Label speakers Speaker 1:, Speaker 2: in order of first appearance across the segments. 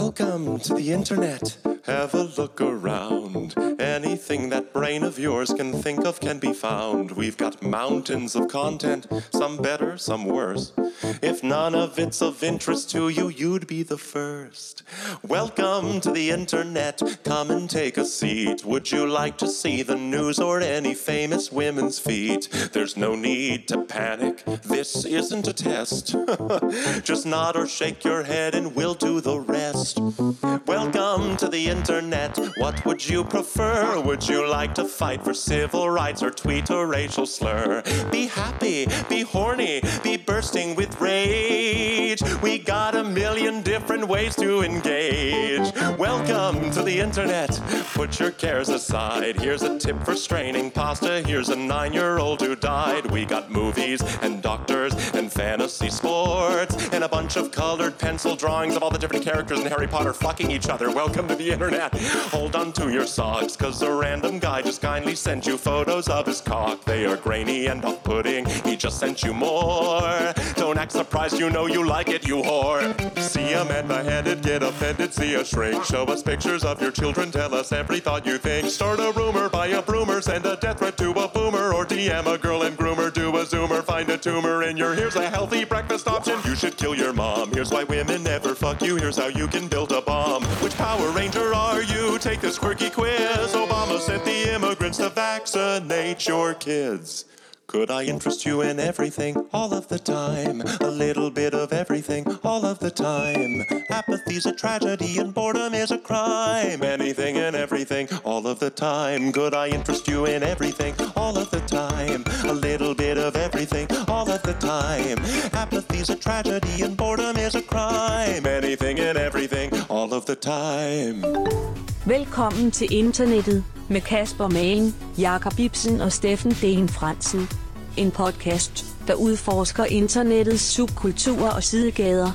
Speaker 1: Welcome to the internet. Have a look around. Anything that brain of yours can think of can be found. We've got mountains of content, some better, some worse. If none of it's of interest to you, you'd be the first. Welcome to the internet. Come and take a seat. Would you like to see the news or any famous women's feet? There's no need to panic. This isn't a test. Just nod or shake your head and we'll do the rest. Welcome to the internet. What would you prefer? Would you like to fight for civil rights or tweet a racial slur? Be happy, be horny, be bursting with rage. We got a million different ways to engage. Welcome to the internet. Put your cares aside. Here's a tip for straining pasta. Here's a nine year old who died. We got movies and doctors and fantasy sports and a bunch of colored pencil drawings of all the different characters in Harry Potter fucking each other. Welcome to the internet. Hold on to your socks, cause a random guy just kindly sent you photos of his cock. They are grainy and off putting. He just sent you more. Don't act surprised, you know you like it, you whore. See a man beheaded, get offended, see a shrink. Show us pictures of your children, tell us every thought you think. Start a rumor, buy a broomer, send a death threat to a boomer, or DM a girl and groomer, do a zoomer, find a tumor in your. Here's a healthy breakfast option. You should kill your mom. Here's why women never fuck you. Here's how you can build a bomb. Which Power Ranger are you? Take this quirky quiz. Obama sent the immigrants to vaccinate your kids. Could I interest you in everything all of the time? A little bit of everything all of the time. Apathy's a tragedy and boredom is a crime. Anything and everything all of the time. Could I interest you in everything all of the time? A little bit of everything all of the time. Apathy's a tragedy and boredom is a crime. Anything and everything all of the time.
Speaker 2: Velkommen til internettet med Kasper Magen, Jakob Ibsen og Steffen Den Fransen. En podcast, der udforsker internettets subkulturer og sidegader.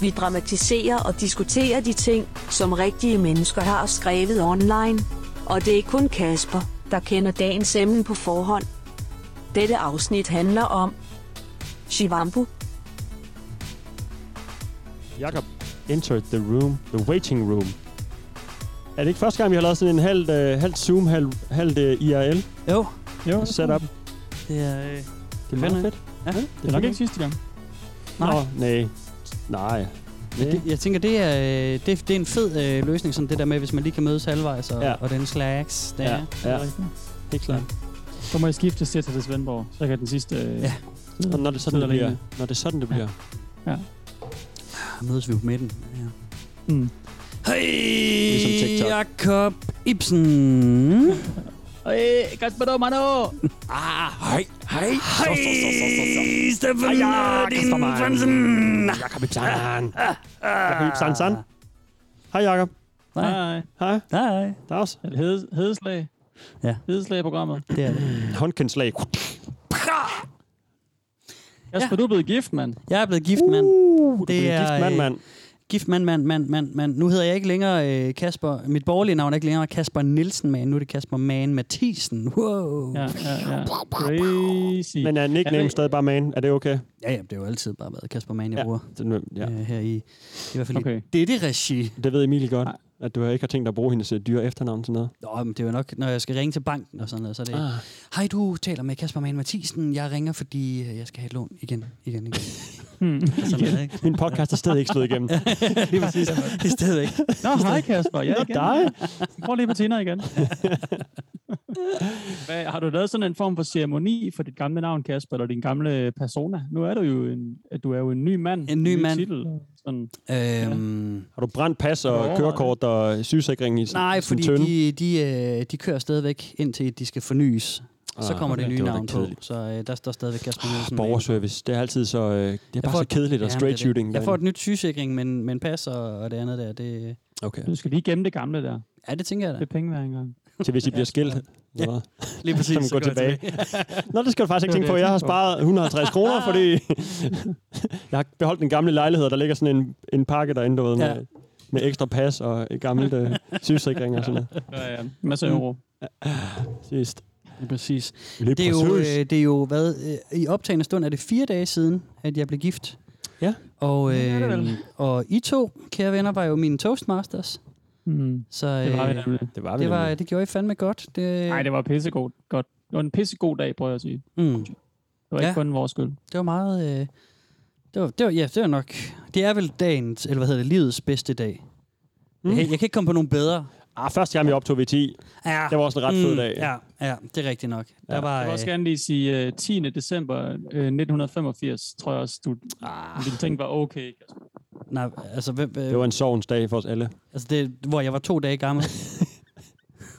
Speaker 2: Vi dramatiserer og diskuterer de ting, som rigtige mennesker har skrevet online. Og det er kun Kasper, der kender dagens emne på forhånd. Dette afsnit handler om Shivambu,
Speaker 3: Jakob entered the room, the waiting room. Er det ikke første gang, vi har lavet sådan en halv, øh, halv Zoom, halv, halv øh, IRL
Speaker 4: Jo,
Speaker 3: jo, setup?
Speaker 4: det er, øh,
Speaker 3: Det er meget
Speaker 4: Fandme.
Speaker 3: fedt.
Speaker 4: ja,
Speaker 3: det er
Speaker 4: det er nok
Speaker 3: fint.
Speaker 4: ikke sidste gang.
Speaker 3: Nå,
Speaker 4: Nej.
Speaker 3: nej. Nej.
Speaker 4: Det, jeg tænker, det er, øh, det, er- det er en fed øh, løsning, sådan det der med, hvis man lige kan mødes halvvejs og,
Speaker 3: Ja.
Speaker 4: ja. og den slags. Der.
Speaker 3: Ja,
Speaker 4: Ja.
Speaker 3: ja, helt klart.
Speaker 5: Så må jeg skifte til til Svendborg, så kan den sidste... Øh,
Speaker 4: Ja.
Speaker 5: ja.
Speaker 3: Og når det er sådan, det
Speaker 5: Sidder
Speaker 3: bliver.
Speaker 5: alene.
Speaker 3: Når det er sådan, det bliver.
Speaker 4: Mødes vi jo på midten. Ja.
Speaker 5: Mm.
Speaker 3: Ligesom
Speaker 4: Hej,
Speaker 3: TikTok.
Speaker 4: Jakob Ibsen.
Speaker 5: Hey, Kasper Domano!
Speaker 4: Ah, hej. Hej. Hej, Steffen
Speaker 5: øh,
Speaker 3: Hej,
Speaker 4: din
Speaker 3: Kasper Mann.
Speaker 4: Fransen.
Speaker 3: Jakob Ibsen. Jakob Ibsen. San. Hej Jakob.
Speaker 5: Nej,
Speaker 3: Hej.
Speaker 4: Hej.
Speaker 3: Der er også
Speaker 5: et hede, hedeslag.
Speaker 4: Ja.
Speaker 5: Hedeslag-programmet.
Speaker 4: Det er det.
Speaker 3: en håndkendslag.
Speaker 5: Kasper, ja. du er blevet gift, mand.
Speaker 4: Jeg er blevet gift, mand.
Speaker 3: Uh,
Speaker 4: Det
Speaker 3: det er
Speaker 4: er,
Speaker 3: gift mand,
Speaker 4: øh,
Speaker 3: mand.
Speaker 4: Gift mand, mand, mand, mand, mand. Nu hedder jeg ikke længere øh, Kasper. Mit borgerlige navn er ikke længere Kasper Nielsen, man. Nu er det Kasper Man Mathisen. Wow.
Speaker 5: Ja, ja, ja. Crazy.
Speaker 3: Men er nickname
Speaker 5: det-
Speaker 3: stadig bare man? Er det okay?
Speaker 4: Ja, ja, det har jo altid bare været Kasper Mann, jeg ja. bruger
Speaker 3: Den- Ja.
Speaker 4: ja. øh, her i, i hvert fald okay.
Speaker 5: Okay.
Speaker 4: i dette regi.
Speaker 3: Det ved Emilie godt, at du ikke har tænkt dig at bruge hendes øh, dyre efternavn til noget.
Speaker 4: Nå, men det er jo nok, når jeg skal ringe til banken og sådan noget, så er det... Ah. Hej, du taler med Kasper Mann Mathisen. Jeg ringer, fordi øh, jeg skal have et lån igen, igen, igen.
Speaker 5: Hmm.
Speaker 4: Og sådan noget, ikke?
Speaker 3: Min podcast er stadig ikke slået igennem.
Speaker 4: Lige præcis. Det er stadigvæk.
Speaker 5: Nå, hej Kasper. Ja, igen.
Speaker 3: dig.
Speaker 5: Prøv lige på Tinder igen. Hvad, har du lavet sådan en form for ceremoni for dit gamle navn, Kasper, eller din gamle persona? Nu er du jo en, du er jo en ny mand.
Speaker 4: En ny mand.
Speaker 5: Titel, og sådan.
Speaker 4: Øhm,
Speaker 3: Har du brændt pas og
Speaker 5: Nå,
Speaker 3: kørekort og sygesikring i sådan
Speaker 4: Nej,
Speaker 3: sådan
Speaker 4: fordi
Speaker 3: en
Speaker 4: de,
Speaker 3: tønde?
Speaker 4: de, øh, de kører stadigvæk indtil de skal fornyes. Så
Speaker 3: Ah,
Speaker 4: kommer det
Speaker 3: okay.
Speaker 4: nye
Speaker 3: Det var da
Speaker 4: navn på,
Speaker 3: kedeligt.
Speaker 4: så øh, der står stadigvæk Kasper Nielsen.
Speaker 3: Borgerservice, det er altid så... Øh, det er bare
Speaker 4: får
Speaker 3: så
Speaker 4: et-
Speaker 3: kedeligt og
Speaker 4: Jamen,
Speaker 3: straight
Speaker 4: det er det.
Speaker 3: shooting.
Speaker 4: Jeg
Speaker 3: derinde.
Speaker 4: får et nyt sygesikring, men, men pas og, og det andet der, det...
Speaker 3: Okay.
Speaker 5: Du skal lige gemme det gamle der.
Speaker 4: Ja, det tænker jeg da.
Speaker 5: Det er penge hver engang.
Speaker 3: Til hvis I bliver skilt. Eller hvad?
Speaker 4: Lige
Speaker 3: Så kan man gå tilbage. Nå, det skal du faktisk ikke
Speaker 5: Det var
Speaker 3: tænke
Speaker 5: det,
Speaker 3: på.
Speaker 5: jeg
Speaker 3: Jeg har
Speaker 5: tænkte på.
Speaker 3: sparet 150 kroner, fordi... jeg har beholdt den gamle lejlighed, og der ligger sådan en, en pakke derinde, du ved,
Speaker 4: Ja.
Speaker 3: med, med ekstra pas og et gammelt øh, sygesikring og sådan noget.
Speaker 5: Ja, ja. Masser af euro.
Speaker 3: Sidst.
Speaker 4: Ja, præcis.
Speaker 3: Lige
Speaker 4: Det er, jo,
Speaker 3: præcis.
Speaker 4: øh, det er jo, hvad, øh, i optagende stund er det fire dage siden, at jeg blev gift.
Speaker 3: Ja.
Speaker 4: Og,
Speaker 5: Ja, det er det
Speaker 4: øh,
Speaker 5: vel.
Speaker 4: og I to, kære venner, var jo mine Toastmasters.
Speaker 5: Mm.
Speaker 4: Så øh,
Speaker 5: Det var vi nemlig.
Speaker 3: Det var vi
Speaker 4: det, var,
Speaker 3: nemlig.
Speaker 4: det gjorde I fandme godt. Det,
Speaker 5: Nej, det var pissegod. Godt. Det var en pissegod dag, prøver jeg at sige.
Speaker 4: mm,
Speaker 5: Det var ja.
Speaker 4: Ja.
Speaker 5: ikke kun vores skyld.
Speaker 4: det var meget... Øh, det, var, det, var, ja, det var nok... Det er vel dagens, eller hvad hedder det, livets bedste dag. Mm. Jeg, jeg kan ikke komme på nogen bedre.
Speaker 3: Ah, første gang vi optog VTI,
Speaker 4: Ja.
Speaker 3: det var også en ret fed
Speaker 4: Mm,
Speaker 3: dag.
Speaker 4: Ja, ja, det er rigtigt nok. Der var,
Speaker 5: Jeg vil også
Speaker 4: øh,
Speaker 5: gerne lige sige uh, 10. december uh, 1985, tror jeg også, du ah. ville tænke var okay. Kasper.
Speaker 4: nej, altså, hvem, øh,
Speaker 3: Det var en sovens dag for os alle.
Speaker 4: altså det, hvor jeg var to dage gammel.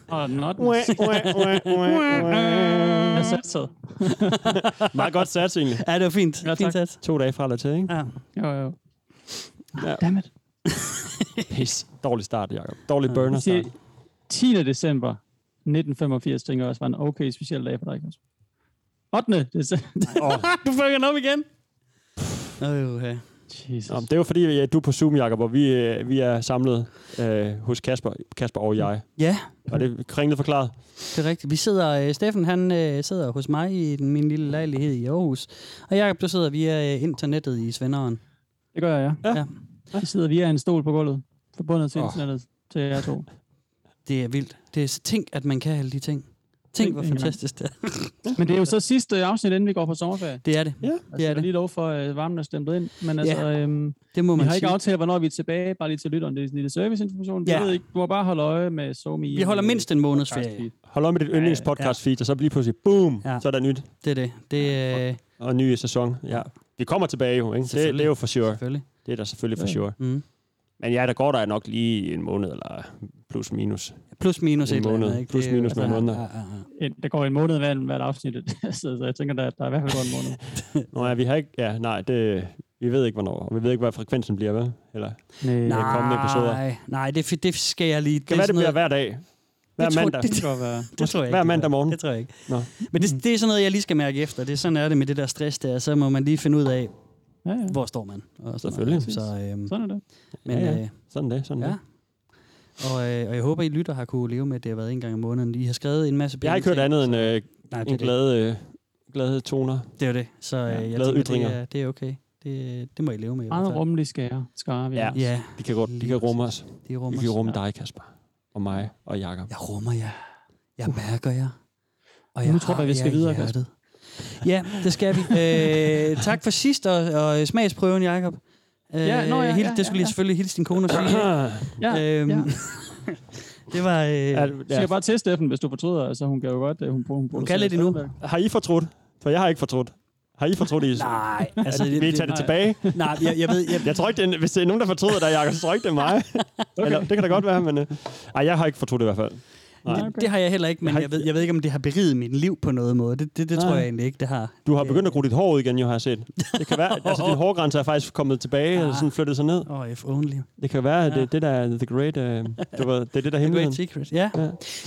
Speaker 5: Og den 8. Jeg
Speaker 4: Altså,
Speaker 5: satte sig.
Speaker 3: Meget godt sats, egentlig.
Speaker 4: ja, det var fint.
Speaker 5: Ja,
Speaker 4: fint
Speaker 5: tak.
Speaker 4: sat.
Speaker 3: To dage fra eller til, ikke?
Speaker 4: Ja.
Speaker 5: Jo, jo.
Speaker 3: Ja.
Speaker 5: Ja. Dammit.
Speaker 3: Pis. Dårlig start, Jacob. Dårlig burner
Speaker 5: Jeg
Speaker 3: start.
Speaker 5: siger, 10. december 1985, tænker jeg også, var en okay speciel dag for dig, Kasper. 8. december.
Speaker 4: du fucker den op igen. Øh, okay.
Speaker 5: Jesus.
Speaker 3: Nå, men det er jo fordi, ja, du er på Zoom, Jacob, og vi, øh, vi er samlet øh, hos Kasper, Kasper og jeg.
Speaker 4: Ja,
Speaker 3: Og det er kringlet forklaret.
Speaker 4: det er rigtigt. Vi sidder, øh, Steffen han øh, sidder hos mig i den, min lille lejlighed i Aarhus. Og Jacob, du sidder via øh, internettet i Svenderen.
Speaker 5: Det gør jeg, ja.
Speaker 4: Ja.
Speaker 5: Vi sidder via en stol på gulvet, forbundet til
Speaker 3: Åh.
Speaker 5: oh. internettet, til jer to.
Speaker 4: Det er vildt. Det er tænk, at man kan alle de ting. Tænk, hvor
Speaker 5: Tænk engang.
Speaker 4: fantastisk det er.
Speaker 5: Men det er jo så sidste afsnit, inden vi går på sommerferie.
Speaker 4: Det er det.
Speaker 3: Ja,
Speaker 4: det er
Speaker 5: Jeg har
Speaker 4: det.
Speaker 5: lige lov for, at varmen er stemt ind. Men altså,
Speaker 4: Ja.
Speaker 5: ja. øhm,
Speaker 4: Det må
Speaker 5: vi
Speaker 4: man
Speaker 5: har ikke
Speaker 4: sige.
Speaker 5: aftalt, hvornår vi er tilbage. Bare lige til lytteren. Det er sådan en lille serviceinformation. Ja.
Speaker 4: Ja.
Speaker 5: Jeg ved ikke. Du må bare holde øje med SoMe.
Speaker 4: Vi holder mindst en måneds ferie.
Speaker 3: Hold op med dit yndlingspodcast feed, og så lige pludselig, boom,
Speaker 4: Ja.
Speaker 3: ja. så er der nyt
Speaker 4: Det er det. Det er øh,
Speaker 3: og ny sæson. Ja. Vi kommer tilbage jo, ikke? Det, det er jo for sure.
Speaker 4: selvfølgelig.
Speaker 3: Det er der selvfølgelig for sure.
Speaker 4: Mm.
Speaker 3: Men ja, der går der nok lige en måned, eller plus minus.
Speaker 4: Plus minus
Speaker 3: En
Speaker 4: et eller
Speaker 3: måned.
Speaker 4: andet. Ikke?
Speaker 3: Plus
Speaker 4: Det er jo- altså-
Speaker 3: minus nogle måneder.
Speaker 4: Ja, ja, ja.
Speaker 5: Der går en måned hver, hvert afsnit. så, så jeg tænker, der, der er i hvert fald gået en måned.
Speaker 3: Nå ja, vi har ikke... Ja, nej, det, vi ved ikke, hvornår. Og vi ved ikke, hvad frekvensen bliver, vel? Eller,
Speaker 5: Nej.
Speaker 3: øh, kommende episoder.
Speaker 4: Nej, nej det, fi- det skal jeg lige.
Speaker 3: det kan være, det
Speaker 4: sådan
Speaker 3: bliver
Speaker 4: noget-
Speaker 3: hver dag. Hver
Speaker 4: tror-
Speaker 3: mandag.
Speaker 4: det-
Speaker 5: Det kan godt være.
Speaker 4: det tror jeg ikke.
Speaker 3: hver
Speaker 4: det
Speaker 3: mandag
Speaker 4: bliver.
Speaker 3: morgen.
Speaker 4: Det tror jeg ikke.
Speaker 3: Nå.
Speaker 4: Men det, det er sådan noget, jeg lige skal mærke efter. Det er sådan er det med det der stress der. Så må man lige finde ud af,
Speaker 5: Ja, ja.
Speaker 4: hvor står man. Og sådan
Speaker 3: Selvfølgelig.
Speaker 4: noget. Så, øhm,
Speaker 5: Sådan er det.
Speaker 4: men,
Speaker 3: Ja,
Speaker 4: ja,
Speaker 3: ja.
Speaker 4: Øh,
Speaker 3: Sådan det, sådan
Speaker 4: ja.
Speaker 3: ja. det.
Speaker 4: Og, øh, og jeg håber, I lytter har kunne leve med, at det har været en gang om måneden. I har skrevet en masse
Speaker 3: Jeg har ikke hørt
Speaker 4: ting,
Speaker 3: andet
Speaker 4: så-
Speaker 3: end øh,
Speaker 4: Nej, det, er
Speaker 3: en
Speaker 4: det,
Speaker 3: glade, øh, glade toner.
Speaker 4: det er det. Så øh, jeg
Speaker 3: glade
Speaker 4: tænker,
Speaker 3: ytringer.
Speaker 4: det er, det er okay. Det, det må I leve med. i hvert
Speaker 5: Meget
Speaker 4: fald.
Speaker 5: rummelig skære. Skare, vi
Speaker 3: altså. Ja.
Speaker 5: har.
Speaker 4: Ja,
Speaker 3: De kan, godt, de kan rumme os.
Speaker 4: det
Speaker 3: De
Speaker 4: rummer.
Speaker 3: kan
Speaker 4: os.
Speaker 3: rumme dig, Kasper. Og mig og Jakob.
Speaker 4: Jeg rummer jer. Jeg
Speaker 3: Uh.
Speaker 4: mærker jer. Og
Speaker 5: Nu tror jeg,
Speaker 4: har
Speaker 5: vi skal
Speaker 4: jer i
Speaker 5: videre,
Speaker 4: hjertet. Ja, det skal vi. Øh, tak for sidst, og, og smagsprøven, Jacob. Øh,
Speaker 5: Ja, nå ja,
Speaker 4: hil-
Speaker 5: ja,
Speaker 4: det skulle
Speaker 5: ja,
Speaker 4: lige
Speaker 5: ja.
Speaker 4: selvfølgelig hilse din kone og sige.
Speaker 5: Ja.
Speaker 4: øhm,
Speaker 5: ja.
Speaker 4: det var... Øh,
Speaker 5: Du skal bare teste Steffen, hvis du fortryder. Altså, hun kan jo godt... øh, Hun, hun,
Speaker 4: hun kan lidt endnu.
Speaker 3: Har I fortrudt? For jeg har ikke fortrudt. Har I fortrudt, I?
Speaker 4: Nej,
Speaker 3: Altså,
Speaker 4: altså...
Speaker 3: vi tager det tilbage.
Speaker 4: Nej, jeg, jeg ved... Jeg,
Speaker 3: Jeg tror ikke, det er, hvis det er nogen, der fortryder dig, Jacob, så tror jeg ikke, det er mig. okay. Eller, det kan da godt være, men... Øh, ej, jeg har ikke fortrudt det i hvert fald. Nej,
Speaker 4: det, det har jeg heller ikke, men
Speaker 3: har
Speaker 4: jeg ved, jeg ved ikke, om det har beriget mit liv på noget måde. Det, det, det tror
Speaker 3: Nej.
Speaker 4: jeg egentlig ikke, det har.
Speaker 3: Du har begyndt at gro dit hår ud igen, jo, har jeg set. Det kan være, altså, din hårgrænse er faktisk kommet tilbage og sådan flyttet sig ned.
Speaker 4: Åh, oh, if only.
Speaker 3: Det kan være, at det, er det der er the great, uh, det, var, det er det, der
Speaker 4: The
Speaker 3: er
Speaker 4: Great
Speaker 3: hemmeligheden.
Speaker 4: Secret, ja.
Speaker 3: Ja.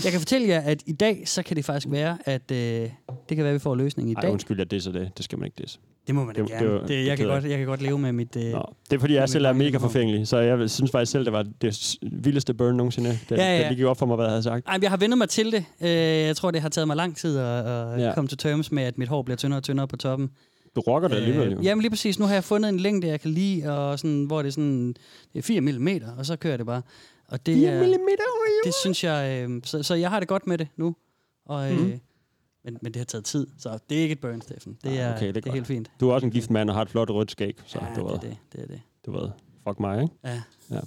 Speaker 4: Jeg kan fortælle jer, at i dag, så kan det faktisk være, at øh, det kan være, at vi får løsningen i
Speaker 3: Ej,
Speaker 4: dag.
Speaker 3: undskyld, jeg disser det. Det skal man ikke disse.
Speaker 4: Det må man da
Speaker 3: Det-
Speaker 4: gerne.
Speaker 3: det
Speaker 4: Det,
Speaker 3: var-
Speaker 4: det,
Speaker 3: det
Speaker 4: jeg, kan
Speaker 3: keder
Speaker 4: godt, jeg kan godt leve med mit... Øh...
Speaker 3: Nå, det er fordi, jeg
Speaker 4: men
Speaker 3: selv er
Speaker 4: mange
Speaker 3: mega
Speaker 4: gange.
Speaker 3: forfængelig, så jeg synes faktisk selv, det var det s- vildeste burn nogensinde. Det, ja,
Speaker 4: Ja,
Speaker 3: ja.
Speaker 4: ja.
Speaker 3: det lige gik op for mig, hvad jeg havde sagt.
Speaker 4: Ej, men jeg har vendet mig til det. Øh, jeg tror, det har taget mig lang tid at, at ja.
Speaker 3: Ja.
Speaker 4: komme til terms med, at mit hår bliver tyndere og tyndere på toppen. Øh,
Speaker 3: Du rocker det alligevel, jo.
Speaker 4: jamen lige præcis. Nu har jeg fundet en længde, jeg kan lide, og sådan, hvor det er sådan det er 4 mm, og så kører det bare. Og det, er,
Speaker 3: millimeter over
Speaker 4: det synes jeg... Øh, så, så jeg har det godt med det nu. Og, øh,
Speaker 3: Mhm.
Speaker 4: mm. men, men det har taget tid, så det er ikke et burn, Steffen. Det
Speaker 3: Ah,
Speaker 4: er,
Speaker 3: okay, det er
Speaker 4: det er
Speaker 3: godt.
Speaker 4: helt fint.
Speaker 3: Du er også en gift mand og har et flot rødt skæg, så
Speaker 4: ja, det
Speaker 3: du,
Speaker 4: er
Speaker 3: ved,
Speaker 4: det. det, er det.
Speaker 3: du ved, fuck mig, ikke?
Speaker 4: Ja.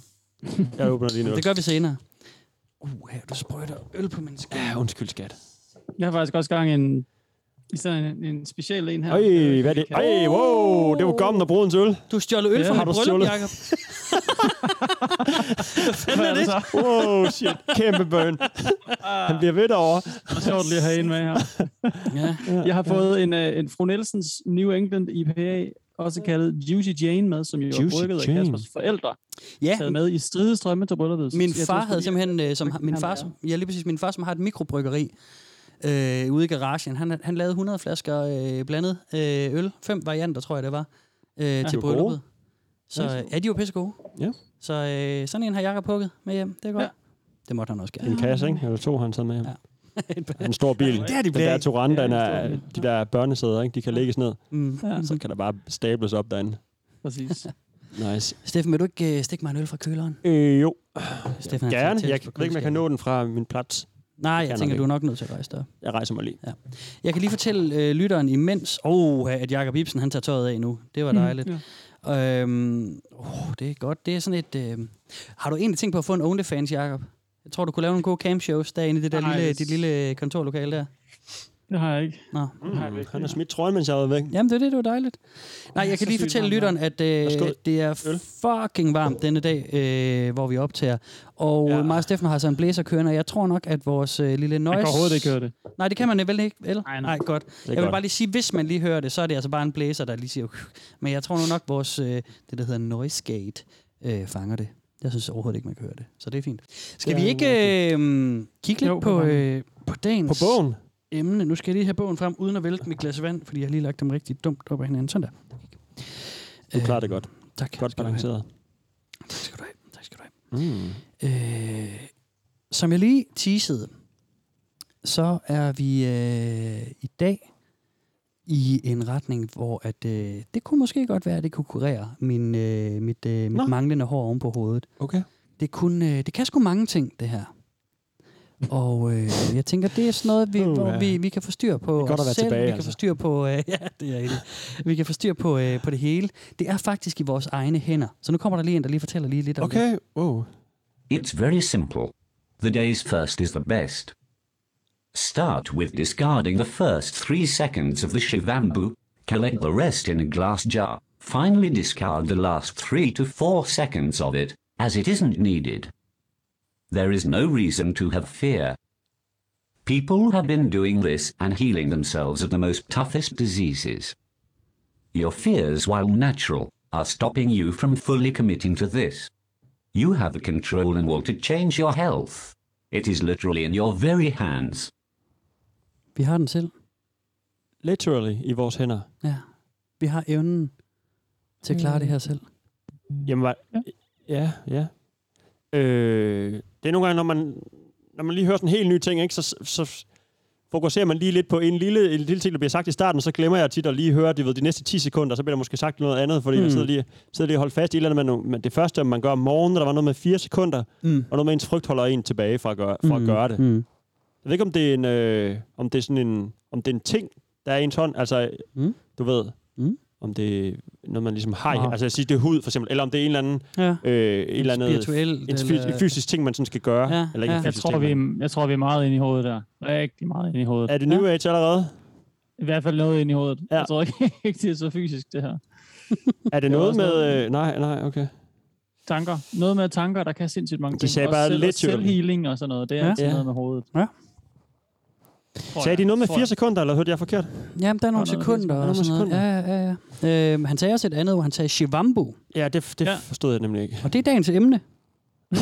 Speaker 3: Jeg åbner lige
Speaker 4: Men
Speaker 3: noget.
Speaker 4: det gør vi senere. Uh, her, du sprøjter øl på min skæg.
Speaker 3: Ja, undskyld, skat.
Speaker 5: Jeg har faktisk også gang i en, i sådan en, en speciel en her.
Speaker 3: Øj, hvad er det? Øj, wow, det var gommen og brudens øl.
Speaker 4: Du stjålet øl
Speaker 5: Ja,
Speaker 4: fra
Speaker 5: har
Speaker 4: mit
Speaker 3: du
Speaker 4: bryllup,
Speaker 3: stjålet?
Speaker 4: Jacob.
Speaker 5: Hvad er det så?
Speaker 3: Wow, shit, kæmpe burn. Han bliver ved derovre.
Speaker 5: Det er sjovt lige at have en med her.
Speaker 4: Ja.
Speaker 5: Jeg har fået en, øh, en Fru Nielsens New England IPA, også kaldet Juicy Jane med, som jo er
Speaker 3: Juicy
Speaker 5: brygget af
Speaker 3: Jane.
Speaker 5: Kaspers forældre,
Speaker 4: ja.
Speaker 5: taget med i stridestrømme til brylluppet.
Speaker 4: Min
Speaker 5: Jeg tror,
Speaker 4: far havde
Speaker 5: fordi-
Speaker 4: simpelthen, øh, som,
Speaker 5: frygten
Speaker 4: min
Speaker 5: ham
Speaker 4: far,
Speaker 5: der.
Speaker 4: som, ja, lige præcis, min far, som har et mikrobryggeri øh, ude i garagen, han, han lavede 100 flasker øh, blandet øh, øl, fem varianter, tror jeg det var, øh, ja, til
Speaker 3: var gode.
Speaker 4: brylluppet. Så øh, ja, de var pisse gode.
Speaker 3: Ja.
Speaker 4: Så øh, sådan en har Jakob hugget med hjem, det er godt. Ja.
Speaker 5: Ja.
Speaker 4: Det måtte han også gerne.
Speaker 3: En kasse, ikke? Eller to, han sad med hjem.
Speaker 4: Ja.
Speaker 3: Ja. En stor
Speaker 4: Det
Speaker 3: bil.
Speaker 4: er de
Speaker 3: Den
Speaker 4: blevet.
Speaker 3: der Turan, den
Speaker 5: Ja, en
Speaker 3: er,
Speaker 5: stor
Speaker 3: de der børnesæder, ikke? De kan lægges ned.
Speaker 4: Mm.
Speaker 5: Ja,
Speaker 3: Så kan der bare stables op derinde.
Speaker 5: præcis.
Speaker 3: Nice.
Speaker 4: Steffen, vil du ikke øh, stikke mig en øl fra køleren?
Speaker 3: Øh, jo,
Speaker 4: Steffen, han
Speaker 3: gerne.
Speaker 4: sidder
Speaker 3: Jeg
Speaker 4: tættest på
Speaker 3: ved ikke, man kan nå den fra min plads.
Speaker 4: Nej, jeg
Speaker 3: nok
Speaker 4: tænker,
Speaker 3: ikke.
Speaker 4: du er nok nødt til at rejse dig.
Speaker 3: Jeg rejser mig lige.
Speaker 4: Jeg kan lige fortælle øh, lytteren imens, oh, at Jakob Ibsen han tager tøjet af nu. Det var dejligt.
Speaker 5: ja.
Speaker 4: Mm, øhm, oh, det er godt. Det er sådan et... Øh, har du egentlig tænkt på at få en OnlyFans, Jakob? Jeg tror, du kunne lave nogle gode cam shows derinde i det der
Speaker 5: Nej,
Speaker 4: lille,
Speaker 5: det-
Speaker 4: dit lille kontorlokale der.
Speaker 5: Det har jeg ikke.
Speaker 4: Nå.
Speaker 5: Det har jeg
Speaker 3: Mm,
Speaker 5: ikke.
Speaker 3: han har smidt trøjen, mens jeg var væk.
Speaker 4: Jamen, det er det, det var dejligt. Nej, jeg
Speaker 5: så
Speaker 4: kan lige
Speaker 5: sygt
Speaker 4: fortælle
Speaker 5: varmt
Speaker 4: lytteren, at øh,
Speaker 3: Værsgo.
Speaker 4: det er
Speaker 3: Øl.
Speaker 4: fucking varmt denne dag, øh, hvor vi optager. Og ja.
Speaker 5: Ja.
Speaker 4: mig og Steffen har så en blæser kørende, og jeg tror nok, at vores øh, lille noise...
Speaker 5: Jeg kan overhovedet ikke høre det.
Speaker 4: Nej, det kan man vel ikke, eller?
Speaker 5: Nej, nej.
Speaker 4: nej godt.
Speaker 3: Det er
Speaker 4: Jeg vil
Speaker 3: godt.
Speaker 4: bare lige sige, hvis man lige hører det, så er det altså bare en blæser, der lige siger... "Huh." Men jeg tror nu nok, vores, øh, det der hedder noise gate, øh, fanger det. Jeg synes overhovedet ikke, man kan høre det. Så det er fint. Skal
Speaker 3: Det
Speaker 4: vi
Speaker 3: er
Speaker 4: ikke
Speaker 6: mm,
Speaker 4: øh, kigge lidt
Speaker 5: Jo,
Speaker 4: på,
Speaker 5: kom an.
Speaker 4: øh, på dagens
Speaker 3: På bogen.
Speaker 4: emne. Nu skal jeg lige have bogen frem, uden at vælte mit glas vand, fordi jeg har lige lagt dem rigtig dumt op ad hinanden. Sådan der.
Speaker 3: Du klarer det godt.
Speaker 4: Øh, Tak.
Speaker 3: Godt
Speaker 4: skal du have.
Speaker 3: balanceret.
Speaker 4: Tak skal du have. Tak skal du have.
Speaker 3: Mm.
Speaker 4: Øh, som jeg lige teasede, så er vi øh, i dag i en retning, hvor at, øh, det kunne måske godt være, at det kunne kurere min, øh, mit, øh,
Speaker 3: Nå.
Speaker 4: mit manglende hår oven på hovedet.
Speaker 3: Okay.
Speaker 4: Det, kunne, øh, det kan sgu mange ting, det her. Og øh, jeg tænker, det er sådan noget, vi,
Speaker 3: Uha.
Speaker 4: hvor vi, vi kan få styr på
Speaker 3: Det er godt
Speaker 4: os
Speaker 3: at være
Speaker 4: selv.
Speaker 3: tilbage,
Speaker 4: vi kan
Speaker 3: altså.
Speaker 4: få styr på, øh, ja, det er det. Vi kan få styr på, øh, på det hele. Det er faktisk i vores egne hænder. Så nu kommer der lige en, der lige fortæller lige lidt om det.
Speaker 3: Okay. Wow.
Speaker 6: It's very simple. The day's first is the best. Start with discarding the first three seconds of the shivambu, collect the rest in a glass jar, finally discard the last three to four seconds of it, as it isn't needed. There is no reason to have fear. People have been doing this and healing themselves of the most toughest diseases. Your fears, while natural, are stopping you from fully committing to this. You have the control and will to change your health. It is literally in your very hands.
Speaker 4: Vi har den selv.
Speaker 3: Literally i vores hænder.
Speaker 4: Ja. Vi har evnen til at klare det her selv.
Speaker 3: Jamen, var,
Speaker 5: Ja.
Speaker 3: Mm. ja, ja. Øh, det er nogle gange, når man, når man lige hører sådan en helt ny ting, ikke, så, så fokuserer man lige lidt på en lille, en lille ting, der bliver sagt i starten, så glemmer jeg tit at lige høre det ved de næste 10 sekunder, så bliver der måske sagt noget andet, fordi mm.
Speaker 4: Mm.
Speaker 3: jeg sidder lige, sidder lige og holder fast i et eller andet, med, nogle- med det første, man gør om morgenen, der var noget med 4 sekunder,
Speaker 4: Mm.
Speaker 3: og noget med ens frygt holder en tilbage fra at gøre, fra at gøre det.
Speaker 4: Mm.
Speaker 3: Jeg ved ikke, om det er en, øh, om det er sådan en, om det er en ting, der er i ens hånd. Altså,
Speaker 4: Mm.
Speaker 3: mm. du ved,
Speaker 4: Mm.
Speaker 3: mm. om det er noget, man ligesom har. i-
Speaker 5: Aha.
Speaker 3: Altså, jeg siger, det er hud, for eksempel. Eller om det er en eller anden,
Speaker 4: Ja.
Speaker 3: øh, en eller anden
Speaker 4: Spirituelt.
Speaker 3: en fys- en fysisk ting, man sådan skal gøre.
Speaker 4: øh, Ja,
Speaker 3: Ja, eller ikke
Speaker 4: ja.
Speaker 3: en
Speaker 5: Jeg
Speaker 3: fysisk
Speaker 5: tror,
Speaker 3: ting,
Speaker 5: vi
Speaker 3: man-
Speaker 5: er, jeg tror, vi er meget inde i hovedet der. Rigtig meget inde i hovedet.
Speaker 3: Er det New Age allerede?
Speaker 5: I hvert fald noget inde i hovedet.
Speaker 3: Ja.
Speaker 5: Jeg tror ikke, ikke, det er så fysisk, det her.
Speaker 3: Er det
Speaker 5: var
Speaker 3: noget
Speaker 5: også
Speaker 3: med... Øh, nej, nej, okay.
Speaker 5: Tanker. Noget med tanker, der kan sindssygt mange
Speaker 3: De
Speaker 5: ting.
Speaker 3: sagde
Speaker 5: Også
Speaker 3: bare
Speaker 5: selv,
Speaker 3: lidt
Speaker 5: og selvhealing og sådan noget. Det er
Speaker 4: Ja.
Speaker 5: ja. altid
Speaker 3: Ja.
Speaker 5: noget med hovedet.
Speaker 4: Ja.
Speaker 5: Tror
Speaker 3: Sagde
Speaker 5: jeg.
Speaker 3: de noget med
Speaker 5: Tror
Speaker 3: 4
Speaker 5: jeg.
Speaker 3: sekunder, eller hørte jeg forkert?
Speaker 4: Jamen, der er nogle
Speaker 5: Der er noget
Speaker 4: sekunder
Speaker 3: der er
Speaker 4: og
Speaker 3: nogle
Speaker 4: sådan noget. Ja, ja, ja. ja. Øhm, han sagde også et andet, hvor han sagde shivambu.
Speaker 3: Ja, det, det
Speaker 5: Ja.
Speaker 3: ja. forstod jeg nemlig ikke.
Speaker 4: Og det er dagens emne.
Speaker 5: Mm.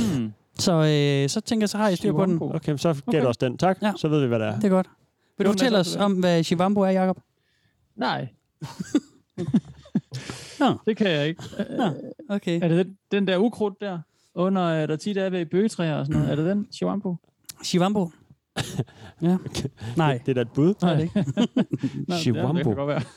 Speaker 4: Så, øh, så tænker jeg, så har jeg styr på den.
Speaker 5: Shivambu.
Speaker 3: Okay, så gæt okay. også den. Tak.
Speaker 4: Ja.
Speaker 3: Ja. Så ved vi, hvad det er.
Speaker 4: Det er godt. Vil du
Speaker 5: Jo,
Speaker 4: fortælle
Speaker 5: men
Speaker 4: os
Speaker 5: altså-
Speaker 4: om, hvad Shivambu er, Jacob?
Speaker 5: Nej.
Speaker 4: Nå.
Speaker 5: Det kan jeg ikke.
Speaker 4: Okay.
Speaker 5: Er det den, den der ukrudt der? Under, øh, der tit er ved bøgetræer og sådan noget. Er det den, Shivambu?
Speaker 4: Shivambu? ja.
Speaker 3: Okay.
Speaker 4: Nej,
Speaker 3: Det er da et bud.
Speaker 4: det er det ikke.
Speaker 5: Nej, det- Det
Speaker 3: Shivambu.
Speaker 5: kan godt være.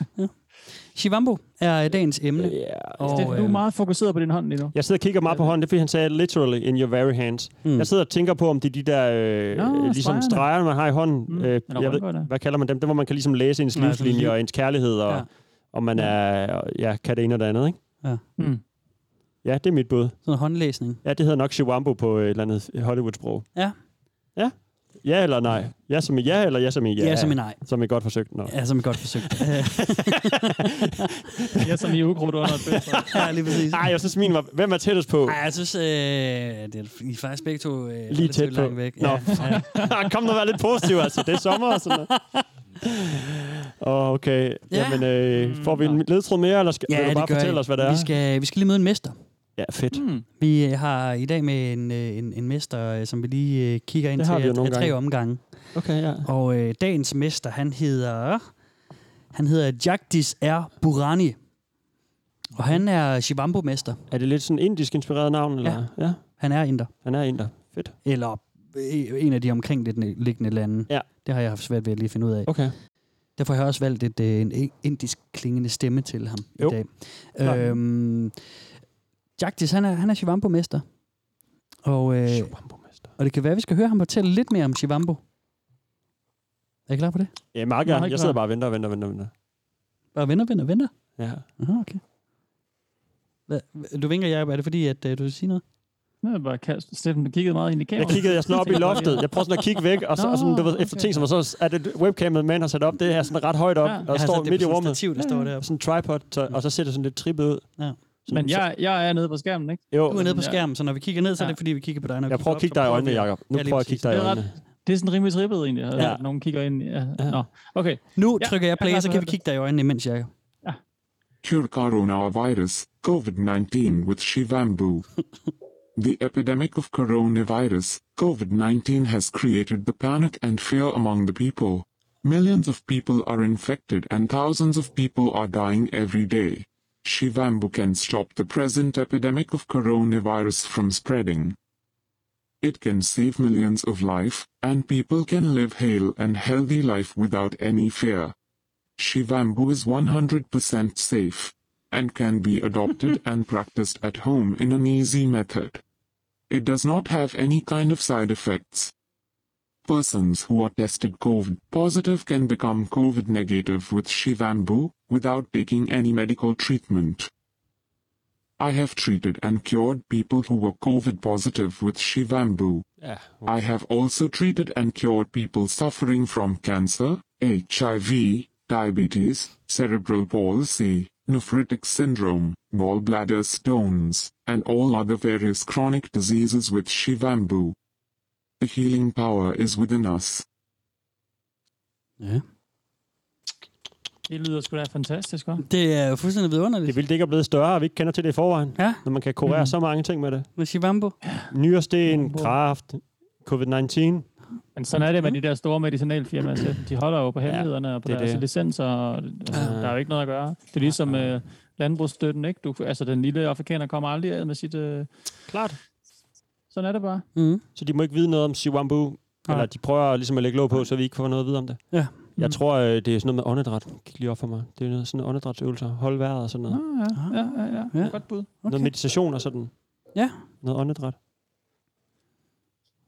Speaker 4: Shivambu er dagens emne.
Speaker 3: Ja.
Speaker 4: Og, øh,
Speaker 5: Steffen, du er meget fokuseret på din hånd lige nu.
Speaker 3: Jeg sidder og kigger meget på hånden, det er fordi han sagde literally in your very hands.
Speaker 4: Mm.
Speaker 3: Mm. Jeg sidder og tænker på, om det er de der øh,
Speaker 5: Nå,
Speaker 3: Nå, ligesom
Speaker 5: stregerne.
Speaker 3: streger, man har i hånden.
Speaker 5: Mm.
Speaker 3: Mm. Øh,
Speaker 5: Eller
Speaker 3: jeg ved,
Speaker 5: rundgårder.
Speaker 3: hvad kalder man dem? Det, hvor man kan ligesom læse ens
Speaker 4: Nej, sådan
Speaker 3: livslinje
Speaker 4: altså lige-
Speaker 3: og ens kærlighed, og
Speaker 4: Ja.
Speaker 3: ja. om man
Speaker 5: Ja.
Speaker 3: er, ja, kan det ene og det andet, ikke?
Speaker 5: Mm.
Speaker 3: Ja, det er mit bud.
Speaker 4: Sådan en håndlæsning.
Speaker 3: Ja, det hedder nok Chiwambo på øh, et eller andet Hollywood-sprog.
Speaker 4: Ja.
Speaker 3: Ja? Ja eller nej? Ja som i ja, eller ja som i ja?
Speaker 4: Ja, som en nej.
Speaker 3: Som i godt forsøgt. Nå.
Speaker 4: Ja, som et godt forsøg.
Speaker 5: Jeg er som i ukrudt under et bøgetræ.
Speaker 4: ja, lige præcis.
Speaker 3: Ej, jeg synes min var, hvem er tættest på?
Speaker 4: Ej, jeg synes, øh, det er, I er faktisk begge to øh,
Speaker 3: Lige
Speaker 4: relativt
Speaker 3: tæt på.
Speaker 4: langt væk.
Speaker 3: Nå.
Speaker 4: Ja, ja.
Speaker 3: Kom nu, vær lidt positiv, altså. Det er sommer og sådan noget. Åh, oh, okay.
Speaker 4: Ja.
Speaker 3: Ja. Jamen,
Speaker 5: Mm,
Speaker 3: øh, får vi en ledtråd mere, eller skal
Speaker 4: Ja,
Speaker 3: vil du
Speaker 4: det
Speaker 3: bare
Speaker 4: gør
Speaker 3: fortælle
Speaker 4: I.
Speaker 3: os, hvad det er?
Speaker 4: Vi skal, vi skal lige møde en mester.
Speaker 3: Ja, fedt.
Speaker 5: Mm.
Speaker 4: Vi øh, har i dag med en, øh, en, en mester, øh, som vi lige øh, kigger ind
Speaker 3: Det
Speaker 4: til
Speaker 3: har vi jo
Speaker 4: af-
Speaker 3: nogle
Speaker 4: af tre
Speaker 3: gange.
Speaker 4: omgange.
Speaker 3: Okay, ja.
Speaker 4: Og øh, dagens mester, han hedder... Han hedder Jagdis R. Burani. Og han er Shivambu-mester.
Speaker 3: Er det lidt sådan indisk inspireret navn? Eller? Ja. ja.
Speaker 4: Han er inder.
Speaker 3: Han er inder. Fedt.
Speaker 4: Eller øh, en af de omkringliggende lande.
Speaker 3: Ja.
Speaker 4: Det har jeg haft svært ved at lige finde ud af.
Speaker 3: Okay.
Speaker 4: Derfor har jeg også valgt et, øh, en indisk klingende stemme til ham
Speaker 3: Jo.
Speaker 4: i dag.
Speaker 3: Klart.
Speaker 4: Øhm, Jagtis, han er, han er Shivambo-mester. Og, øh, og det kan være, at vi skal høre ham fortælle lidt mere om Shivambo. Er I klar på det?
Speaker 3: Ja,
Speaker 4: Meget
Speaker 3: meget gerne. Jeg
Speaker 4: klar.
Speaker 3: sidder bare og venter og venter og venter. og venter.
Speaker 4: Bare venter, venter, venter.
Speaker 3: Ja.
Speaker 4: Aha, okay. Hvad, du vinker, Jacob. Er det fordi, at øh, du vil sige noget?
Speaker 5: Det er bare kast. Steffen, du kiggede meget ind i
Speaker 3: Jeg
Speaker 5: kameraet.
Speaker 3: kiggede jeg sådan op i loftet. Jeg prøvede sådan at kigge væk, og, så, og sådan, du ved, efter ting, som var så, at et webcamet man har sat op, det er sådan ret højt op,
Speaker 5: Ja.
Speaker 3: og
Speaker 5: Ja,
Speaker 3: ja, står
Speaker 4: altså, det er
Speaker 3: midt i
Speaker 4: på sådan et
Speaker 3: rummet.
Speaker 4: stativ, der står deroppe.
Speaker 3: Sådan en tripod, så, og så ser det sådan lidt trippet ud.
Speaker 4: Ja.
Speaker 3: Sådan,
Speaker 5: Men jeg, jeg er nede på skærmen, ikke?
Speaker 3: så- jo,
Speaker 4: Du er nede på
Speaker 5: Ja.
Speaker 4: skærmen, så når vi kigger ned, så er det
Speaker 5: Ja.
Speaker 4: fordi, vi kigger på dig. Når vi
Speaker 3: jeg
Speaker 4: kigger
Speaker 3: prøver at
Speaker 4: op,
Speaker 3: kigge
Speaker 4: så
Speaker 3: dig i
Speaker 4: prøver
Speaker 3: øjnene,
Speaker 4: vi-
Speaker 3: Jacob. Nu
Speaker 4: Ja, lige
Speaker 3: prøver jeg at kigge dig i
Speaker 5: Det er,
Speaker 3: øjnene.
Speaker 5: ret, det er sådan rimelig trippet egentlig, at
Speaker 3: Ja.
Speaker 5: ja. nogen kigger ind. Ja.
Speaker 3: Ja.
Speaker 5: Nå, okay.
Speaker 4: Nu
Speaker 5: Ja,
Speaker 4: trykker jeg
Speaker 5: jeg er
Speaker 4: play,
Speaker 5: klar
Speaker 4: så
Speaker 5: til at
Speaker 4: kan
Speaker 5: høre
Speaker 4: vi
Speaker 5: det.
Speaker 4: kigge dig i øjnene imens, Jacob.
Speaker 7: Cure coronavirus, COVID 19 with Shivambu. the epidemic of coronavirus, COVID 19 has created the panic and fear among the people. Millions of people are infected and thousands of people are dying every day. Shivambu can stop the present epidemic of coronavirus from spreading. It can save millions of life, and people can live hale and healthy life without any fear. Shivambu is 100% safe and can be adopted and practiced at home in an easy method. It does not have any kind of side effects. Persons who are tested COVID positive can become COVID negative with Shivambu without taking any medical treatment. I have treated and cured people who were COVID positive with Shivambu.
Speaker 3: Ja.
Speaker 7: I have also treated and cured people suffering from cancer, HIV, diabetes, cerebral palsy, nephritic syndrome, gallbladder stones, and all other various chronic diseases with Shivambu. The healing power is within us.
Speaker 4: Ja.
Speaker 5: Det lyder sgu da fantastisk, hva'?
Speaker 4: Det er jo fuldstændig
Speaker 3: Det er
Speaker 4: vidunderligt.
Speaker 3: vildt det ikke er blevet større, og vi ikke kender til det i forvejen.
Speaker 4: Ja, Mm.
Speaker 3: Når man kan kurere så mange ting med det.
Speaker 4: med Shivambo.
Speaker 3: Nyresten, kraft, covid-19.
Speaker 5: Men sådan er det med
Speaker 4: Mm.
Speaker 5: de der store medicinalfirmaer. Steffen. De holder altså, jo på hemmelighederne og på
Speaker 3: det er
Speaker 5: det deres
Speaker 3: det.
Speaker 5: det. licenser. Og, altså, Der er jo ikke noget at gøre. Det er ligesom øh, landbrugsstøtten, ikke? Du, altså, den lille afrikaner kommer aldrig af med sit... Øh,
Speaker 3: Klart.
Speaker 5: sådan er det bare.
Speaker 4: Mm.
Speaker 3: Så de må ikke vide noget om Siwambu.
Speaker 4: Nej.
Speaker 3: Eller de prøver ligesom at lægge låg på, så vi ikke får noget at vide om det.
Speaker 4: Ja. Mm.
Speaker 3: Jeg tror, øh, det er sådan noget med åndedræt. Kig lige op for mig. Det er noget, sådan noget åndedrætsøvelser. Hold vejret og sådan noget.
Speaker 5: Ah, ja, ja, ja, ja.
Speaker 4: Ja.
Speaker 5: ja. Godt bud.
Speaker 3: Okay. Noget meditation og sådan.
Speaker 4: Ja.
Speaker 3: Noget åndedræt.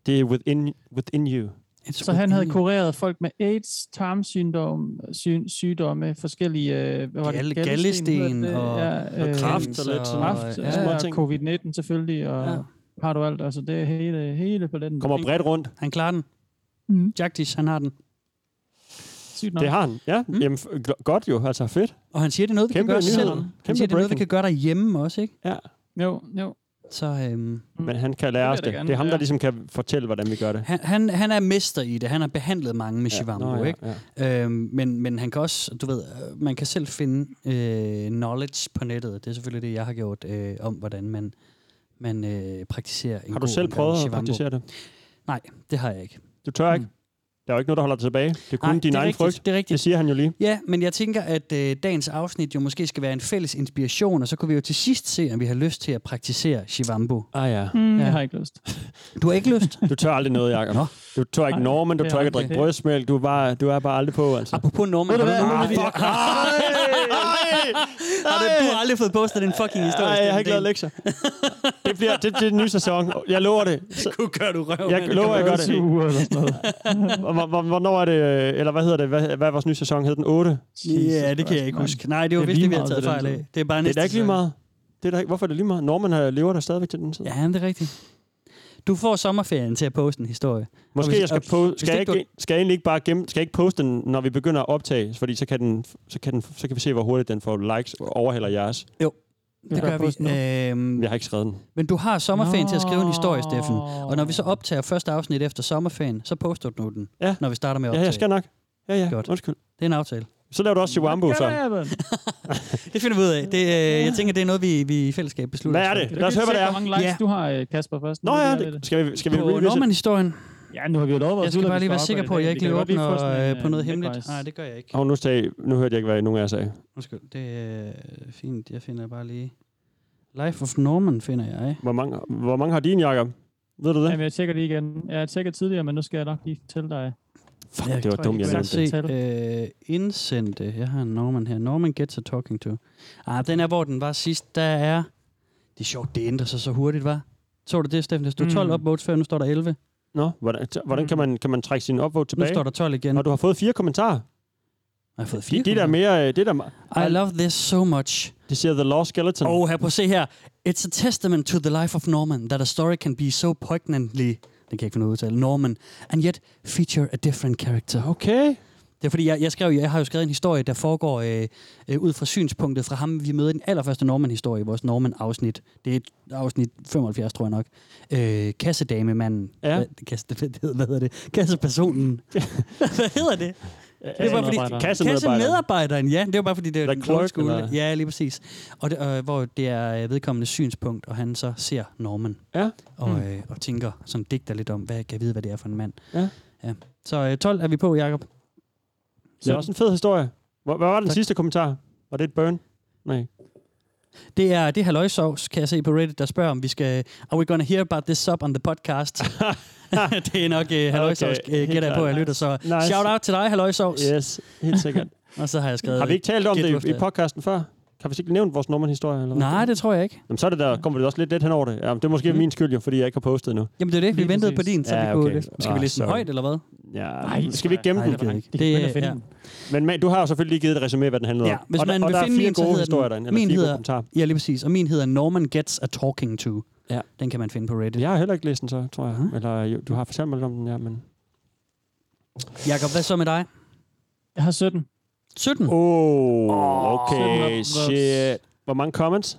Speaker 3: Det er within, within you.
Speaker 4: It's
Speaker 5: Så han havde
Speaker 4: within you.
Speaker 5: kureret folk med AIDS, tarmsygdom, sy- sygdomme, forskellige... Øh, hvad var
Speaker 4: Galle-
Speaker 5: det? Galdesten,
Speaker 4: galdesten
Speaker 5: hedder det.
Speaker 4: og-
Speaker 5: ja, øh,
Speaker 3: og kræft
Speaker 4: Cancer
Speaker 3: og lidt sådan-
Speaker 5: Kræft,
Speaker 3: ja, små
Speaker 5: ja,
Speaker 3: ting.
Speaker 5: covid-19 selvfølgelig, og
Speaker 4: Ja.
Speaker 5: ja. har du alt. Altså, det er hele, hele paletten.
Speaker 3: Kommer bredt rundt.
Speaker 4: Han klarer den.
Speaker 5: Mhm.
Speaker 4: Jagdish, han har den.
Speaker 5: Sygt nok.
Speaker 3: Det har han. Ja, mm. jamen, f- gl- godt jo. Altså fedt.
Speaker 4: Og han siger, det er noget, vi
Speaker 3: Kæmpe
Speaker 4: kan gøre
Speaker 3: nyhed.
Speaker 4: selv. Han
Speaker 3: Kæmpe
Speaker 4: siger, det er noget, vi
Speaker 3: breaking.
Speaker 4: kan gøre derhjemme også, ikke?
Speaker 3: Ja.
Speaker 5: Jo, jo.
Speaker 4: Så øhm,
Speaker 3: Mm. Men han kan lære
Speaker 5: Det
Speaker 3: os
Speaker 5: vil jeg
Speaker 3: det.
Speaker 5: da gerne,
Speaker 3: Det er ham, der
Speaker 5: ja.
Speaker 3: ligesom kan fortælle, hvordan vi gør det.
Speaker 4: han, han, han er mester i det. Han har behandlet mange med Shivambu,
Speaker 3: Nå,
Speaker 4: ja.
Speaker 3: ja,
Speaker 4: ikke?
Speaker 3: ja.
Speaker 4: Øhm, men, men han kan også, du ved, øh, man kan selv finde øh, knowledge på nettet. Det er selvfølgelig det, jeg har gjort øh, om, hvordan man, man øh, praktiserer en
Speaker 3: Har du
Speaker 4: god
Speaker 3: selv
Speaker 4: omgang
Speaker 3: prøvet at
Speaker 4: Shivambu.
Speaker 3: praktisere det?
Speaker 4: Nej, det har jeg ikke. Mm.
Speaker 3: Du tør ikke? Der er jo ikke noget, der holder dig tilbage. Det er kun
Speaker 4: Nej,
Speaker 3: din
Speaker 4: det er
Speaker 3: egen
Speaker 4: rigtigt,
Speaker 3: frygt.
Speaker 4: det er rigtigt.
Speaker 3: Det siger han jo lige.
Speaker 4: Ja, men jeg tænker, at øh, dagens afsnit jo måske skal være en fælles inspiration, og så kunne vi jo til sidst se, om vi har lyst til at praktisere Shivambu.
Speaker 3: Ah ja.
Speaker 5: Mm,
Speaker 4: Ja.
Speaker 5: ja. Jeg har ikke lyst.
Speaker 4: Du har ikke lyst?
Speaker 3: Du tør aldrig noget, Jacob.
Speaker 4: Nå.
Speaker 3: Du tør ikke
Speaker 5: Nej,
Speaker 3: Norman, du
Speaker 5: det er
Speaker 3: tør ikke at
Speaker 5: rigtigt.
Speaker 3: drikke brystmælk. Du er, bare, du er bare aldrig på, altså.
Speaker 4: Apropos Norman, har du,
Speaker 3: Ah,
Speaker 4: nogensinde-
Speaker 3: fuck. Ej,
Speaker 4: har du, du har aldrig fået postet din fucking historie.
Speaker 3: Ej, jeg har
Speaker 4: Steffen
Speaker 3: ikke lavet
Speaker 4: Dahl.
Speaker 3: lektier. Det bliver det, det er den nye sæson. Jeg lover det. Så,
Speaker 4: Du gør du røv,
Speaker 3: Jeg
Speaker 4: mand.
Speaker 3: lover, jeg gør det.
Speaker 5: Syv uger eller sådan noget.
Speaker 3: hvor- hvor- hvornår er det, øh, eller hvad hedder det, hvad, hvad er vores nye sæson? Hed den 8? Det
Speaker 4: Ja, det kan jeg ikke huske. Nej, det var
Speaker 5: Det er
Speaker 4: vist det,
Speaker 5: lige
Speaker 4: vi havde
Speaker 5: meget
Speaker 4: taget
Speaker 5: til den
Speaker 4: fejl af.
Speaker 5: tid.
Speaker 4: Det er bare
Speaker 3: ligesom. er
Speaker 4: næste
Speaker 3: da ikke lige
Speaker 4: sæson.
Speaker 3: meget. Det er da ikke, hvorfor er det lige meget? Norman har- lever der stadigvæk til den tid.
Speaker 4: Ja, det er rigtigt. Du får sommerferien til at poste en historie. Og
Speaker 3: Måske
Speaker 4: hvis-
Speaker 3: jeg skal,
Speaker 4: og
Speaker 3: po-
Speaker 4: hvis
Speaker 3: skal, jeg
Speaker 4: ikke
Speaker 3: ikke, skal jeg egentlig ikke bare gemme, skal jeg ikke poste den, når vi begynder at optage, fordi så kan, den, så kan, den, så kan vi se, hvor hurtigt den får likes og overhælder jeres.
Speaker 4: Det gør vi. Øhm,
Speaker 3: Jeg har ikke skrevet den.
Speaker 4: men du har sommerferien til at skrive en historie, Steffen. Og når vi så optager første afsnit efter sommerferien, så poster du nu den,
Speaker 3: Ja.
Speaker 4: når vi starter med at
Speaker 3: Ja,
Speaker 4: optage.
Speaker 3: jeg skal nok. Ja, ja,
Speaker 4: Godt.
Speaker 3: undskyld.
Speaker 4: Det er en aftale.
Speaker 3: Så laver du også Chihuahua, så.
Speaker 4: Det finder vi ud af. Det, øh, jeg tænker, det er noget, vi, vi i fællesskab beslutter.
Speaker 3: Hvad er
Speaker 4: os for.
Speaker 3: det? Lad os høre, hvad det er.
Speaker 5: Hvor mange likes
Speaker 4: Ja.
Speaker 5: ja. du har, øh, Kasper, først.
Speaker 3: Nå
Speaker 5: Nu
Speaker 3: ja,
Speaker 5: er vi
Speaker 3: det, skal vi, skal vi
Speaker 4: På
Speaker 3: revisit?
Speaker 4: Norman-historien.
Speaker 5: Ja, nu har vi jo lovet os.
Speaker 4: Jeg skal
Speaker 5: ud, at
Speaker 4: bare
Speaker 5: vi
Speaker 4: lige være
Speaker 5: op
Speaker 4: sikker
Speaker 5: i
Speaker 4: på, at
Speaker 5: dag.
Speaker 4: jeg
Speaker 5: Vi
Speaker 4: ikke
Speaker 5: kan
Speaker 4: lige
Speaker 5: godt lige
Speaker 4: åbner
Speaker 5: få sådan en,
Speaker 4: øh, på
Speaker 5: øh,
Speaker 4: noget hemmeligt.
Speaker 5: midtvejs.
Speaker 4: Nej, det gør jeg ikke.
Speaker 3: Og nu, sagde, nu hørte jeg ikke, hvad nogen af jer sagde.
Speaker 4: Undskyld, det er øh, fint. Jeg finder bare lige... Life of Norman finder jeg.
Speaker 3: Hvor mange, hvor mange har din, Jacob? Ved du det?
Speaker 5: Jamen, jeg tjekker det igen. Ja, jeg tjekker tidligere, men nu skal jeg nok lige fortælle dig.
Speaker 3: Fuck,
Speaker 4: Jeg
Speaker 3: det var
Speaker 4: tror,
Speaker 3: dumt, jeg
Speaker 4: kan
Speaker 5: jeg
Speaker 3: nævnte det.
Speaker 5: det.
Speaker 4: se øh, indsendte. Jeg har en Norman her. Norman gets a talking to. Ah, den er, hvor den var sidst. Der er Det er sjovt, det ændrer sig så hurtigt, var. Så du det, Steffen? Der stod 12 upvotes før, nu står der 11.
Speaker 3: Nå, hvordan,
Speaker 4: Mm.
Speaker 3: hvordan kan, man, kan man trække sin upvote
Speaker 4: Nu
Speaker 3: tilbage?
Speaker 4: står der 12 igen.
Speaker 3: Og du har fået fire kommentarer.
Speaker 4: Jeg har fået fire.
Speaker 3: Det, det der er mere... øh, Det der,
Speaker 4: I love this so much.
Speaker 3: det siger The Lost Skeleton.
Speaker 4: Oh, her på se her. It's a testament to the life of Norman that a story can be so poignantly den kan jeg ikke finde ud af at udtale, Norman, and yet feature a different character.
Speaker 3: Okay.
Speaker 4: Det er fordi, jeg, jeg, skrev, jeg har jo skrevet en historie, der foregår øh, øh, ud fra synspunktet fra ham, vi møder i den allerførste Norman-historie i vores Norman-afsnit. Det er et afsnit 75, tror jeg nok. Øh, kassedamemanden.
Speaker 3: Ja.
Speaker 4: Hvad, kasse, hvad, hedder, hvad hedder det? Kassepersonen. hvad hedder det? Det var fordi,
Speaker 5: Kassemedarbejder.
Speaker 3: Kassemedarbejder.
Speaker 4: kassemedarbejderen, ja. Det var bare fordi, det er
Speaker 3: Eller
Speaker 4: en
Speaker 3: clerk,
Speaker 4: old school.
Speaker 3: eller-
Speaker 4: Ja, lige præcis. Og det, øh, hvor det er øh, vedkommende synspunkt, og han så ser Norman
Speaker 3: Ja. Hmm.
Speaker 4: og, øh, og tænker, sådan digter lidt om, hvad kan jeg vide, hvad det er for en mand.
Speaker 3: Ja.
Speaker 4: ja. Så øh, 12 er vi på, Jacob.
Speaker 3: Det er også en fed historie. Hvor- Hvad var den
Speaker 4: Tak.
Speaker 3: sidste kommentar? Var det et burn? Nej.
Speaker 4: Det er det halvøjsovs, kan jeg se på Reddit, der spørger, om vi skal... Are we gonna hear about this sub on the podcast? det er nok uh, halvøjsovs,
Speaker 3: Okay,
Speaker 4: okay,
Speaker 3: helt
Speaker 4: gætter jeg på,
Speaker 3: klart.
Speaker 4: jeg lytter. Så
Speaker 3: Nice.
Speaker 4: shout out til dig, halvøjsovs. Yeah.
Speaker 3: Yes, helt sikkert.
Speaker 4: Og så har jeg skrevet...
Speaker 3: Har vi ikke talt om
Speaker 4: Gæt,
Speaker 3: det
Speaker 4: hvorfor
Speaker 3: i, i
Speaker 4: det er.
Speaker 3: podcasten før? Kan vi ikke nævnt vores Norman-historie? Eller hvad?
Speaker 4: Nej, det tror jeg ikke. Mm.
Speaker 3: Jamen, så er det der, kommer det også lidt let hen over det. Jamen, det er måske min skyld jo, fordi jeg ikke har postet nu.
Speaker 4: Jamen, det er det. Vi
Speaker 5: Lige
Speaker 4: ventede
Speaker 5: præcis.
Speaker 4: på din, så
Speaker 3: Ja,
Speaker 4: vi kunne...
Speaker 3: okay.
Speaker 4: Okay. Skal
Speaker 3: Ah,
Speaker 4: vi læse den
Speaker 3: sorry.
Speaker 4: højt, eller hvad?
Speaker 3: Ja,
Speaker 5: Nej,
Speaker 3: skal vi ikke gemme
Speaker 4: nej,
Speaker 3: den?
Speaker 4: det var ikke.
Speaker 5: Det, det,
Speaker 4: Det-
Speaker 5: det, finde
Speaker 4: ja.
Speaker 5: den.
Speaker 3: Men man, du har jo selvfølgelig givet et resume, af, hvad den handler
Speaker 4: Ja,
Speaker 3: om.
Speaker 4: hvis
Speaker 3: og
Speaker 4: man
Speaker 3: der, og
Speaker 4: vil
Speaker 3: der er
Speaker 4: finde
Speaker 3: fire
Speaker 4: min, så
Speaker 3: gode
Speaker 4: hedder den-
Speaker 3: historier derinde, eller
Speaker 4: min
Speaker 3: fire gode
Speaker 4: hedder-
Speaker 3: kommentarer.
Speaker 4: Ja, lige præcis. Og min hedder Norman Gets a Talking To.
Speaker 3: Ja.
Speaker 4: Den kan man finde på Reddit. Ja.
Speaker 3: Jeg har heller ikke læst den så, tror jeg.
Speaker 4: Mhm.
Speaker 3: Eller jo, du har fortalt mig lidt om den, ja, men...
Speaker 4: Jakob, hvad så med dig?
Speaker 5: Jeg har 17.
Speaker 4: 17.
Speaker 3: Oh,
Speaker 5: Send
Speaker 3: okay,
Speaker 5: op,
Speaker 3: shit. Hvor mange comments?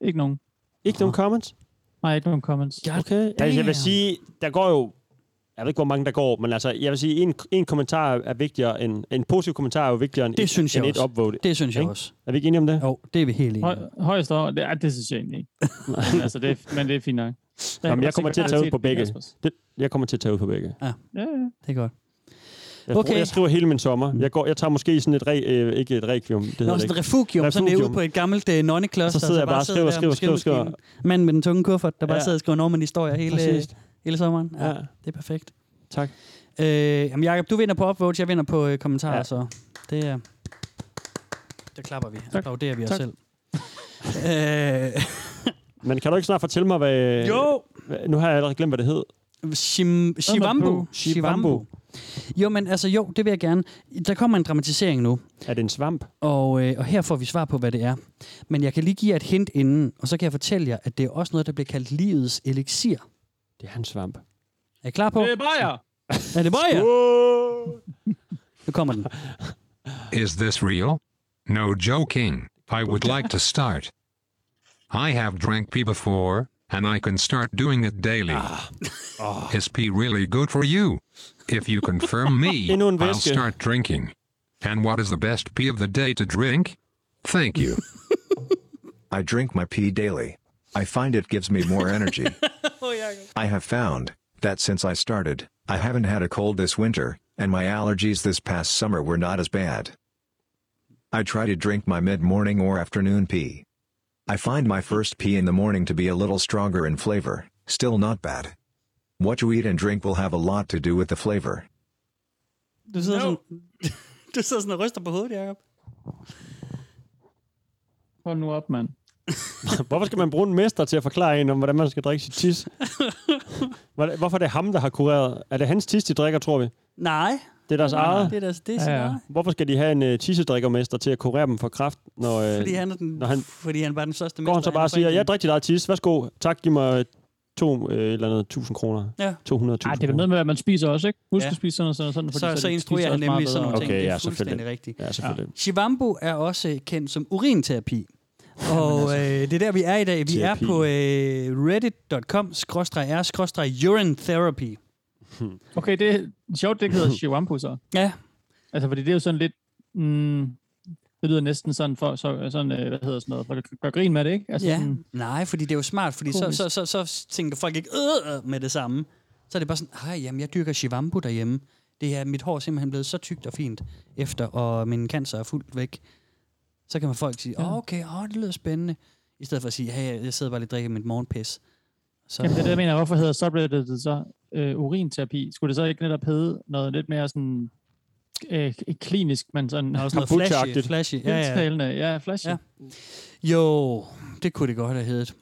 Speaker 5: Ikke nogen.
Speaker 3: Ikke nogen comments?
Speaker 5: Nej, ikke nogen comments.
Speaker 4: Ja.
Speaker 3: Okay. Altså, jeg
Speaker 4: damn.
Speaker 3: vil sige, der går jo... Jeg ved ikke, hvor mange der går, men altså, jeg vil sige, en, en kommentar er vigtigere end... En positiv kommentar er jo vigtigere end,
Speaker 4: Det
Speaker 3: et,
Speaker 4: synes jeg
Speaker 3: end et
Speaker 4: også.
Speaker 3: upvote.
Speaker 4: Det synes jeg
Speaker 3: Ikke?
Speaker 4: også.
Speaker 3: Er vi ikke enige om det?
Speaker 4: Jo, det er vi helt enige.
Speaker 5: Høj,
Speaker 4: om.
Speaker 5: højst over. Det, ej, det synes jeg egentlig ikke. men, altså, det, er- men det er fint nok. Der
Speaker 3: Jamen,
Speaker 5: er
Speaker 3: jeg kommer til at tage ud på begge. Det, jeg kommer til at tage ud på begge.
Speaker 5: Ja, ja.
Speaker 4: Det er godt.
Speaker 3: Jeg,
Speaker 4: Okay.
Speaker 3: okay. jeg skriver hele min sommer. Jeg, går, jeg tager måske sådan et... Re, øh, ikke et requiem, det hedder
Speaker 4: Nå,
Speaker 3: det
Speaker 4: sådan
Speaker 3: ikke.
Speaker 4: et refugium, sådan det er ude
Speaker 3: Refugium.
Speaker 4: på et gammelt øh, nonnekloster.
Speaker 3: Så sidder jeg bare og skriver, skriver, skriver, skriver.
Speaker 4: Mand med den tunge kuffert, der bare
Speaker 3: Ja.
Speaker 4: sidder og skriver Norman historier hele, øh,
Speaker 3: Præcis.
Speaker 4: hele sommeren. Ja,
Speaker 3: Ja.
Speaker 4: det er perfekt.
Speaker 3: Tak.
Speaker 4: Øh, jamen Jacob, du vinder på upvotes, jeg vinder på øh, kommentarer, ja.
Speaker 3: Ja.
Speaker 4: så det er... Der klapper vi. Der
Speaker 5: Tak.
Speaker 4: applauderer vi os
Speaker 5: Tak.
Speaker 4: selv. øh,
Speaker 3: Men kan du ikke snart fortælle mig, hvad...
Speaker 4: jo!
Speaker 3: Hvad- Nu har jeg allerede glemt, hvad det hed.
Speaker 4: Shim, Shivambu.
Speaker 5: Shivambu.
Speaker 4: Shivambu. Jo, men altså jo, det vil jeg gerne. Der kommer en dramatisering nu.
Speaker 3: Er det en svamp?
Speaker 4: Og, øh, og her får vi svar på, hvad det er. Men jeg kan lige give jer et hint inden, og så kan jeg fortælle jer, at det er også noget, der bliver kaldt livets elixir.
Speaker 3: Det er en svamp.
Speaker 4: Er I klar på?
Speaker 5: Det er bare jeg.
Speaker 4: Er det Bøjer?
Speaker 3: Oh!
Speaker 4: Nu kommer den.
Speaker 8: Is this real? No joking. I would like to start. I have drank pee before, and I can start doing it daily. Is pee really good for you? If you confirm me,
Speaker 3: Endnu en
Speaker 8: I'll
Speaker 3: væske.
Speaker 8: start drinking. And what is the best pee of the day to drink? Thank you.
Speaker 9: I drink my pee daily. I find it gives me more energy. I have found that since I started, I haven't had a cold this winter, and my allergies this past summer were not as bad. I try to drink my mid morning or afternoon pee. I find my first pee in the morning to be a little stronger in flavor, still not bad. What you eat and drink will have a lot to do with the flavor.
Speaker 4: Du sidder, no. sådan, du sidder sådan og ryster på hovedet, Jacob.
Speaker 5: Hold nu op, mand.
Speaker 3: Hvorfor skal man bruge en mester til at forklare en om, hvordan man skal drikke sit tis? Hvordan- Hvorfor er det ham, der har kureret? Er det hans tis, de drikker, tror vi?
Speaker 4: Nej,
Speaker 3: Det er deres eget.
Speaker 4: det er deres, det er
Speaker 5: Ja, ja.
Speaker 4: ja, ja.
Speaker 3: Hvorfor skal de have en uh, tissedrikkermester til at kurere dem for kraft, når øh,
Speaker 4: Fordi han, er den,
Speaker 3: Når han-
Speaker 4: fordi han var den største
Speaker 3: går han
Speaker 4: mester,
Speaker 3: så bare og siger,
Speaker 4: foreningen.
Speaker 3: jeg drikker dit eget tis, værsgo, tak, giv mig øh, to, øh, et eller andet, 1000 kroner.
Speaker 4: Ja.
Speaker 3: 200.000
Speaker 5: Ej, det er
Speaker 3: kroner.
Speaker 5: noget med, at man spiser også, ikke? Husk
Speaker 4: Ja.
Speaker 5: ja. at spise sådan og sådan. og sådan fordi
Speaker 4: så,
Speaker 5: er
Speaker 4: så
Speaker 5: det- spiser
Speaker 4: instruerer han
Speaker 5: også meget
Speaker 4: nemlig sådan nogle
Speaker 5: bedre.
Speaker 4: ting.
Speaker 3: Okay,
Speaker 4: det er
Speaker 3: ja, selvfølgelig.
Speaker 4: fuldstændig rigtigt.
Speaker 3: Ja, selvfølgelig.
Speaker 4: Shivambu er også øh, kendt som urinterapi. Og øh, det er der, vi er i dag. Vi
Speaker 3: altså- Terapi.
Speaker 4: er på øh, reddit.com-r-urinetherapy.
Speaker 5: Okay, det er sjovt, det ikke hedder Shivampu så.
Speaker 4: Ja,
Speaker 5: Altså, fordi det er jo sådan lidt... Mm, det lyder næsten sådan, for, så, sådan øh, hvad hedder sådan noget, for at gøre grin med det, ikke? Altså,
Speaker 4: Ja,
Speaker 5: sådan,
Speaker 4: nej, fordi det er jo smart, fordi så,
Speaker 5: Komisk.
Speaker 4: så, så, så tænker folk ikke øh, øh, med det samme. Så er det bare sådan, hej, jamen, jeg dyrker shivambu derhjemme. Det er, mit hår er simpelthen blevet så tykt og fint efter, og min cancer er fuldt væk. Så kan man folk sige, åh, okay, åh, det lyder spændende. I stedet for at sige, hey, jeg sidder bare lige og drikker mit morgenpis. Så,
Speaker 5: Jamen, det er det, jeg mener. Hvorfor hedder subreddit så øh, urinterapi? Skulle det så ikke netop hedde noget lidt mere sådan øh, klinisk, men sådan
Speaker 4: Nå, sådan noget flashy, flashy. Ja, ja.
Speaker 5: Tiltalende. Ja, flashy.
Speaker 4: Ja. Jo, det kunne det godt have heddet.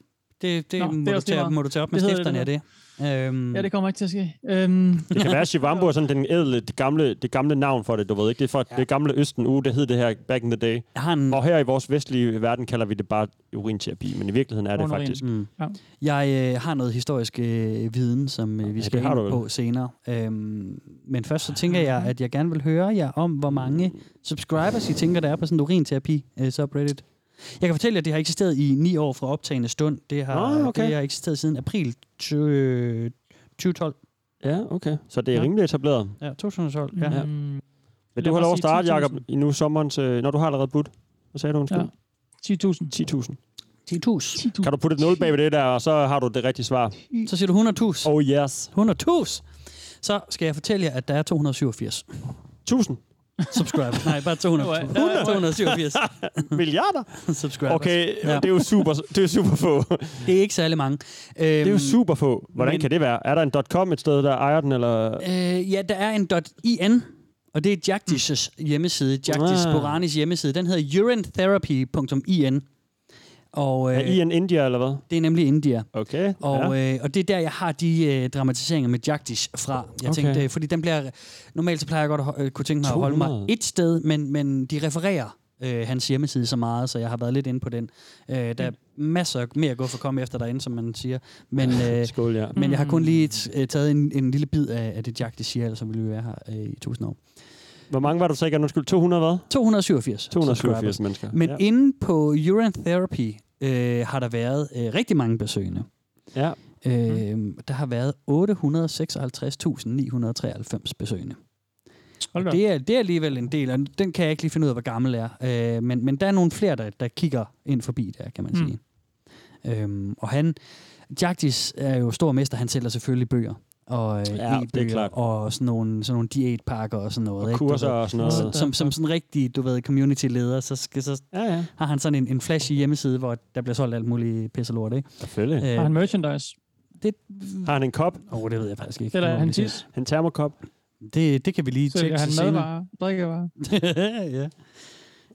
Speaker 4: Det, det,
Speaker 5: Nå,
Speaker 4: Nå,
Speaker 5: det
Speaker 4: må,
Speaker 5: er
Speaker 4: det du
Speaker 5: også lige
Speaker 4: tage,
Speaker 5: meget.
Speaker 4: må du tage op med
Speaker 5: Det hedder
Speaker 4: stifterne af
Speaker 5: det
Speaker 4: det. Øhm,
Speaker 5: Ja, det kommer ikke til at ske. Øhm,
Speaker 3: Det kan være, at Shivambu er sådan den ædle, det gamle, det gamle navn for det, du ved ikke. Det er fra ja. det gamle Østen uge, det hed det her back in the day.
Speaker 4: jeg har en,
Speaker 3: Og her i vores vestlige verden kalder vi det bare urinterapi, men i virkeligheden er det
Speaker 5: Urin.
Speaker 3: faktisk.
Speaker 4: Mm.
Speaker 5: Ja.
Speaker 4: Ja. Jeg øh, har noget historisk øh, viden, som øh, vi
Speaker 3: det
Speaker 4: skal
Speaker 3: har
Speaker 4: ind
Speaker 3: du vel.
Speaker 4: på senere. Øhm, men først så tænker jeg, at jeg gerne vil høre jer om, hvor mange subscribers I tænker, der er på sådan en urinterapi øh, subreddit. Jeg kan fortælle jer, at det har eksisteret i ni år fra optagende stund. Det har,
Speaker 3: Ah, okay.
Speaker 4: det har eksisteret siden april 20, 2012.
Speaker 3: Ja, okay. Så det er
Speaker 4: Ja.
Speaker 3: rimelig etableret.
Speaker 4: Ja, 2012. Ja. Ja.
Speaker 5: Mm,
Speaker 3: Vil
Speaker 5: Lad
Speaker 3: du
Speaker 5: mig
Speaker 3: have lov at
Speaker 5: sige
Speaker 3: starte,
Speaker 5: 10.000.
Speaker 3: Jacob, i nu sommerens... Øh, når du har allerede budt. Hvad sagde du, undskyld?
Speaker 5: Ja. 10.000.
Speaker 3: 10.000.
Speaker 4: 10.000.
Speaker 5: 10.000.
Speaker 3: Kan du putte et nul bag ved det der, og så har du det rigtige svar.
Speaker 4: Så siger du 100.000.
Speaker 3: Oh yes.
Speaker 4: 100.000! Så skal jeg fortælle jer, at der er 287
Speaker 3: 1000
Speaker 4: subscribers. Nej, bare 200. 287
Speaker 3: milliarder.
Speaker 4: subscribers.
Speaker 3: Okay,
Speaker 4: Ja.
Speaker 3: det er jo super, det er super få.
Speaker 4: Det er ikke særlig mange. Øhm,
Speaker 3: Det er jo super få. Hvordan
Speaker 4: men-
Speaker 3: kan det være? Er der en .com et sted, der ejer den, eller...
Speaker 4: øh, ja, der er en .in, og det er Jagdish's hjemmeside. Jagdish
Speaker 3: Ah.
Speaker 4: Boranis hjemmeside. Den hedder urinetherapy.in. Og øh,
Speaker 3: Er I en India, eller hvad?
Speaker 4: det er nemlig India.
Speaker 3: Okay.
Speaker 4: Og, ja. øh, og det er der, jeg har de øh, dramatiseringer med Jagdish fra. Jeg
Speaker 3: Okay.
Speaker 4: okay. tænkte, øh, fordi den bliver... Normalt så plejer jeg godt at ho- øh, kunne tænke mig at holde
Speaker 3: 200.
Speaker 4: mig et sted, men, men de refererer øh, hans hjemmeside så meget, så jeg har været lidt inde på den. Øh, der er masser mere at gå for at komme efter derinde, som man siger. Men, øh,
Speaker 3: Skål, ja.
Speaker 4: men jeg har kun lige t- øh, taget en, en lille bid af, af det Jagdish siger, ellers så ville vi være her øh, i 1000 år.
Speaker 3: Hvor mange var du så igen? Undskyld, 200 hvad?
Speaker 4: 287.
Speaker 3: 287 mennesker.
Speaker 4: Men
Speaker 3: ja.
Speaker 4: ja. inde på Urine Therapy øh, har der været øh, rigtig mange besøgende.
Speaker 3: ja. Mm.
Speaker 4: Øh, Der har været 856.993 besøgende.
Speaker 5: Hold da op.
Speaker 4: Det er, det er alligevel en del, og den kan jeg ikke lige finde ud af, hvor gammel er. Øh, men, men der er nogle flere, der, der kigger ind forbi der, kan man
Speaker 3: Hmm.
Speaker 5: Mm.
Speaker 4: sige. Øhm, og han, Jagdis er jo stor mester, han sælger selvfølgelig bøger. Og øh,
Speaker 3: Ja, det er
Speaker 4: e-bøger
Speaker 3: klart.
Speaker 4: og sådan nogle, sådan nogle diætpakker og sådan noget.
Speaker 3: Og
Speaker 4: ikke? Du
Speaker 3: kurser
Speaker 4: ved.
Speaker 3: og sådan noget.
Speaker 4: Så, som, som sådan rigtig, du ved, community-leder, så, skal, så
Speaker 3: Ja, ja.
Speaker 4: har han sådan en, en flashy hjemmeside, hvor der bliver solgt alt muligt pisse lort, ikke?
Speaker 3: Selvfølgelig.
Speaker 4: Øh,
Speaker 5: Har han merchandise?
Speaker 4: det,
Speaker 3: Har han en kop?
Speaker 4: oh, det ved jeg faktisk ikke.
Speaker 5: Eller
Speaker 4: Nu må
Speaker 5: han
Speaker 4: vi se.
Speaker 5: tis?
Speaker 3: En termokop?
Speaker 4: Det, det kan vi lige tjekke
Speaker 5: Sælger han
Speaker 4: til senere.
Speaker 5: madvarer? Drikkevarer?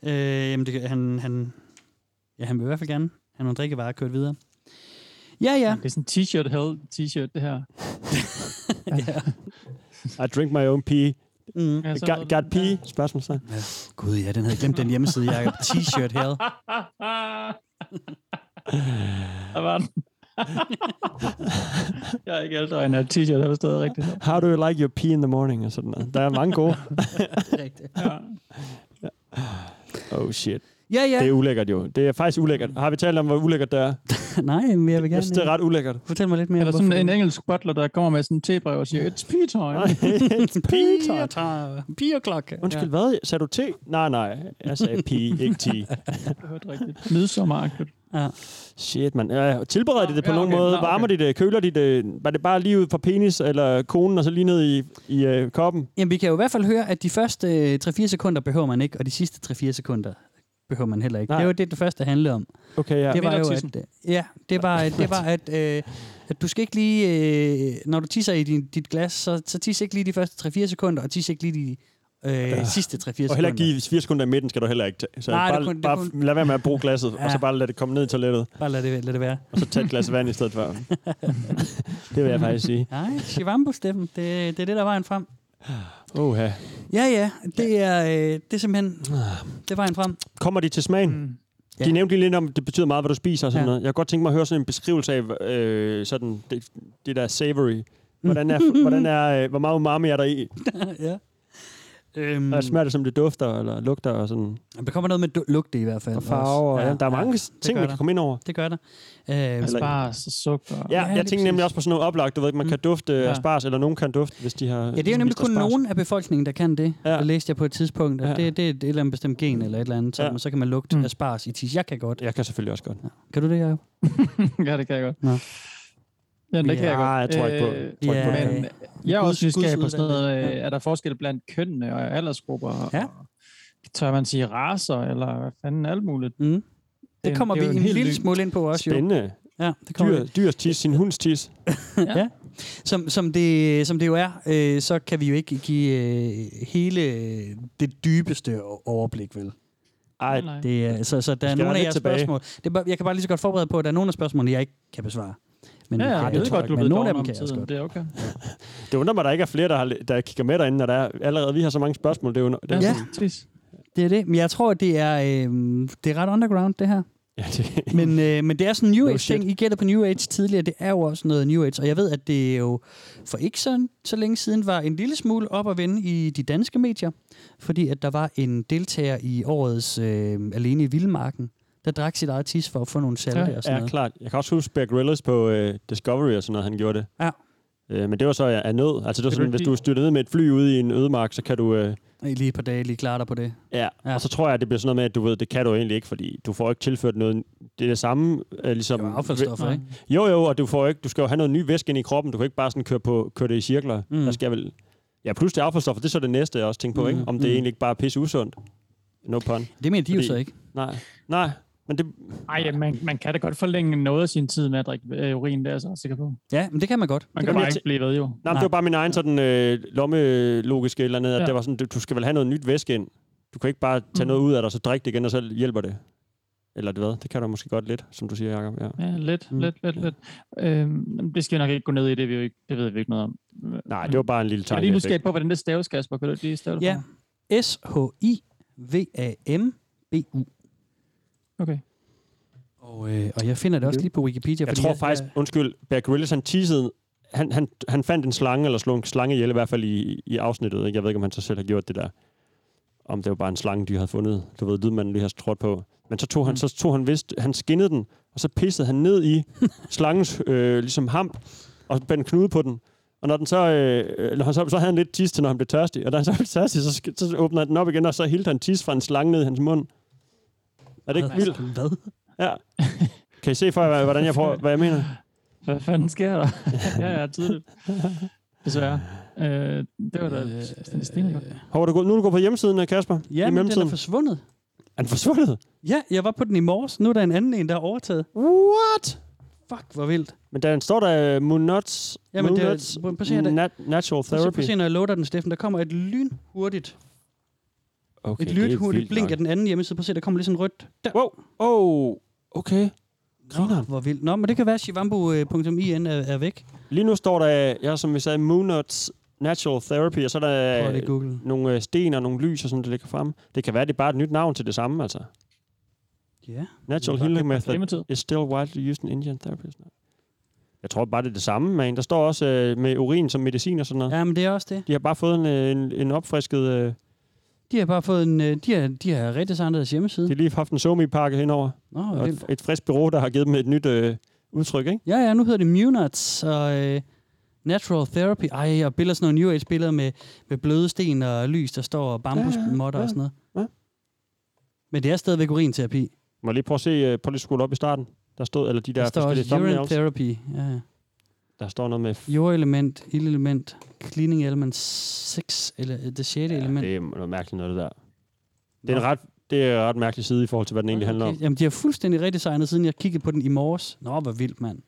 Speaker 4: ja. Øh, jamen, det, kan- han, han, ja, han vil i hvert fald gerne have nogle drikkevarer kørt videre. Ja, ja.
Speaker 5: Det er sådan en t-shirt hell t-shirt, det her.
Speaker 4: ja.
Speaker 3: I drink my own pee.
Speaker 4: Mm.
Speaker 5: Ja, sådan
Speaker 3: Got,
Speaker 5: noget.
Speaker 3: got pee? Spørgsmålstegn.
Speaker 4: Gud, ja, den havde jeg glemt den hjemmeside, Jacob. T-shirt her.
Speaker 5: Der var den. jeg er ikke ældre end at t-shirt er stadig rigtigt.
Speaker 3: How do you like your pee in the morning? Og sådan noget. Der er mange gode.
Speaker 5: Ja.
Speaker 3: Oh shit.
Speaker 4: Ja, ja.
Speaker 3: Det er ulækkert jo. Det er faktisk ulækkert. Har vi talt om, hvor ulækkert det er?
Speaker 4: Nej, men jeg vil
Speaker 3: Jeg
Speaker 4: gerne...
Speaker 3: synes, det er ret ulækkert.
Speaker 4: Fortæl mig lidt mere.
Speaker 5: Eller sådan en engelsk butler, der kommer med sådan en tebrev og siger, it's pee time.
Speaker 3: Peter.
Speaker 4: Pigerklokke.
Speaker 3: Undskyld, hvad? Sagde du te? Nej, nej. Jeg sagde pee, ikke te.
Speaker 5: Jeg hørte rigtigt. Midsommeragtigt.
Speaker 3: Shit, mand. Ja, tilbereder de det på
Speaker 5: Ja,
Speaker 3: nogen
Speaker 5: okay.
Speaker 3: måde?
Speaker 5: Nå, okay.
Speaker 3: Varmer de det? Køler de det? Var det bare lige ud fra penis eller konen, og så lige ned i, i øh, koppen?
Speaker 4: Jamen, vi kan jo i hvert fald høre, at de første øh, 3-4 sekunder behøver man ikke, og de sidste 3-4 sekunder behøver man heller ikke.
Speaker 3: Nej.
Speaker 4: Nej. Det var det, det første handlede om.
Speaker 3: Okay, ja.
Speaker 4: det var
Speaker 5: midt
Speaker 4: jo,
Speaker 5: om
Speaker 4: at, ja, det var, det var at, øh, at du skal ikke lige, øh, når du tisser i din, dit glas, så, så tis ikke lige de første 3-4 sekunder, og tis ikke lige de øh, sidste 3-4 sekunder.
Speaker 3: Og heller ikke give 4 sekunder i midten, skal du heller ikke tage. Så
Speaker 4: Nej, det
Speaker 3: bare,
Speaker 4: kunne- det
Speaker 3: bare
Speaker 4: kunne-
Speaker 3: lad være med at bruge glasset, ja. og
Speaker 4: Ja.
Speaker 3: så bare lad det komme ned i toilettet,
Speaker 4: Bare lad det, lad det være.
Speaker 3: og så tage et glas vand i stedet for. det vil jeg faktisk sige.
Speaker 4: Nej, Shivambo, Steffen, det, det er det, der er vejen frem.
Speaker 3: Oha.
Speaker 4: Ja, ja, det er, øh, det er simpelthen,
Speaker 3: Ah.
Speaker 4: det er vejen frem.
Speaker 3: Kommer de til smagen? Mm. De
Speaker 4: Ja.
Speaker 3: nævnte lige lidt om, at det betyder meget, hvad du spiser og sådan ja.
Speaker 4: Ja.
Speaker 3: noget. Jeg kunne godt tænke mig at høre sådan en beskrivelse af øh, sådan det, det der savory. Hvordan er, hvordan er, øh, hvor meget umami er der i?
Speaker 4: ja. Øhm,
Speaker 3: Og smager det, som det dufter eller lugter og sådan?
Speaker 4: der kommer noget med du- lugte i hvert fald.
Speaker 3: Og farver. Ja, ja, der er mange ja,
Speaker 4: gør
Speaker 3: ting, man kan
Speaker 4: der.
Speaker 3: komme ind over.
Speaker 4: Det gør der. Øh,
Speaker 3: Eller-
Speaker 5: Spars og sukker.
Speaker 3: Ja, ja jeg
Speaker 4: lige
Speaker 3: tænkte nemlig
Speaker 4: præcis. Mm.
Speaker 3: også på sådan noget oplagt. Du ved ikke, man kan dufte ja.
Speaker 5: Ja.
Speaker 3: spars, eller nogen kan dufte, hvis de har...
Speaker 4: Ja, det er jo nemlig kun
Speaker 3: nogen.
Speaker 4: nogen af befolkningen, der kan det.
Speaker 3: Ja.
Speaker 4: Ja. Det læste jeg på et tidspunkt.
Speaker 3: Ja. Mm.
Speaker 4: Ja. Det, det er et, et eller andet bestemt gen eller et eller andet, så,
Speaker 3: Ja.
Speaker 4: ja. så kan man lugte
Speaker 5: Mm.
Speaker 4: mm. asparges i tis. Jeg kan godt.
Speaker 3: Jeg kan selvfølgelig også godt.
Speaker 4: Kan du det, Jacob?
Speaker 5: ja, det kan jeg godt.
Speaker 4: Nå.
Speaker 5: Ja, det kan jeg
Speaker 3: Ja,
Speaker 5: godt. Øh,
Speaker 3: jeg tror ikke på- jeg
Speaker 4: tror ikke på
Speaker 5: men
Speaker 4: det.
Speaker 5: jeg er
Speaker 4: Guds-
Speaker 5: også nysgerrig
Speaker 4: Guds
Speaker 5: på sådan noget.
Speaker 4: udvalgte.
Speaker 5: øh, Er der forskel blandt kønnene og aldersgrupper? og-
Speaker 4: Ja.
Speaker 5: Tør man sige raser, eller hvad fanden alt muligt?
Speaker 4: Mm. Det kommer
Speaker 5: det
Speaker 4: vi
Speaker 5: er jo
Speaker 4: en,
Speaker 5: en helt
Speaker 4: lille
Speaker 5: ny-
Speaker 4: smule ind på også, jo.
Speaker 3: Spændende.
Speaker 4: Ja, det kommer
Speaker 3: Dyr, dyrs tis, sin hunds tis.
Speaker 4: vi. Ja. som, som, det, som det jo er, øh, så kan vi jo ikke give øh, hele det dybeste o- overblik, vel?
Speaker 3: Ej,
Speaker 5: Nej.
Speaker 4: Det er, så, så der er
Speaker 3: skal
Speaker 4: nogle
Speaker 3: være
Speaker 4: af
Speaker 3: lidt
Speaker 4: jeres
Speaker 3: tilbage.
Speaker 4: spørgsmål. Det er, bare- jeg kan bare lige så godt forberede på, at der er nogle af spørgsmålene, jeg ikke kan besvare. Men,
Speaker 5: Ja, ja,
Speaker 4: øh,
Speaker 5: jeg
Speaker 4: det
Speaker 5: ved
Speaker 4: tror
Speaker 5: godt, du
Speaker 4: ikke,
Speaker 5: er
Speaker 4: men
Speaker 5: blevet
Speaker 4: nogle af
Speaker 5: doven
Speaker 4: dem
Speaker 5: om
Speaker 4: kan jeg også
Speaker 5: tiden.
Speaker 4: godt.
Speaker 5: Det er okay.
Speaker 3: Det undrer mig, at der ikke er flere, der, har, der kigger med derinde, når der er, allerede vi har så mange spørgsmål. Det er jo, det er
Speaker 5: Ja,
Speaker 3: jo-
Speaker 4: Ja.
Speaker 5: præcis.
Speaker 4: Det er det. Men jeg tror, det er, øh, det er ret underground, det her.
Speaker 3: ja, det,
Speaker 4: Men, øh, men det er sådan en New
Speaker 3: No
Speaker 4: Age-ting. I gætter på New Age tidligere. Det er jo også noget New Age. Og jeg ved, at det jo for ikke så, så længe siden var en lille smule op at vende i de danske medier. Fordi at der var en deltager i årets øh, Alene i Vildmarken, der drak sit eget tis for at få nogle salte ja, og sådan
Speaker 3: ja,
Speaker 4: noget.
Speaker 3: klart. Jeg kan også huske Bear Grylls på øh, Discovery og sådan noget, han gjorde det.
Speaker 4: Ja.
Speaker 3: Øh, men det var så af af nød. Altså det var
Speaker 5: Kan
Speaker 3: sådan,
Speaker 5: du ikke
Speaker 3: hvis
Speaker 5: lide-
Speaker 3: du styrter ned med et fly ude i en ødemark, så kan du... Øh,
Speaker 4: I lige et par dage lige klare dig på det.
Speaker 3: Ja,
Speaker 4: Ja.
Speaker 3: ja, og så tror jeg, at det bliver sådan noget med, at du ved, det kan du egentlig ikke, fordi du får ikke tilført noget. Det er det samme, øh, ligesom...
Speaker 4: Det var affaldsstoffer,
Speaker 5: Nej.
Speaker 4: ikke?
Speaker 3: Jo, jo, og du får ikke, du skal jo have noget ny væske ind i kroppen. Du kan ikke bare sådan køre, på, køre det i cirkler.
Speaker 4: Mm.
Speaker 3: Mm. Der skal vel... Ja, plus det er affaldsstoffer, det er så det næste, jeg også tænker på,
Speaker 4: Mm,
Speaker 3: ikke? Om det
Speaker 4: mm.
Speaker 3: egentlig ikke bare er pisse usundt. No pun.
Speaker 4: Det mener de jo
Speaker 3: Fordi-
Speaker 4: så ikke.
Speaker 3: Nej. Nej, men det...
Speaker 5: Ej, man, man kan da godt forlænge noget af sin tid med at drikke øh, urin, det er jeg så sikker på.
Speaker 4: Ja, men det kan man godt.
Speaker 5: Man
Speaker 3: Det
Speaker 5: kan
Speaker 3: kan
Speaker 5: bare
Speaker 3: jeg
Speaker 5: ikke blive ved, jo.
Speaker 3: Nej, men
Speaker 4: Nej.
Speaker 3: det var bare min egen sådan øh, lommelogiske et eller andet, at
Speaker 5: Ja.
Speaker 3: ja. det var sådan, du, du skal vel have noget nyt væske ind. Du kan ikke bare tage
Speaker 5: Mm.
Speaker 3: noget ud af dig, og så drikke det igen, og så hjælper det. Eller det hvad? Det kan du måske godt lidt, som du siger, Jacob. Ja.
Speaker 5: Ja, lidt,
Speaker 4: Mm.
Speaker 5: mm. lidt, lidt, lidt. Øhm, det skal vi nok ikke gå ned i, det, er vi jo ikke, det ved vi ikke noget om.
Speaker 3: Nej, det var bare en lille
Speaker 5: Jeg er
Speaker 3: tanke.
Speaker 5: lige
Speaker 3: jeg fik.
Speaker 5: nysgerrig på, hvordan det staves, Kasper. Kan du ikke lige stave det
Speaker 4: Ja.
Speaker 5: for
Speaker 4: S-H-I-V-A-M-B-U.
Speaker 5: mig? Okay.
Speaker 4: Og, øh, og jeg finder det også lige på Wikipedia.
Speaker 3: Jeg
Speaker 4: fordi
Speaker 3: tror faktisk, undskyld, Bear Grylls, han teasede, han, han, han fandt en slange, eller slog en slange ihjel, i hvert fald i, i afsnittet. Ikke? Jeg ved ikke, om han så selv har gjort det der. Om det var bare en slange, de havde fundet. Du ved, lydmanden lige har trådt på. Men så tog han,
Speaker 5: Mm.
Speaker 3: så tog han vist, han skinnede den, og så pissede han ned i slangens øh, ligesom hamp, og bandt knude på den. Og når den så, øh, når han så, så havde han lidt tis til, når han blev tørstig. Og da han så blev tørstig, så, sk- så åbner han den op igen, og så hilte han tis fra en slange ned i hans mund. Er det ikke
Speaker 4: Hvad?
Speaker 3: vildt?
Speaker 4: Hvad?
Speaker 3: Ja. Kan I se for jer, hvordan jeg får, hvad jeg mener?
Speaker 5: Hvad fanden sker der? ja, ja, tydeligt. Desværre. Øh, det var da øh, stengodt.
Speaker 3: Hvor er du gået? Nu er du gået på hjemmesiden, øh, Kasper.
Speaker 4: Ja,
Speaker 3: I
Speaker 4: men den
Speaker 3: mellemtiden.
Speaker 4: er forsvundet.
Speaker 3: er den forsvundet?
Speaker 4: Ja, jeg var på den i morges. Nu er der en anden en, der er overtaget.
Speaker 3: What?
Speaker 4: Fuck, hvor vildt.
Speaker 3: Men der står der uh, Munoz,
Speaker 4: Jamen, det er-
Speaker 3: Munoz
Speaker 4: prøv at se her, der-
Speaker 3: nat- Natural
Speaker 4: Så
Speaker 3: Therapy.
Speaker 4: prøv at se, når jeg loader den, Steffen. Der kommer et lynhurtigt,
Speaker 3: Okay,
Speaker 4: et
Speaker 3: det er
Speaker 4: lynhurtigt
Speaker 3: vildt
Speaker 4: blink
Speaker 3: nok.
Speaker 4: af den anden hjemmeside. Prøv at se, der kommer lige sådan en rødt. Der.
Speaker 3: Wow. Oh, okay. Griner.
Speaker 4: Hvor vildt. Nå, men det kan være, at øh, shivambu.in er, er væk.
Speaker 3: Lige nu står der, ja, som vi sagde, Munoz Natural Therapy, og så er
Speaker 4: Prøv
Speaker 3: der
Speaker 4: lige at
Speaker 3: øh,
Speaker 4: google.
Speaker 3: nogle øh, sten og nogle lys og sådan, der ligger frem. Det kan være, det er bare et nyt navn til det samme, altså.
Speaker 4: Ja.
Speaker 3: Natural Healing Method
Speaker 5: Hjemmetid.
Speaker 3: is still widely used in Indian therapy. Jeg tror bare, det er det samme, man. Der står også øh, med urin som medicin og sådan noget.
Speaker 4: ja, men det er også det.
Speaker 3: De har bare fået en, øh, en, en opfrisket... Øh,
Speaker 4: De har bare fået en... øh, De har, de har redesignet deres hjemmeside.
Speaker 3: de har lige haft en Somi-pakke henover.
Speaker 4: Nå, hvor
Speaker 3: Og
Speaker 4: vildt.
Speaker 3: et, et frisk bureau, der har givet dem et nyt øh, udtryk, ikke?
Speaker 4: Ja, ja, nu hedder det Munuts og øh, Natural Therapy. Ej, og billeder sådan nogle New Age-billeder med, med bløde sten og lys, der står og bambusmotter ja, ja,
Speaker 3: ja,
Speaker 4: og sådan noget. Ja.
Speaker 3: ja.
Speaker 4: Men det er stadigvæk urinterapi.
Speaker 3: Må jeg lige prøve at se, øh, prøv lige at skrue op i starten. Der stod, eller
Speaker 4: Der,
Speaker 3: de der
Speaker 4: der står
Speaker 3: forskellige
Speaker 4: også urine
Speaker 3: thumbnails.
Speaker 4: therapy. Ja, ja.
Speaker 3: Der står noget med... F-
Speaker 4: Jordelement, ildelement, cleaning element 6, eller øh, det sjette ja, element.
Speaker 3: det er noget mærkeligt noget, det der. Det er, en ret, det er en ret mærkelig side i forhold til, hvad den egentlig handler om.
Speaker 4: Jamen, de har fuldstændig redesignet, siden jeg kiggede på den i morges. Nå, hvor vildt, mand.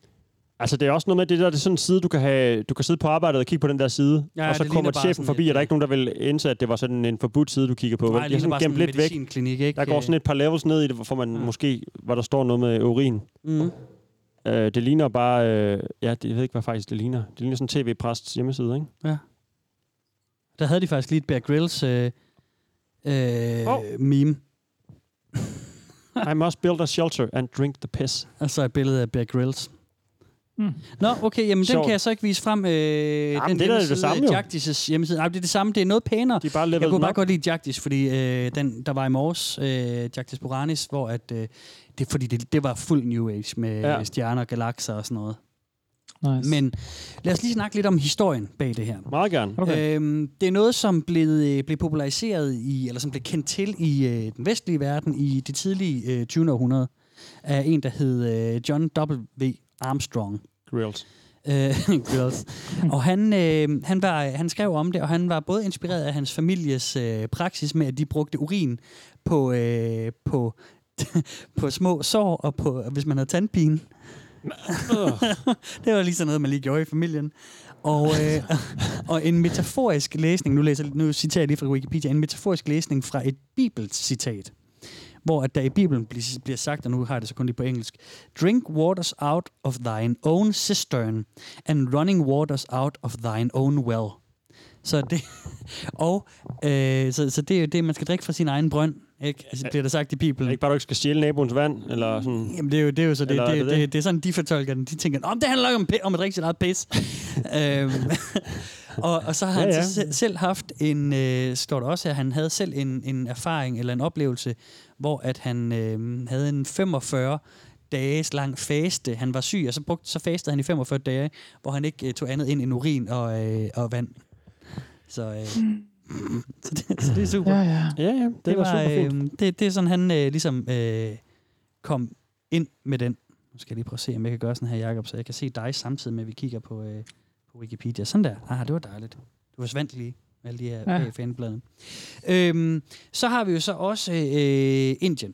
Speaker 3: Altså, det er også noget med, det der det er sådan en side, du kan, have, du kan sidde på arbejdet og kigge på den der side,
Speaker 4: Ja,
Speaker 3: og så
Speaker 4: det ligner
Speaker 3: kommer
Speaker 4: bare
Speaker 3: chefen
Speaker 4: sådan
Speaker 3: forbi,
Speaker 4: et,
Speaker 3: og der er ikke nogen, der vil indse, at det var sådan en forbudt side, du kigger på. vel?
Speaker 4: det
Speaker 3: de har
Speaker 4: ligner
Speaker 3: sådan
Speaker 4: bare
Speaker 3: gemt lidt væk.
Speaker 4: medicinklinik, ikke?
Speaker 3: Der går sådan et par levels ned i det, hvor man
Speaker 4: Ja.
Speaker 3: måske, hvor der står noget med urin.
Speaker 4: Mm.
Speaker 3: Øh, det ligner bare... Øh, ja, det, jeg ved ikke, hvad faktisk det ligner. Det ligner sådan en tv-præsts hjemmeside, ikke?
Speaker 4: Der havde de faktisk lige et Bear Grylls øh, øh, oh.
Speaker 3: Hov.
Speaker 4: meme.
Speaker 3: I must build a shelter and drink the piss.
Speaker 4: Og så et billede af Bear Grylls.
Speaker 5: Mm.
Speaker 4: Nå, okay, jamen den
Speaker 3: Sjovt.
Speaker 4: kan jeg så ikke vise frem. Øh, Jamen,
Speaker 3: det er da det samme jo.
Speaker 4: Jagdis' hjemmeside. Nej, det er det samme, det er noget pænere.
Speaker 3: De er bare levelet
Speaker 4: Jeg kunne
Speaker 3: den
Speaker 4: bare
Speaker 3: op.
Speaker 4: godt lide Jagdis, fordi øh, den, der var i morges, øh, Jagdis Boranis, hvor at, øh, det, fordi det, det var fuld New Age med ja.
Speaker 3: Ja.
Speaker 4: stjerner, galakser og sådan noget.
Speaker 5: Nice.
Speaker 4: Men lad os lige snakke lidt om historien bag det her.
Speaker 3: Meget gerne.
Speaker 5: Okay.
Speaker 4: Okay. Øhm, det er noget, som blev, øh, blev populariseret i, eller som blev kendt til i øh, den vestlige verden i det tidlige øh, 20. århundrede af en, der hed øh, John W. Armstrong.
Speaker 3: Grills.
Speaker 4: Øh, girls. og han, øh, han, var, han skrev om det, og han var både inspireret af hans families øh, praksis med, at de brugte urin på, øh, på, på små sår, og på, hvis man havde tandpine. det var lige sådan noget, man lige gjorde i familien. Og, øh, og en metaforisk læsning, nu, læser, nu citerer jeg lige fra Wikipedia, en metaforisk læsning fra et bibelcitat, hvor at der i Bibelen bli- bliver sagt, og nu har jeg det så kun lige på engelsk, Drink waters out of thine own cistern, and running waters out of thine own well. Så det, og, øh, så, så det er jo det, man skal drikke fra sin egen brønd, ikke? Altså, bliver der sagt i Bibelen.
Speaker 3: Ikke bare, du ikke skal stjæle naboens vand, eller sådan...
Speaker 4: Jamen, det er jo, det er jo så det,
Speaker 3: Eller
Speaker 4: det,
Speaker 3: er
Speaker 4: det,
Speaker 3: det
Speaker 4: det,
Speaker 3: det?
Speaker 4: det, er sådan, de fortolker den. De tænker, om det handler ikke om, pi- om at drikke sit eget pis. øhm, og, og så har
Speaker 3: Ja,
Speaker 4: ja, han
Speaker 3: ja.
Speaker 4: så se- selv haft en, øh, står der også her, han havde selv en, en erfaring eller en oplevelse, hvor at han øh, havde en 45 dages lang faste. Han var syg, og så, brugte, så fastede han i 45 dage, hvor han ikke øh, tog andet ind end urin og, øh, og vand. Så, øh,
Speaker 3: Hmm.
Speaker 4: så, det, så det er super.
Speaker 5: Ja, ja.
Speaker 3: Ja, ja, det,
Speaker 4: Det,
Speaker 3: var,
Speaker 4: var,
Speaker 3: super fint.
Speaker 4: øh, det, det er sådan, han øh, ligesom øh, kom ind med den. Nu skal jeg lige prøve at se, om jeg kan gøre sådan her, Jacob, så jeg kan se dig samtidig med, at vi kigger på, øh, på Wikipedia. Sådan der. Ah, det var dejligt. Du forsvandt lige med alle de her
Speaker 5: Ja.
Speaker 4: ja. fan øh, øhm, Så har vi jo så også øh, Indien.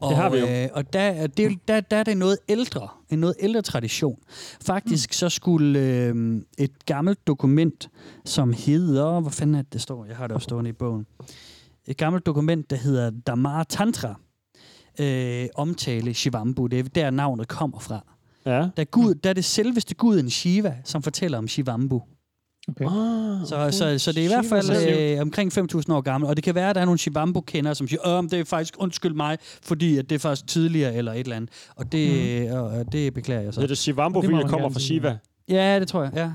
Speaker 4: Og,
Speaker 3: har vi jo.
Speaker 4: Øh, og der, er det, der, der er det noget ældre, en noget ældre tradition.
Speaker 3: Mm.
Speaker 4: Faktisk så skulle øh, et gammelt dokument, som hedder, hvor fanden er det, det står? Jeg har det også stående i bogen. Et gammelt dokument, der hedder Dhamma Tantra, øh, omtale Shivambu. Det er der, navnet kommer fra.
Speaker 3: Ja.
Speaker 4: Der er, Gud, der er det selveste guden Shiva, som fortæller om Shivambu.
Speaker 3: Ah,
Speaker 4: Så, så, så det er i hvert fald øh, omkring 5.000 år gammel, og det kan være, at der er nogle Shivambu-kendere, som siger, om det er faktisk, undskyld mig, fordi at det er faktisk tidligere eller et eller andet. Og det, mm. og, og det beklager jeg så.
Speaker 3: Så er det Shivambo,
Speaker 5: Det må
Speaker 3: fordi det
Speaker 5: man
Speaker 3: kommer
Speaker 5: gerne
Speaker 3: fra
Speaker 5: sige,
Speaker 3: Shiva.
Speaker 4: Ja, det tror jeg, ja.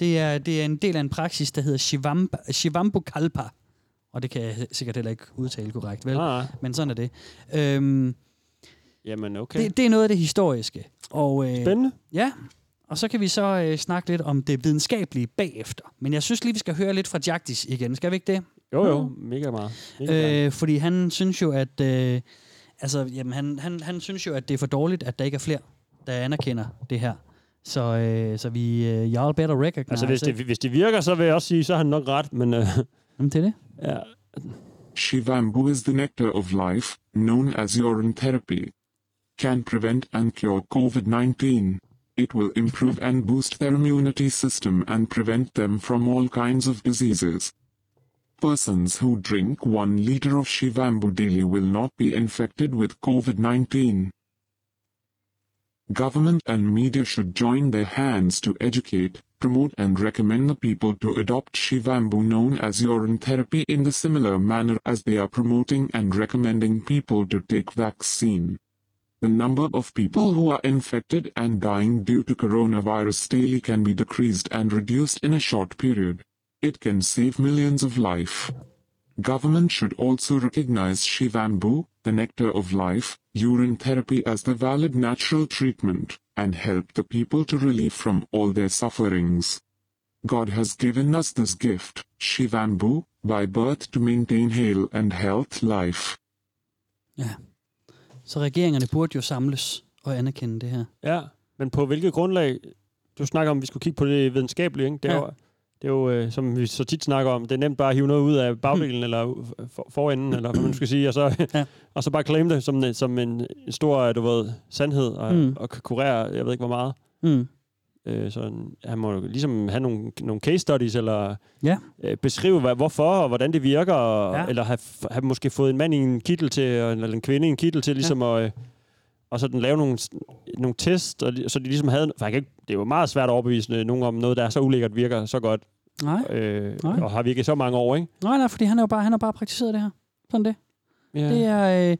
Speaker 4: Det er, det er en del af en praksis, der hedder Shivamba, Shivambukalpa. Og det kan jeg sikkert heller ikke udtale korrekt, vel?
Speaker 3: Ah,
Speaker 4: Men sådan er det. Øhm,
Speaker 3: jamen, okay.
Speaker 4: det. Det er noget af det historiske. Og, øh,
Speaker 3: Spændende.
Speaker 4: Ja, og så kan vi så øh, snakke lidt om det videnskabelige bagefter. Men jeg synes lige, vi skal høre lidt fra Jagdis igen. Skal vi ikke det?
Speaker 3: Jo, jo, mega meget. Mega meget.
Speaker 4: Øh, fordi han synes jo, at... Øh, altså, jamen, han, han, han synes jo, at det er for dårligt, at der ikke er flere, der anerkender det her. Så, øh, så vi... Øh, y'all better recognize
Speaker 3: Altså, hvis
Speaker 4: ikke?
Speaker 3: det, hvis det virker, så vil jeg også sige, så har han nok ret, men... Øh,
Speaker 4: Jamen, det er det.
Speaker 3: ja.
Speaker 7: Shivambu is the nectar of life, known as urine therapy. Can prevent and cure COVID 19. It will improve and boost their immunity system and prevent them from all kinds of diseases. Persons who drink 1 liter of Shivambu daily will not be infected with COVID 19. Government and media should join their hands to educate, promote and recommend the people to adopt Shivambu known as urine therapy in the similar manner as they are promoting and recommending people to take vaccine. The number of people who are infected and dying due to coronavirus daily can be decreased and reduced in a short period. It can save millions of life. Government should also recognize Shivambu, the nectar of life, urine therapy as the valid natural treatment, and help the people to relieve from all their sufferings. God has given us this gift, Shivambu, by birth to maintain health and health life.
Speaker 4: Så regeringerne burde jo samles og anerkende det her.
Speaker 3: ja, men på hvilket grundlag... Du snakker om, at vi skulle kigge på det videnskabelige, ikke? Det er
Speaker 4: Ja.
Speaker 3: jo, det er jo øh, som vi så tit snakker om, det er nemt bare at hive noget ud af bagdelen eller u- for, forenden, eller hvad man nu skal sige, og så,
Speaker 4: Ja.
Speaker 3: ja. og så bare claim det som, en- som en en stor, øh, du ved, sandhed, og,
Speaker 4: Mm.
Speaker 3: mm. og kan kurere, jeg ved ikke hvor meget.
Speaker 4: Mm.
Speaker 3: Øh, så han- han må jo ligesom have nogle, nogle case studies, eller
Speaker 4: Ja.
Speaker 3: øh, beskrive, hvad, hvorfor og hvordan det virker, og,
Speaker 4: Ja.
Speaker 3: ja. eller have, f- have måske fået en mand i en kittel til, og en- eller en kvinde i en kittel til, ligesom ja. at, øh, og sådan lave nogle, s- nogle test, og, li- så de ligesom havde, for jeg kan ikke, det er jo meget svært at overbevise øh, nogen om noget, der er så ulækkert virker så godt,
Speaker 4: Nej,
Speaker 3: øh,
Speaker 4: Nej.
Speaker 3: og har virket i så mange år, ikke?
Speaker 4: nej, nej, fordi han er jo bare, han har bare praktiseret det her. Sådan det.
Speaker 3: Ja.
Speaker 4: Det er, øh,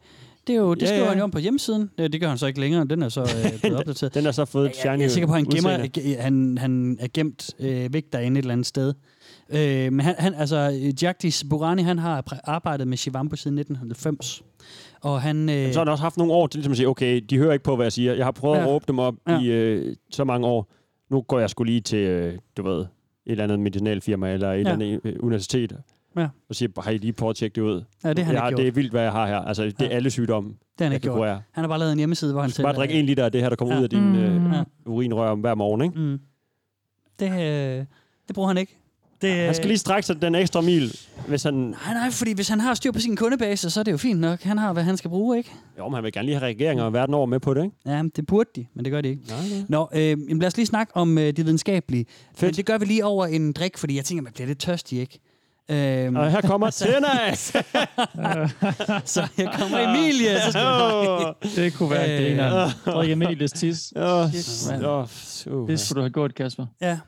Speaker 4: det er jo, det
Speaker 3: Ja,
Speaker 4: skriver
Speaker 3: ja.
Speaker 4: han jo om på hjemmesiden. Det, det gør han så ikke længere. Den er så øh, blevet opdateret.
Speaker 3: Den har så fået et
Speaker 4: Jeg, jeg er
Speaker 3: shiny
Speaker 4: sikker på, at han, gemmer,
Speaker 3: udseende.
Speaker 4: ge- han, han er gemt øh, væk derinde et eller andet sted. Øh, men han, han, altså, øh, Jagdis Burani, han har præ- arbejdet med Shivambu siden 1990. Og han... Øh,
Speaker 3: Så har han også haft nogle år til ligesom at sige, okay, de hører ikke på, hvad jeg siger. Jeg har prøvet ja. at
Speaker 4: Ja.
Speaker 3: råbe dem op
Speaker 4: Ja.
Speaker 3: ja. i øh, så mange år. Nu går jeg skulle lige til, øh, du ved, et eller andet medicinalfirma eller et ja. eller
Speaker 4: Ja.
Speaker 3: andet øh, universitet.
Speaker 4: Ja.
Speaker 3: Og siger, har I lige prøvet at tjekke det ud?
Speaker 4: ja, det har han
Speaker 3: jeg,
Speaker 4: ikke
Speaker 3: det er
Speaker 4: gjort.
Speaker 3: vildt, hvad jeg har her. Altså, det er
Speaker 4: Ja.
Speaker 3: alle sygdomme,
Speaker 4: Det har han
Speaker 3: jeg
Speaker 4: ikke
Speaker 3: kan
Speaker 4: gjort.
Speaker 3: kurere.
Speaker 4: Han har bare lavet en hjemmeside, hvor han
Speaker 3: Du skal bare drikke en liter af det her, der kommer
Speaker 4: Ja. Mm.
Speaker 3: ud af din øh,
Speaker 4: Ja.
Speaker 3: urinrør om hver morgen, ikke?
Speaker 4: Mm. Det, øh, det bruger han ikke. Det,
Speaker 3: Han skal lige strække sig den ekstra mil, hvis han...
Speaker 4: Nej, nej, fordi hvis han har styr på sin kundebase, så er det jo fint nok. Han har, hvad han skal bruge, ikke?
Speaker 3: Jo, men han vil gerne lige have regeringer verden over med på det, ikke?
Speaker 4: Ja, men det burde de, men det gør de ikke. Nej, nej. Nå, øh, jamen lad os lige snakke om øh, det videnskabelige. Fedt. Men det gør vi lige over en drik, fordi jeg tænker, man bliver lidt tørstig, ikke? Øhm,
Speaker 3: Og her kommer Tennis!
Speaker 4: så her kommer Emilie, så skal vi...
Speaker 5: Det kunne være
Speaker 4: Øh.
Speaker 5: grineren. Frederik Emilies tis.
Speaker 3: Åh,
Speaker 4: Shit,
Speaker 3: s-
Speaker 4: mand.
Speaker 3: åh, s- uh.
Speaker 5: Det skulle du have gjort, Kasper.
Speaker 4: Ja,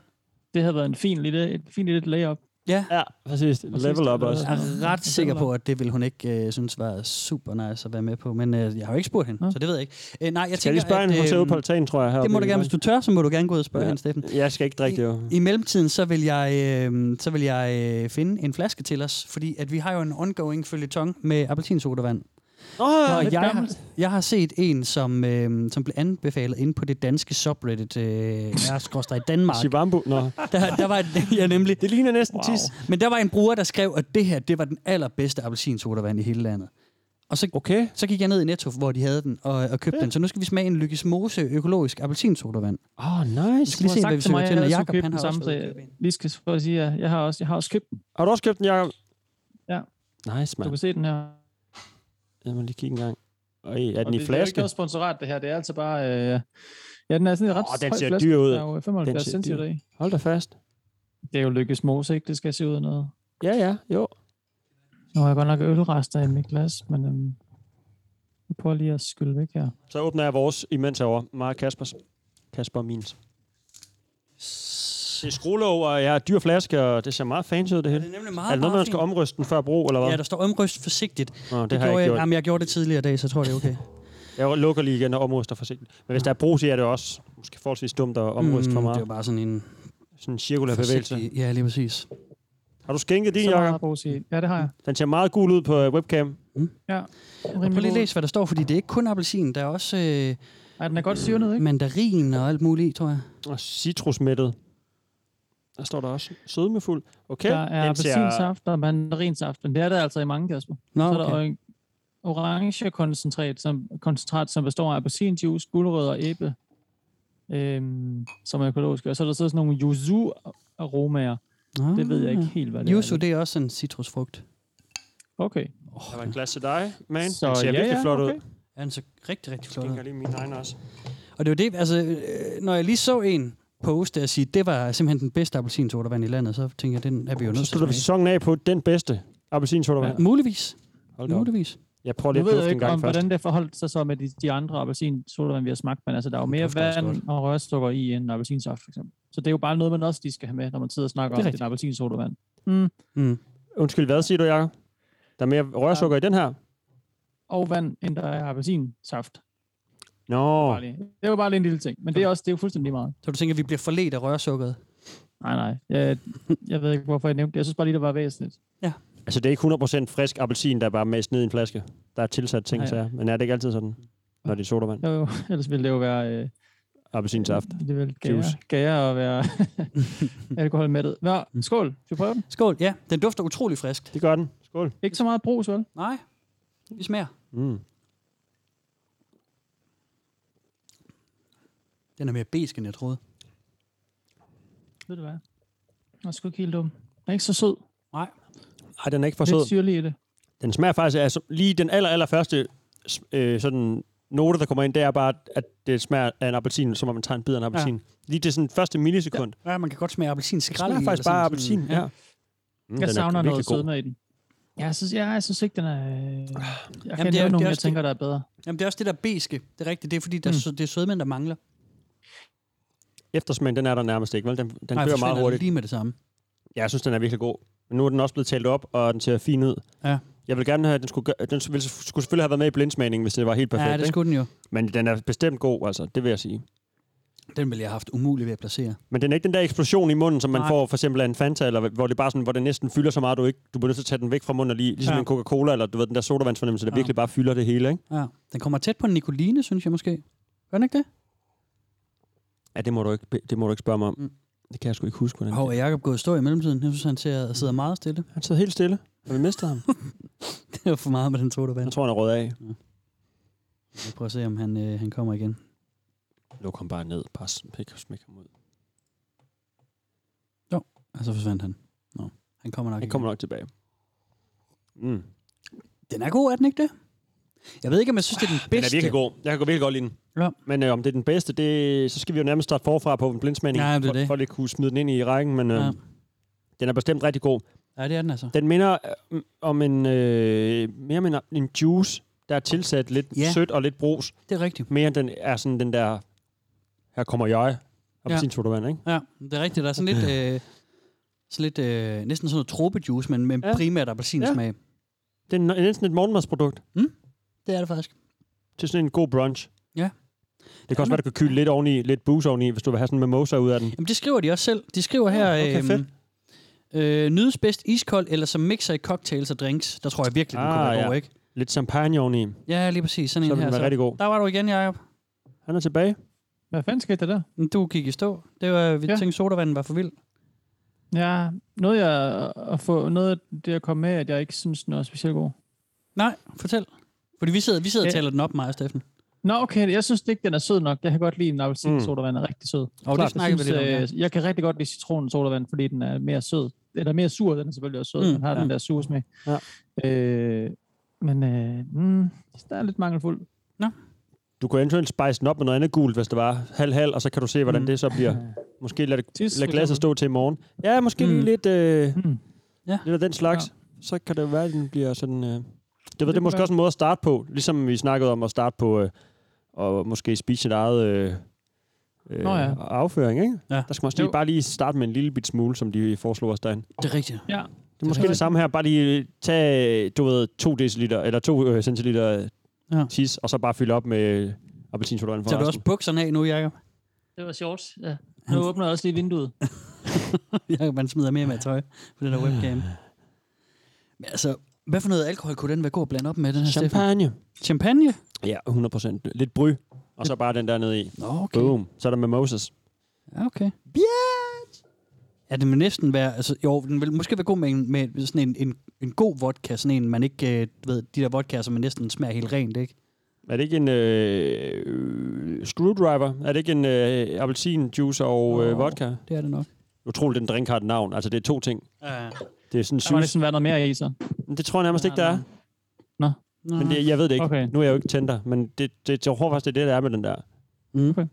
Speaker 5: Det havde været en fin lille, et fint lille layup.
Speaker 4: ja.
Speaker 3: Ja, præcis. Level up også.
Speaker 4: Jeg er ret sikker på, at det ville hun ikke øh, synes var super nice at være med på, men øh, jeg har jo ikke spurgt hende, så det ved jeg ikke. Øh, nej, jeg
Speaker 3: Skal jeg lige
Speaker 4: tænker,
Speaker 3: spørge hende? Hun ser ud
Speaker 4: øh,
Speaker 3: på altanen, tror jeg. Her
Speaker 4: det må du gerne, hvis du tør, så må du gerne gå ud og spørge
Speaker 3: Ja.
Speaker 4: ja. hende, Steffen.
Speaker 3: Jeg skal ikke drikke det, jo.
Speaker 4: I mellemtiden, så vil jeg, øh, så vil jeg øh, finde en flaske til os, fordi at vi har jo en ongoing følgetong med appelsinsodavand.
Speaker 3: Åh,
Speaker 4: Og
Speaker 5: lidt
Speaker 4: jeg, har,
Speaker 5: gammelt.
Speaker 4: jeg har set en, som, øh, som blev anbefalet inde på det danske subreddit, øh, i Danmark.
Speaker 3: Shibambu. Nå.
Speaker 4: Der, der var et, ja, nemlig.
Speaker 3: Det ligner næsten tis.
Speaker 4: Men der var en bruger, der skrev, at det her, det var den allerbedste appelsinsodavand i hele landet. Og så,
Speaker 3: Okay.
Speaker 4: så gik jeg ned i Netto, hvor de havde den, og, og købte den. Så nu skal vi smage en Lykkes Mose økologisk appelsinsodavand.
Speaker 3: Åh, oh, nice.
Speaker 4: skal lige se, hvad vi søger til, når Jacob, han har også
Speaker 5: samme, så
Speaker 4: været ude
Speaker 5: jeg
Speaker 4: at købe en.
Speaker 5: lige skal for at sige, at jeg har også, jeg har også købt den.
Speaker 3: Har du også købt den, Jacob?
Speaker 5: Ja.
Speaker 3: Nice,
Speaker 5: Du
Speaker 3: mand.
Speaker 5: kan se den her.
Speaker 3: Jeg må lige kigge en gang. Øj, er den i
Speaker 5: Og det, Det er jo ikke
Speaker 3: flaske?
Speaker 5: noget sponsorat, det her. Det er altså bare... Øh, ja, den er sådan en ret
Speaker 3: Åh, den
Speaker 5: høj
Speaker 3: ser
Speaker 5: flaske.
Speaker 3: dyr ud.
Speaker 5: Den er jo 75
Speaker 3: Den ser
Speaker 5: centimeter
Speaker 3: dyr.
Speaker 5: i.
Speaker 3: Hold da fast.
Speaker 5: Det er jo lykkes mose, ikke? Det skal se ud af noget.
Speaker 3: Ja, ja, jo.
Speaker 5: Nu har jeg godt nok ølrester i mit glas, men øhm, jeg prøver lige at skylle væk her.
Speaker 3: Så åbner jeg vores imens herovre. Mark Kaspers. Kasper og Mins. Det er skruelåg, og jeg har dyr flaske, og det ser meget fancy ud, det hele.
Speaker 4: Det er nemlig
Speaker 3: Er
Speaker 4: meget,
Speaker 3: det noget, man skal omryste den før brug, eller hvad?
Speaker 4: Ja, der står omryst forsigtigt.
Speaker 3: Nå, det,
Speaker 4: Det, det
Speaker 3: har jeg ikke
Speaker 4: jeg,
Speaker 3: gjort.
Speaker 4: jamen, jeg gjorde det tidligere i dag, så jeg tror, det er okay.
Speaker 3: Jeg lukker lige igen og omryster forsigtigt. Men hvis der er brug, så er det også måske forholdsvis dumt at omryste for
Speaker 4: Mm, Det
Speaker 3: meget.
Speaker 4: var bare sådan en
Speaker 3: Sådan en cirkulær bevægelse.
Speaker 4: forsigtig... Ja, lige præcis.
Speaker 3: Har du skænket din,
Speaker 5: Så meget
Speaker 3: Jacob?
Speaker 5: har Bruce i. Ja, det har jeg.
Speaker 3: Den ser meget gul ud på øh, webcam.
Speaker 4: Mm.
Speaker 5: Ja.
Speaker 4: Prøv
Speaker 5: Rimelig
Speaker 4: lige at
Speaker 5: god.
Speaker 4: læse, hvad der står, fordi det er ikke kun appelsin. Der er også øh,
Speaker 5: Ej, den er godt syrnet, ikke?
Speaker 4: mandarin og alt muligt, i, tror jeg.
Speaker 3: Og citrusmættet. Der står der også sødmefuld. Okay.
Speaker 5: Der er
Speaker 3: den ser-
Speaker 5: appelsinsaft og mandarinsaft, men det er der altså i mange, Kasper.
Speaker 4: Nå,
Speaker 5: Så er der
Speaker 4: okay.
Speaker 5: oran- orange koncentrat, som, koncentrat, som består af appelsinjuice, gulerødder og æble, øhm, som er økologiske. Og så er der så sådan nogle yuzu-aromaer.
Speaker 4: Nå,
Speaker 5: Det ved jeg ikke helt, hvad det
Speaker 4: Ah. Yuzu,
Speaker 5: er.
Speaker 4: det er også en citrusfrugt.
Speaker 5: Okay.
Speaker 3: Der var en glas til dig, man.
Speaker 5: Så
Speaker 3: den ser
Speaker 5: ja,
Speaker 3: virkelig
Speaker 5: ja,
Speaker 3: flot ud.
Speaker 5: okay.
Speaker 4: Er den så rigtig, rigtig flot?
Speaker 3: Jeg lige min egen også.
Speaker 4: Og det var det, altså, øh, når jeg lige så en poste og sige, det var simpelthen den bedste appelsinsodavand i landet, så tænkte jeg, den er vi jo
Speaker 3: Så
Speaker 4: nødt til
Speaker 3: slutter vi
Speaker 4: at smage.
Speaker 3: sæsonen af på den bedste appelsinsodavand.
Speaker 4: Muligvis.
Speaker 3: Hold da op.
Speaker 4: Muligvis.
Speaker 3: Jeg prøver lige
Speaker 5: Nu
Speaker 3: at
Speaker 5: ved
Speaker 3: dufte
Speaker 5: jeg
Speaker 3: en
Speaker 5: ikke, om,
Speaker 3: gang først.
Speaker 5: hvordan det forholdt sig så med de, de andre appelsinsodavand, vi har smagt, men altså, der er jo mere
Speaker 4: dufter også
Speaker 5: vand og rørsukker i end appelsinsaft, for eksempel. Så det er jo bare noget, man også lige skal have med, når man sidder og snakker
Speaker 3: Det er
Speaker 5: om
Speaker 3: rigtigt.
Speaker 5: den appelsinsodavand.
Speaker 4: Mm.
Speaker 3: Undskyld, hvad siger du, Jacob? Der er mere rørsukker i den her?
Speaker 5: Og vand, end der er appelsinsaft.
Speaker 3: Nå,
Speaker 5: Bare lige. Det var bare lige en lille ting, men det er, også, det er jo fuldstændig lige meget.
Speaker 4: Så du tænker, at vi bliver forledt af rørsukkeret?
Speaker 5: Nej, nej. Jeg, jeg ved ikke, hvorfor jeg nævnte det. Jeg synes bare lige, det var væsentligt.
Speaker 3: altså det er ikke 100% frisk appelsin, der er bare mest ned i en flaske. Der er tilsat ting,
Speaker 5: Nej.
Speaker 3: ja, ja. men er det ikke altid sådan? Når det er sodavand,
Speaker 5: Jo, jo. Ellers ville det jo være... Øh,
Speaker 3: appelsinsaft.
Speaker 5: det ville
Speaker 3: Juice.
Speaker 5: gære, gære at være alkoholmættet. Nå, skål. Skal vi prøve den?
Speaker 4: Skål, ja. Den dufter utrolig friskt.
Speaker 3: Det gør den. Skål.
Speaker 5: Ikke så meget brus, vel?
Speaker 4: Nej, vi smager.
Speaker 3: Mm.
Speaker 4: Den er mere besk, end jeg troede.
Speaker 5: Ved du hvad? Jeg er sgu ikke helt dum. Den er ikke så sød.
Speaker 4: Nej.
Speaker 3: Ej, den er ikke for
Speaker 5: Lidt
Speaker 3: sød.
Speaker 5: syrlig i det.
Speaker 3: Den smager faktisk altså, lige den aller, aller første s- øh, sådan note, der kommer ind, det er bare, at det smager af en appelsin, som om man tager en bid af en appelsin. Ja. Lige det sådan første millisekund. Ja.
Speaker 4: Ja, man kan godt smage
Speaker 3: Det
Speaker 4: appelsinskrald.
Speaker 3: smager
Speaker 4: i,
Speaker 3: faktisk
Speaker 4: eller
Speaker 3: bare
Speaker 4: sådan-
Speaker 3: appelsin.
Speaker 4: sådan-
Speaker 3: Ja. Mm,
Speaker 5: Jeg
Speaker 3: den er
Speaker 5: savner
Speaker 3: virkelig
Speaker 5: noget
Speaker 3: god.
Speaker 5: sødme i den. Ja, jeg synes, ja, jeg synes ikke, den er... Jeg kan
Speaker 4: det er
Speaker 5: Jamen,
Speaker 4: jo-
Speaker 5: nævne
Speaker 4: det er
Speaker 5: nogen, jeg
Speaker 4: også det.
Speaker 5: tænker, der er bedre.
Speaker 4: Jamen, det er også det der beske. Det er rigtigt. Det er fordi, der,
Speaker 5: Mm.
Speaker 4: mm. det er sødmænd, der mangler.
Speaker 3: Eftersmagen, den er der nærmest ikke, vel? Den, den
Speaker 4: Nej,
Speaker 3: dør
Speaker 4: forsvinder
Speaker 3: meget hurtigt.
Speaker 4: Lige med det samme.
Speaker 3: Ja, jeg synes, den er virkelig god. Men nu er den også blevet talt op, og den ser fin ud.
Speaker 4: Ja.
Speaker 3: Jeg vil gerne have, at den skulle, gøre, den ville, skulle selvfølgelig have været med i blindsmagningen, hvis det var helt perfekt.
Speaker 4: ja, det
Speaker 3: ikke?
Speaker 4: skulle den jo.
Speaker 3: Men den er bestemt god, altså. Det vil jeg sige.
Speaker 4: Den ville jeg have haft umuligt ved at placere.
Speaker 3: Men den er ikke den der eksplosion i munden, som man
Speaker 4: Nej.
Speaker 3: får for eksempel af en Fanta, eller hvor det bare sådan, hvor den næsten fylder så meget, du ikke, du bliver nødt til at tage den væk fra munden, og lige, ligesom
Speaker 4: Ja.
Speaker 3: en Coca-Cola, eller du ved, den der sodavandsfornemmelse, der
Speaker 4: Ja.
Speaker 3: virkelig bare fylder det hele, ikke?
Speaker 4: Ja. Den kommer tæt på en Nicoline, synes jeg måske. Gør den ikke det?
Speaker 3: Ja, det må du ikke, det må du ikke spørge mig om.
Speaker 4: Mm.
Speaker 3: Det kan jeg sgu ikke huske, hvordan
Speaker 4: Hov, er Jacob gået i stå i mellemtiden? Jeg synes, han ser, sidder meget stille.
Speaker 3: Han sidder helt stille. Har vi mistet ham?
Speaker 4: Det var for meget med den sodavand.
Speaker 3: Jeg tror, han er rød af.
Speaker 4: Jeg prøver at se, om han, øh, han kommer igen.
Speaker 3: Luk ham bare ned. Bare smæk, smæk ham ud.
Speaker 4: Og så forsvandt han. Han kommer nok
Speaker 3: Han
Speaker 4: igen.
Speaker 3: kommer nok tilbage. Mm.
Speaker 4: Den er god, er den ikke det? Jeg ved ikke, om jeg synes, det er den bedste.
Speaker 3: Den er virkelig god. Jeg kan gå virkelig godt lide den.
Speaker 4: Ja.
Speaker 3: Men øh, om det er den bedste, det, så skal vi jo nærmest starte forfra på en blindsmagning.
Speaker 4: Ja, det er
Speaker 3: for,
Speaker 4: det.
Speaker 3: for at lige kunne smide den ind i rækken, men øh,
Speaker 4: Ja.
Speaker 3: ja. den er bestemt rigtig god.
Speaker 4: Ja, det er den altså.
Speaker 3: Den minder øh, om en, øh, mere om en, en juice, der er tilsat lidt
Speaker 4: Ja.
Speaker 3: ja. sødt og lidt brus.
Speaker 4: Det er rigtigt.
Speaker 3: Mere end den er sådan den der, her kommer jeg, og
Speaker 4: Ja.
Speaker 3: ja. sin sodavand, ikke?
Speaker 4: Ja, det er rigtigt. Der er sådan lidt... Øh, sådan lidt øh, næsten sådan noget tropejuice, men med
Speaker 3: Ja.
Speaker 4: primært appelsinsmag. Ja.
Speaker 3: Det er n- næsten et morgenmadsprodukt
Speaker 4: Det er det faktisk.
Speaker 3: til sådan en god brunch.
Speaker 4: Ja.
Speaker 3: Det kan også
Speaker 4: men-
Speaker 3: være, du kan kylde lidt oveni, lidt booze oveni, hvis du vil have sådan en mimosa ud af den.
Speaker 4: Jamen, det skriver de også selv. De skriver her...
Speaker 3: okay, fedt.
Speaker 4: øh, nydes bedst iskold, eller som mixer i cocktails og drinks. Der tror jeg virkelig, den kunne
Speaker 3: Ah,
Speaker 4: være god,
Speaker 3: ja.
Speaker 4: ikke?
Speaker 3: Lidt champagne oveni.
Speaker 4: Ja, lige præcis. Sådan
Speaker 3: Så
Speaker 4: en
Speaker 3: vil
Speaker 4: her.
Speaker 3: den være rigtig god.
Speaker 4: Der var du igen, Jacob.
Speaker 3: Han er tilbage.
Speaker 5: Hvad fanden skete der der?
Speaker 4: Du gik i stå. Det var, vi ja.
Speaker 5: Ja.
Speaker 4: tænkte, sodavanden var for vild.
Speaker 5: Ja, noget, jeg, at få, noget af det, jeg kom med, at jeg ikke synes, den er specielt god.
Speaker 4: Nej, fortæl. Fordi vi sidder, vi sidder og
Speaker 5: Ja.
Speaker 4: taler den op, mig og Steffen.
Speaker 5: Nå, okay, jeg synes ikke, den er sød nok. Jeg kan godt lide en
Speaker 3: Mm.
Speaker 5: appelsinsodavand, er rigtig sød.
Speaker 4: Og det
Speaker 5: Jeg
Speaker 4: snakker vi
Speaker 5: synes,
Speaker 4: lidt om, ja.
Speaker 5: øh, Jeg kan rigtig godt lide citronensodavand, fordi den er mere sød. Eller mere sur, den er selvfølgelig også sød.
Speaker 4: Mm,
Speaker 5: Mm, den har
Speaker 4: ja.
Speaker 5: ja. den der surs med.
Speaker 3: Ja.
Speaker 5: Øh, men øh, mm, der er lidt mangelfuld.
Speaker 3: Du kunne eventuelt spice den op med noget andet gult, hvis det var halv-halv, og så kan du se, hvordan
Speaker 5: Mm.
Speaker 3: det så bliver. Måske lad, det,
Speaker 5: Tis,
Speaker 3: lad
Speaker 5: for
Speaker 3: glasset
Speaker 5: eksempel.
Speaker 3: stå til i morgen. Ja, måske
Speaker 4: Mm.
Speaker 3: lige lidt, øh,
Speaker 5: Mm.
Speaker 4: Ja.
Speaker 3: ja. lidt af den slags. Ja. Så kan det være, at den bliver sådan... Øh, det, ved, det, er
Speaker 5: kan
Speaker 3: måske
Speaker 5: være.
Speaker 3: også en måde at starte på. Ligesom vi snakkede om at starte på øh, og måske spise sit eget øh, øh,
Speaker 5: Nå ja.
Speaker 3: afføring. Ikke?
Speaker 4: Ja.
Speaker 3: Der skal man også lige,
Speaker 5: Jo.
Speaker 3: bare lige starte med en lille bit smule, som de foreslog os derinde.
Speaker 4: Det er rigtigt.
Speaker 5: Ja,
Speaker 3: Det er måske
Speaker 5: rigtigt.
Speaker 3: det samme her. Bare lige tage, du ved, 2 deciliter, eller 2 øh, centiliter
Speaker 4: Ja.
Speaker 3: ja. tis, og så bare fylde op med øh, appelsinsodavand for
Speaker 4: Tager du
Speaker 3: resten.
Speaker 4: også bukserne af nu, Jacob?
Speaker 5: det var sjovt. Ja. Nu åbner jeg også lige vinduet.
Speaker 4: Jacob, man smider mere med tøj på den der webcam. Men altså, hvad for noget alkohol kunne den være god at blande op med, den her Steffen?
Speaker 3: Champagne.
Speaker 4: Champagne?
Speaker 3: Ja, 100 procent. Lidt bry, og så bare den der nede i.
Speaker 4: Nå, okay.
Speaker 3: Boom. Så er der med Moses.
Speaker 4: Ja, okay. Ja, den vil næsten være, altså jo, den vil måske være god med, en, med sådan en, en, en god vodka, sådan en, man ikke, øh, du ved, de der vodkaer, som man næsten smager helt rent, ikke?
Speaker 3: Er det ikke en øh, øh, screwdriver? Er det ikke en øh, appelsinjuice og øh,
Speaker 4: Åh.
Speaker 3: vodka?
Speaker 4: Det er det nok.
Speaker 3: Utroligt, den drink har et navn. Altså, det er to ting.
Speaker 4: Ja.
Speaker 3: Det er sådan
Speaker 5: Der må
Speaker 3: synes.
Speaker 5: næsten være noget mere i, så.
Speaker 3: Det, det tror jeg nærmest ikke, der er. Men det, jeg ved det ikke.
Speaker 5: Okay.
Speaker 3: Nu er jeg jo ikke tænder, men det, det, jeg tror faktisk, det er det, der er med den der.
Speaker 4: Mm.
Speaker 3: Det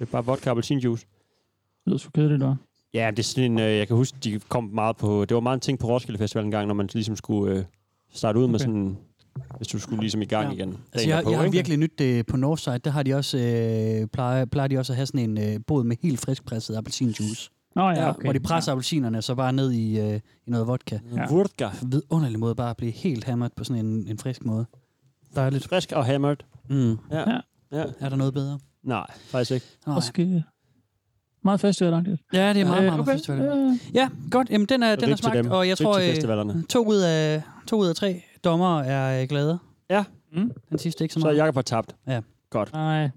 Speaker 3: er bare vodka og appelsinjuice.
Speaker 5: Det lyder sgu kedeligt, det var.
Speaker 3: Ja, det er sådan en, øh, jeg kan huske, de kom meget på, det var meget en ting på Roskilde Festival en gang, når man ligesom skulle øh, starte ud okay. med
Speaker 5: Okay.
Speaker 3: sådan, hvis du skulle ligesom i gang
Speaker 4: Ja.
Speaker 3: ja. igen. dagen
Speaker 4: Altså, jeg,
Speaker 3: derpå,
Speaker 4: jeg har
Speaker 3: ikke?
Speaker 4: virkelig nyt det på Northside. Der har de også, øh, plejer, plejer de også at have sådan en øh, båd med helt friskpresset appelsinjuice.
Speaker 5: Nå ja, okay.
Speaker 4: Hvor de presser ja. appelsinerne så bare ned i, øh, i noget vodka.
Speaker 5: Ja.
Speaker 3: Vodka.
Speaker 4: Vidunderlig måde bare at blive helt hammered på sådan en, en frisk måde. Dejligt.
Speaker 3: Frisk og hammered.
Speaker 4: Mm.
Speaker 3: Ja.
Speaker 5: Ja.
Speaker 3: ja.
Speaker 4: Er der noget bedre?
Speaker 3: Nej, faktisk ikke.
Speaker 4: Nej.
Speaker 5: Måske. Meget festivalagtigt.
Speaker 4: Ja, det er meget,
Speaker 5: Øh,
Speaker 4: meget, meget festival.
Speaker 5: øh,
Speaker 4: Ja, godt. Jamen, den er, den er
Speaker 3: Lyt til
Speaker 4: smagt,
Speaker 3: dem.
Speaker 4: og jeg
Speaker 3: Lyt
Speaker 4: tror,
Speaker 3: til
Speaker 4: øh,
Speaker 3: festivalerne.
Speaker 4: to ud, af, to ud af tre dommer er øh, glade.
Speaker 3: Ja.
Speaker 5: Mm.
Speaker 4: Den sidste ikke så
Speaker 3: Så
Speaker 4: meget.
Speaker 3: Jakob har tabt.
Speaker 5: Nej.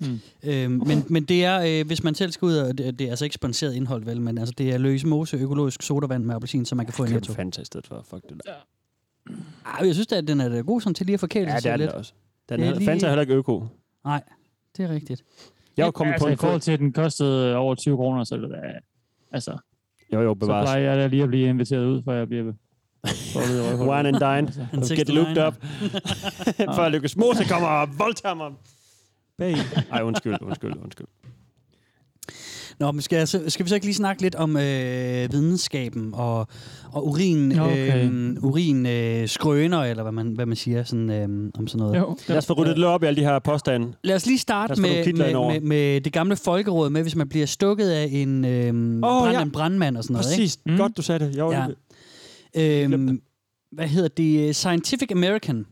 Speaker 5: Mm.
Speaker 4: Øhm, men, men det er, øh, hvis man selv skal ud, og det, det er altså ikke sponsoreret indhold, vel, men altså, det er Løs Mose økologisk sodavand med appelsin, som man kan få i
Speaker 3: Køb
Speaker 4: netto.
Speaker 3: Fanta i stedet for. Fuck det der.
Speaker 4: Ej, jeg synes da, at den er da god sådan til lige at forkæle
Speaker 3: Ja, det
Speaker 4: sig
Speaker 3: er den
Speaker 4: lidt.
Speaker 3: da også. Den
Speaker 4: Det er
Speaker 3: er,
Speaker 4: lige-
Speaker 3: Fanta er heller ikke øko.
Speaker 4: Nej, det er rigtigt.
Speaker 3: Jeg var kommet
Speaker 5: altså,
Speaker 3: på en
Speaker 5: i forhold til, at den kostede over 20 kroner, så er det da- altså,
Speaker 3: Jo, jo,
Speaker 5: så
Speaker 3: bevares.
Speaker 5: plejer jeg da lige at blive inviteret ud, før jeg bliver for at vide
Speaker 3: Wine and dine.
Speaker 5: Altså.
Speaker 4: En
Speaker 3: Get
Speaker 4: 69'er.
Speaker 3: looked up. Før Lukas Mose kommer og voldtager mig. Bag. Ej, undskyld, undskyld, undskyld.
Speaker 4: Nå, men skal, jeg, så- skal vi så ikke lige snakke lidt om øh, videnskaben og, og urin,
Speaker 5: Okay.
Speaker 4: øh, urin øh, skrøner, eller hvad man, hvad man siger sådan, øh, om sådan noget?
Speaker 5: Jo,
Speaker 3: Lad os få ryddet lidt op i alle de her påstande.
Speaker 4: Lad os lige
Speaker 3: Lad os
Speaker 4: starte
Speaker 3: få
Speaker 4: med,
Speaker 3: nogle kitler
Speaker 4: med,
Speaker 3: indover.
Speaker 4: med, med det gamle folkeråd med, hvis man bliver stukket af en, øhm, oh,
Speaker 3: Åh,
Speaker 4: brand, ja.
Speaker 3: ja.
Speaker 4: en brandmand og sådan noget.
Speaker 3: Præcis.
Speaker 5: Mm.
Speaker 3: Godt, du sagde det. Jeg var
Speaker 4: Ja.
Speaker 3: ja.
Speaker 4: Ikke?
Speaker 3: glemte
Speaker 4: Øhm, hvad hedder det? Scientific American,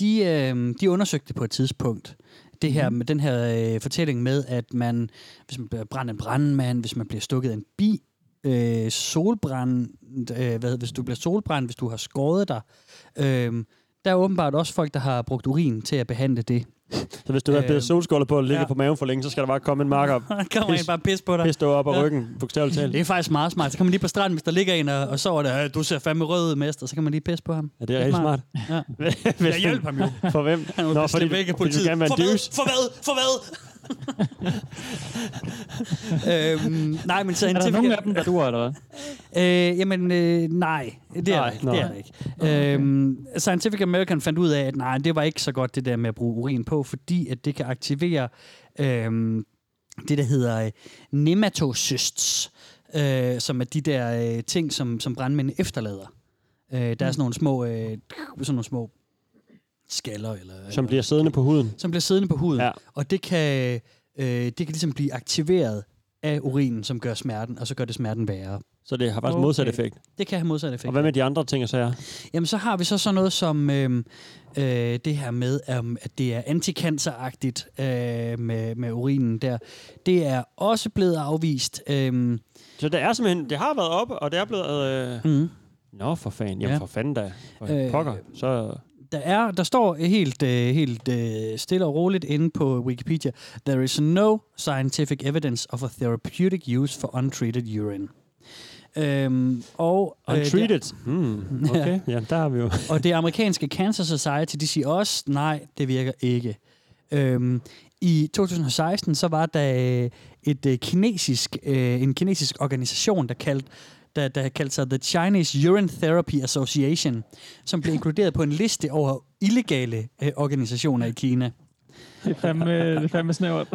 Speaker 4: de, øhm, de undersøgte det på et tidspunkt. Det her
Speaker 3: Mm-hmm.
Speaker 4: med den her øh, fortælling med, at man, hvis man bliver brændt af en brandmand, hvis man bliver stukket af en bi, øh, solbrand, øh, hvad hedder, hvis du bliver solbrændt, hvis du har skåret dig. Øh, der er åbenbart også folk, der har brugt urin til at behandle det.
Speaker 3: Så hvis du har blevet
Speaker 4: Øhm,
Speaker 3: solskålet på og ligger
Speaker 4: ja.
Speaker 3: ja. på maven for længe, så skal der bare komme en marker og
Speaker 4: Der kommer en
Speaker 3: Pis.
Speaker 4: bare pis på dig.
Speaker 3: pisse dig op af
Speaker 4: Ja.
Speaker 3: ryggen, bogstaveligt talt.
Speaker 4: Det er faktisk meget smart. Så kan man lige på stranden, hvis der ligger en og, og sover der, "Øh, du ser fandme rød ud, mester, så kan man lige pisse på ham.
Speaker 3: Ja, det er rigtig smart.
Speaker 4: Ja.
Speaker 3: Hvis-
Speaker 4: Jeg hjalp ham jo.
Speaker 3: For hvem?
Speaker 4: Han var
Speaker 3: Nå,
Speaker 4: bestilt
Speaker 3: fordi,
Speaker 4: væk af
Speaker 3: fordi du
Speaker 4: politiet.
Speaker 3: gerne vil være en
Speaker 4: for, hvad?
Speaker 3: douche.
Speaker 4: for hvad? For hvad? øhm, nej, men så
Speaker 5: Er der
Speaker 4: Antifa-
Speaker 5: nogen af dem, der duer, eller hvad?
Speaker 4: Øh, jamen, øh, nej. Det er,
Speaker 5: Nej,
Speaker 4: nej, det,
Speaker 5: nej.
Speaker 4: det er det ikke. Okay. Øhm, Scientific American fandt ud af, at nej, det var ikke så godt det der med at bruge urin på, fordi at det kan aktivere øhm, det, der hedder øh, nematocysts, øh, som er de der øh, ting, som, som brandmænd efterlader. Øh, der er sådan nogle små, øh, sådan nogle små skaller, eller,
Speaker 3: Som bliver siddende på huden.
Speaker 4: som bliver siddende på huden.
Speaker 3: Ja.
Speaker 4: Ja. Og det kan, øh, det kan ligesom blive aktiveret af urinen, som gør smerten, og så gør det smerten værre.
Speaker 3: Så det har faktisk okay. modsat
Speaker 5: Okay.
Speaker 3: effekt.
Speaker 4: Det kan have modsat effekt.
Speaker 3: Og hvad med de andre ting, så er?
Speaker 4: Jamen, så har vi så sådan noget som øhm, øh, det her med, øhm, at det er antikanceragtigt øh, med, med urinen der. Det er også blevet afvist. Øhm,
Speaker 3: Så det er simpelthen, det har været op, og det er blevet... Øh...
Speaker 4: Mhm.
Speaker 3: Nå, for fanden. Jamen, ja.
Speaker 4: Ja.
Speaker 3: for fanden da. For
Speaker 4: Øh,
Speaker 3: pokker. Så...
Speaker 4: der, er, der står helt, øh, helt øh, stille og roligt inde på Wikipedia, There is no scientific evidence of a therapeutic use for untreated urine. Øhm, og, øh, det-
Speaker 3: Untreated. Hmm, okay, ja, der har vi jo...
Speaker 4: Og det amerikanske Cancer Society, de siger også, nej, det virker ikke. Øhm, I 2016, så var der øh, et øh, kinesisk, øh, en kinesisk organisation, der kaldte der, der kaldte sig The Chinese Urine Therapy Association, som blev inkluderet på en liste over illegale øh, organisationer i Kina.
Speaker 5: Det er fandme, det er fandme snævert.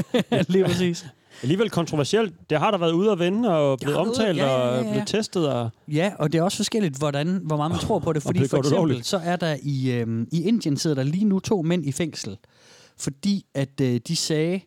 Speaker 4: Lige præcis.
Speaker 3: Alligevel kontroversielt. Det har der været ude at vende, og blevet
Speaker 4: ude-
Speaker 3: omtalt,
Speaker 4: ja, ja, ja,
Speaker 3: og
Speaker 4: ja.
Speaker 3: blevet testet, og...
Speaker 4: Ja, og det er også forskelligt, hvordan, hvor meget man tror på det. Fordi
Speaker 3: det
Speaker 4: for
Speaker 3: gør det
Speaker 4: eksempel,
Speaker 3: ulovligt.
Speaker 4: så er der i, øhm, i Indien sidder der lige nu to mænd i fængsel, fordi at øh, de sagde,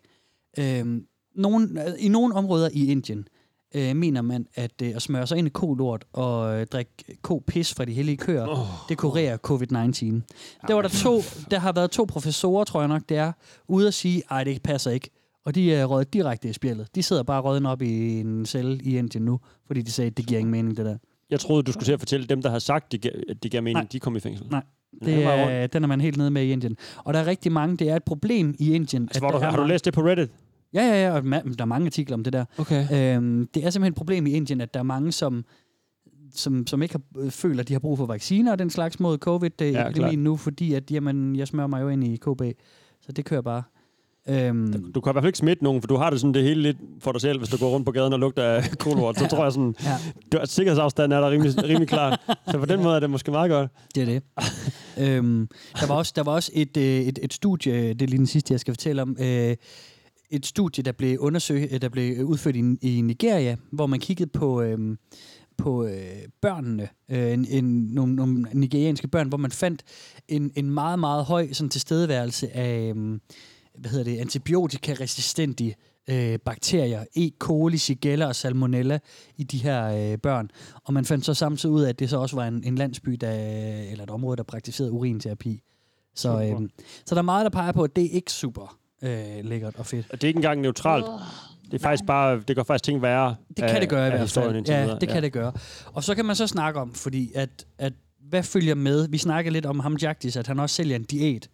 Speaker 4: øhm, nogen, øh, i nogle områder i Indien, øh, mener man, at øh, at smøre sig ind i kolort og øh, drikke ko-pis fra de hellige køer, oh. det kurerer covid-19. Der var der to, der har været to professorer, tror jeg nok det er, ude at sige, ej, det passer ikke. Og de er røget direkte i spjældet. De sidder bare rødden op i en celle i Indien nu, fordi de sagde, det giver ingen mening, det der.
Speaker 3: Jeg troede, du skulle til at fortælle dem, der har sagt, de gav, at de gav mening,
Speaker 4: Nej.
Speaker 3: de kom i fængsel.
Speaker 4: Nej,
Speaker 3: Den
Speaker 4: det
Speaker 3: er meget
Speaker 4: er, den er man helt nede med i Indien. Og der er rigtig mange, det er et problem i Indien.
Speaker 3: Altså, hvor
Speaker 4: der
Speaker 3: du,
Speaker 4: er
Speaker 3: har du
Speaker 4: mange-
Speaker 3: læst det på Reddit?
Speaker 4: Ja, ja, ja, og ma- der er mange artikler om det der.
Speaker 3: Okay.
Speaker 4: Øhm, det er simpelthen et problem i Indien, at der er mange, som, som, som ikke har, øh, føler, at de har brug for vacciner og den slags mod covid-epidemien
Speaker 3: klart.
Speaker 4: nu, fordi at, jamen, jeg smører mig jo ind i KB, så det kører bare. Øhm,
Speaker 3: Du kan i hvert fald ikke smitte nogen, for du har det sådan det hele lidt for dig selv, hvis du går rundt på gaden og lugter af kolort. Så tror jeg sådan,
Speaker 4: ja,
Speaker 3: du, sikkerhedsafstanden er der rimelig, rimelig klart. Så på den måde er det måske meget godt.
Speaker 4: det er det. øhm, der var også, der var også et, øh, et, et studie, det er lige den sidste, jeg skal fortælle om, øh, et studie, der blev, undersøgt, der blev udført i, i Nigeria, hvor man kiggede på, øhm, på øh, børnene, øh, en, en, nogle, nogle nigerianske børn, hvor man fandt en, en meget, meget høj sådan, tilstedeværelse af øhm, hvad hedder det, antibiotikaresistente øh, bakterier, E. coli, Shigella og Salmonella i de her øh, børn. Og man fandt så samtidig ud af, at det så også var en, en landsby, der, eller et område, der praktiserede urinterapi. Så,
Speaker 3: Super.
Speaker 4: øhm, så der er meget, der peger på, at det er ikke super øh, lækkert og fedt.
Speaker 3: Og det er ikke engang neutralt. Det er faktisk bare, det gør faktisk ting værre.
Speaker 4: Det kan det gøre i hvert
Speaker 3: historien
Speaker 4: fald.
Speaker 3: indtil
Speaker 4: Ja,
Speaker 3: videre.
Speaker 4: det kan det gøre. Og så kan man så snakke om, fordi at, at hvad følger med? Vi snakker lidt om ham, Jagdis, at han også sælger en diæt.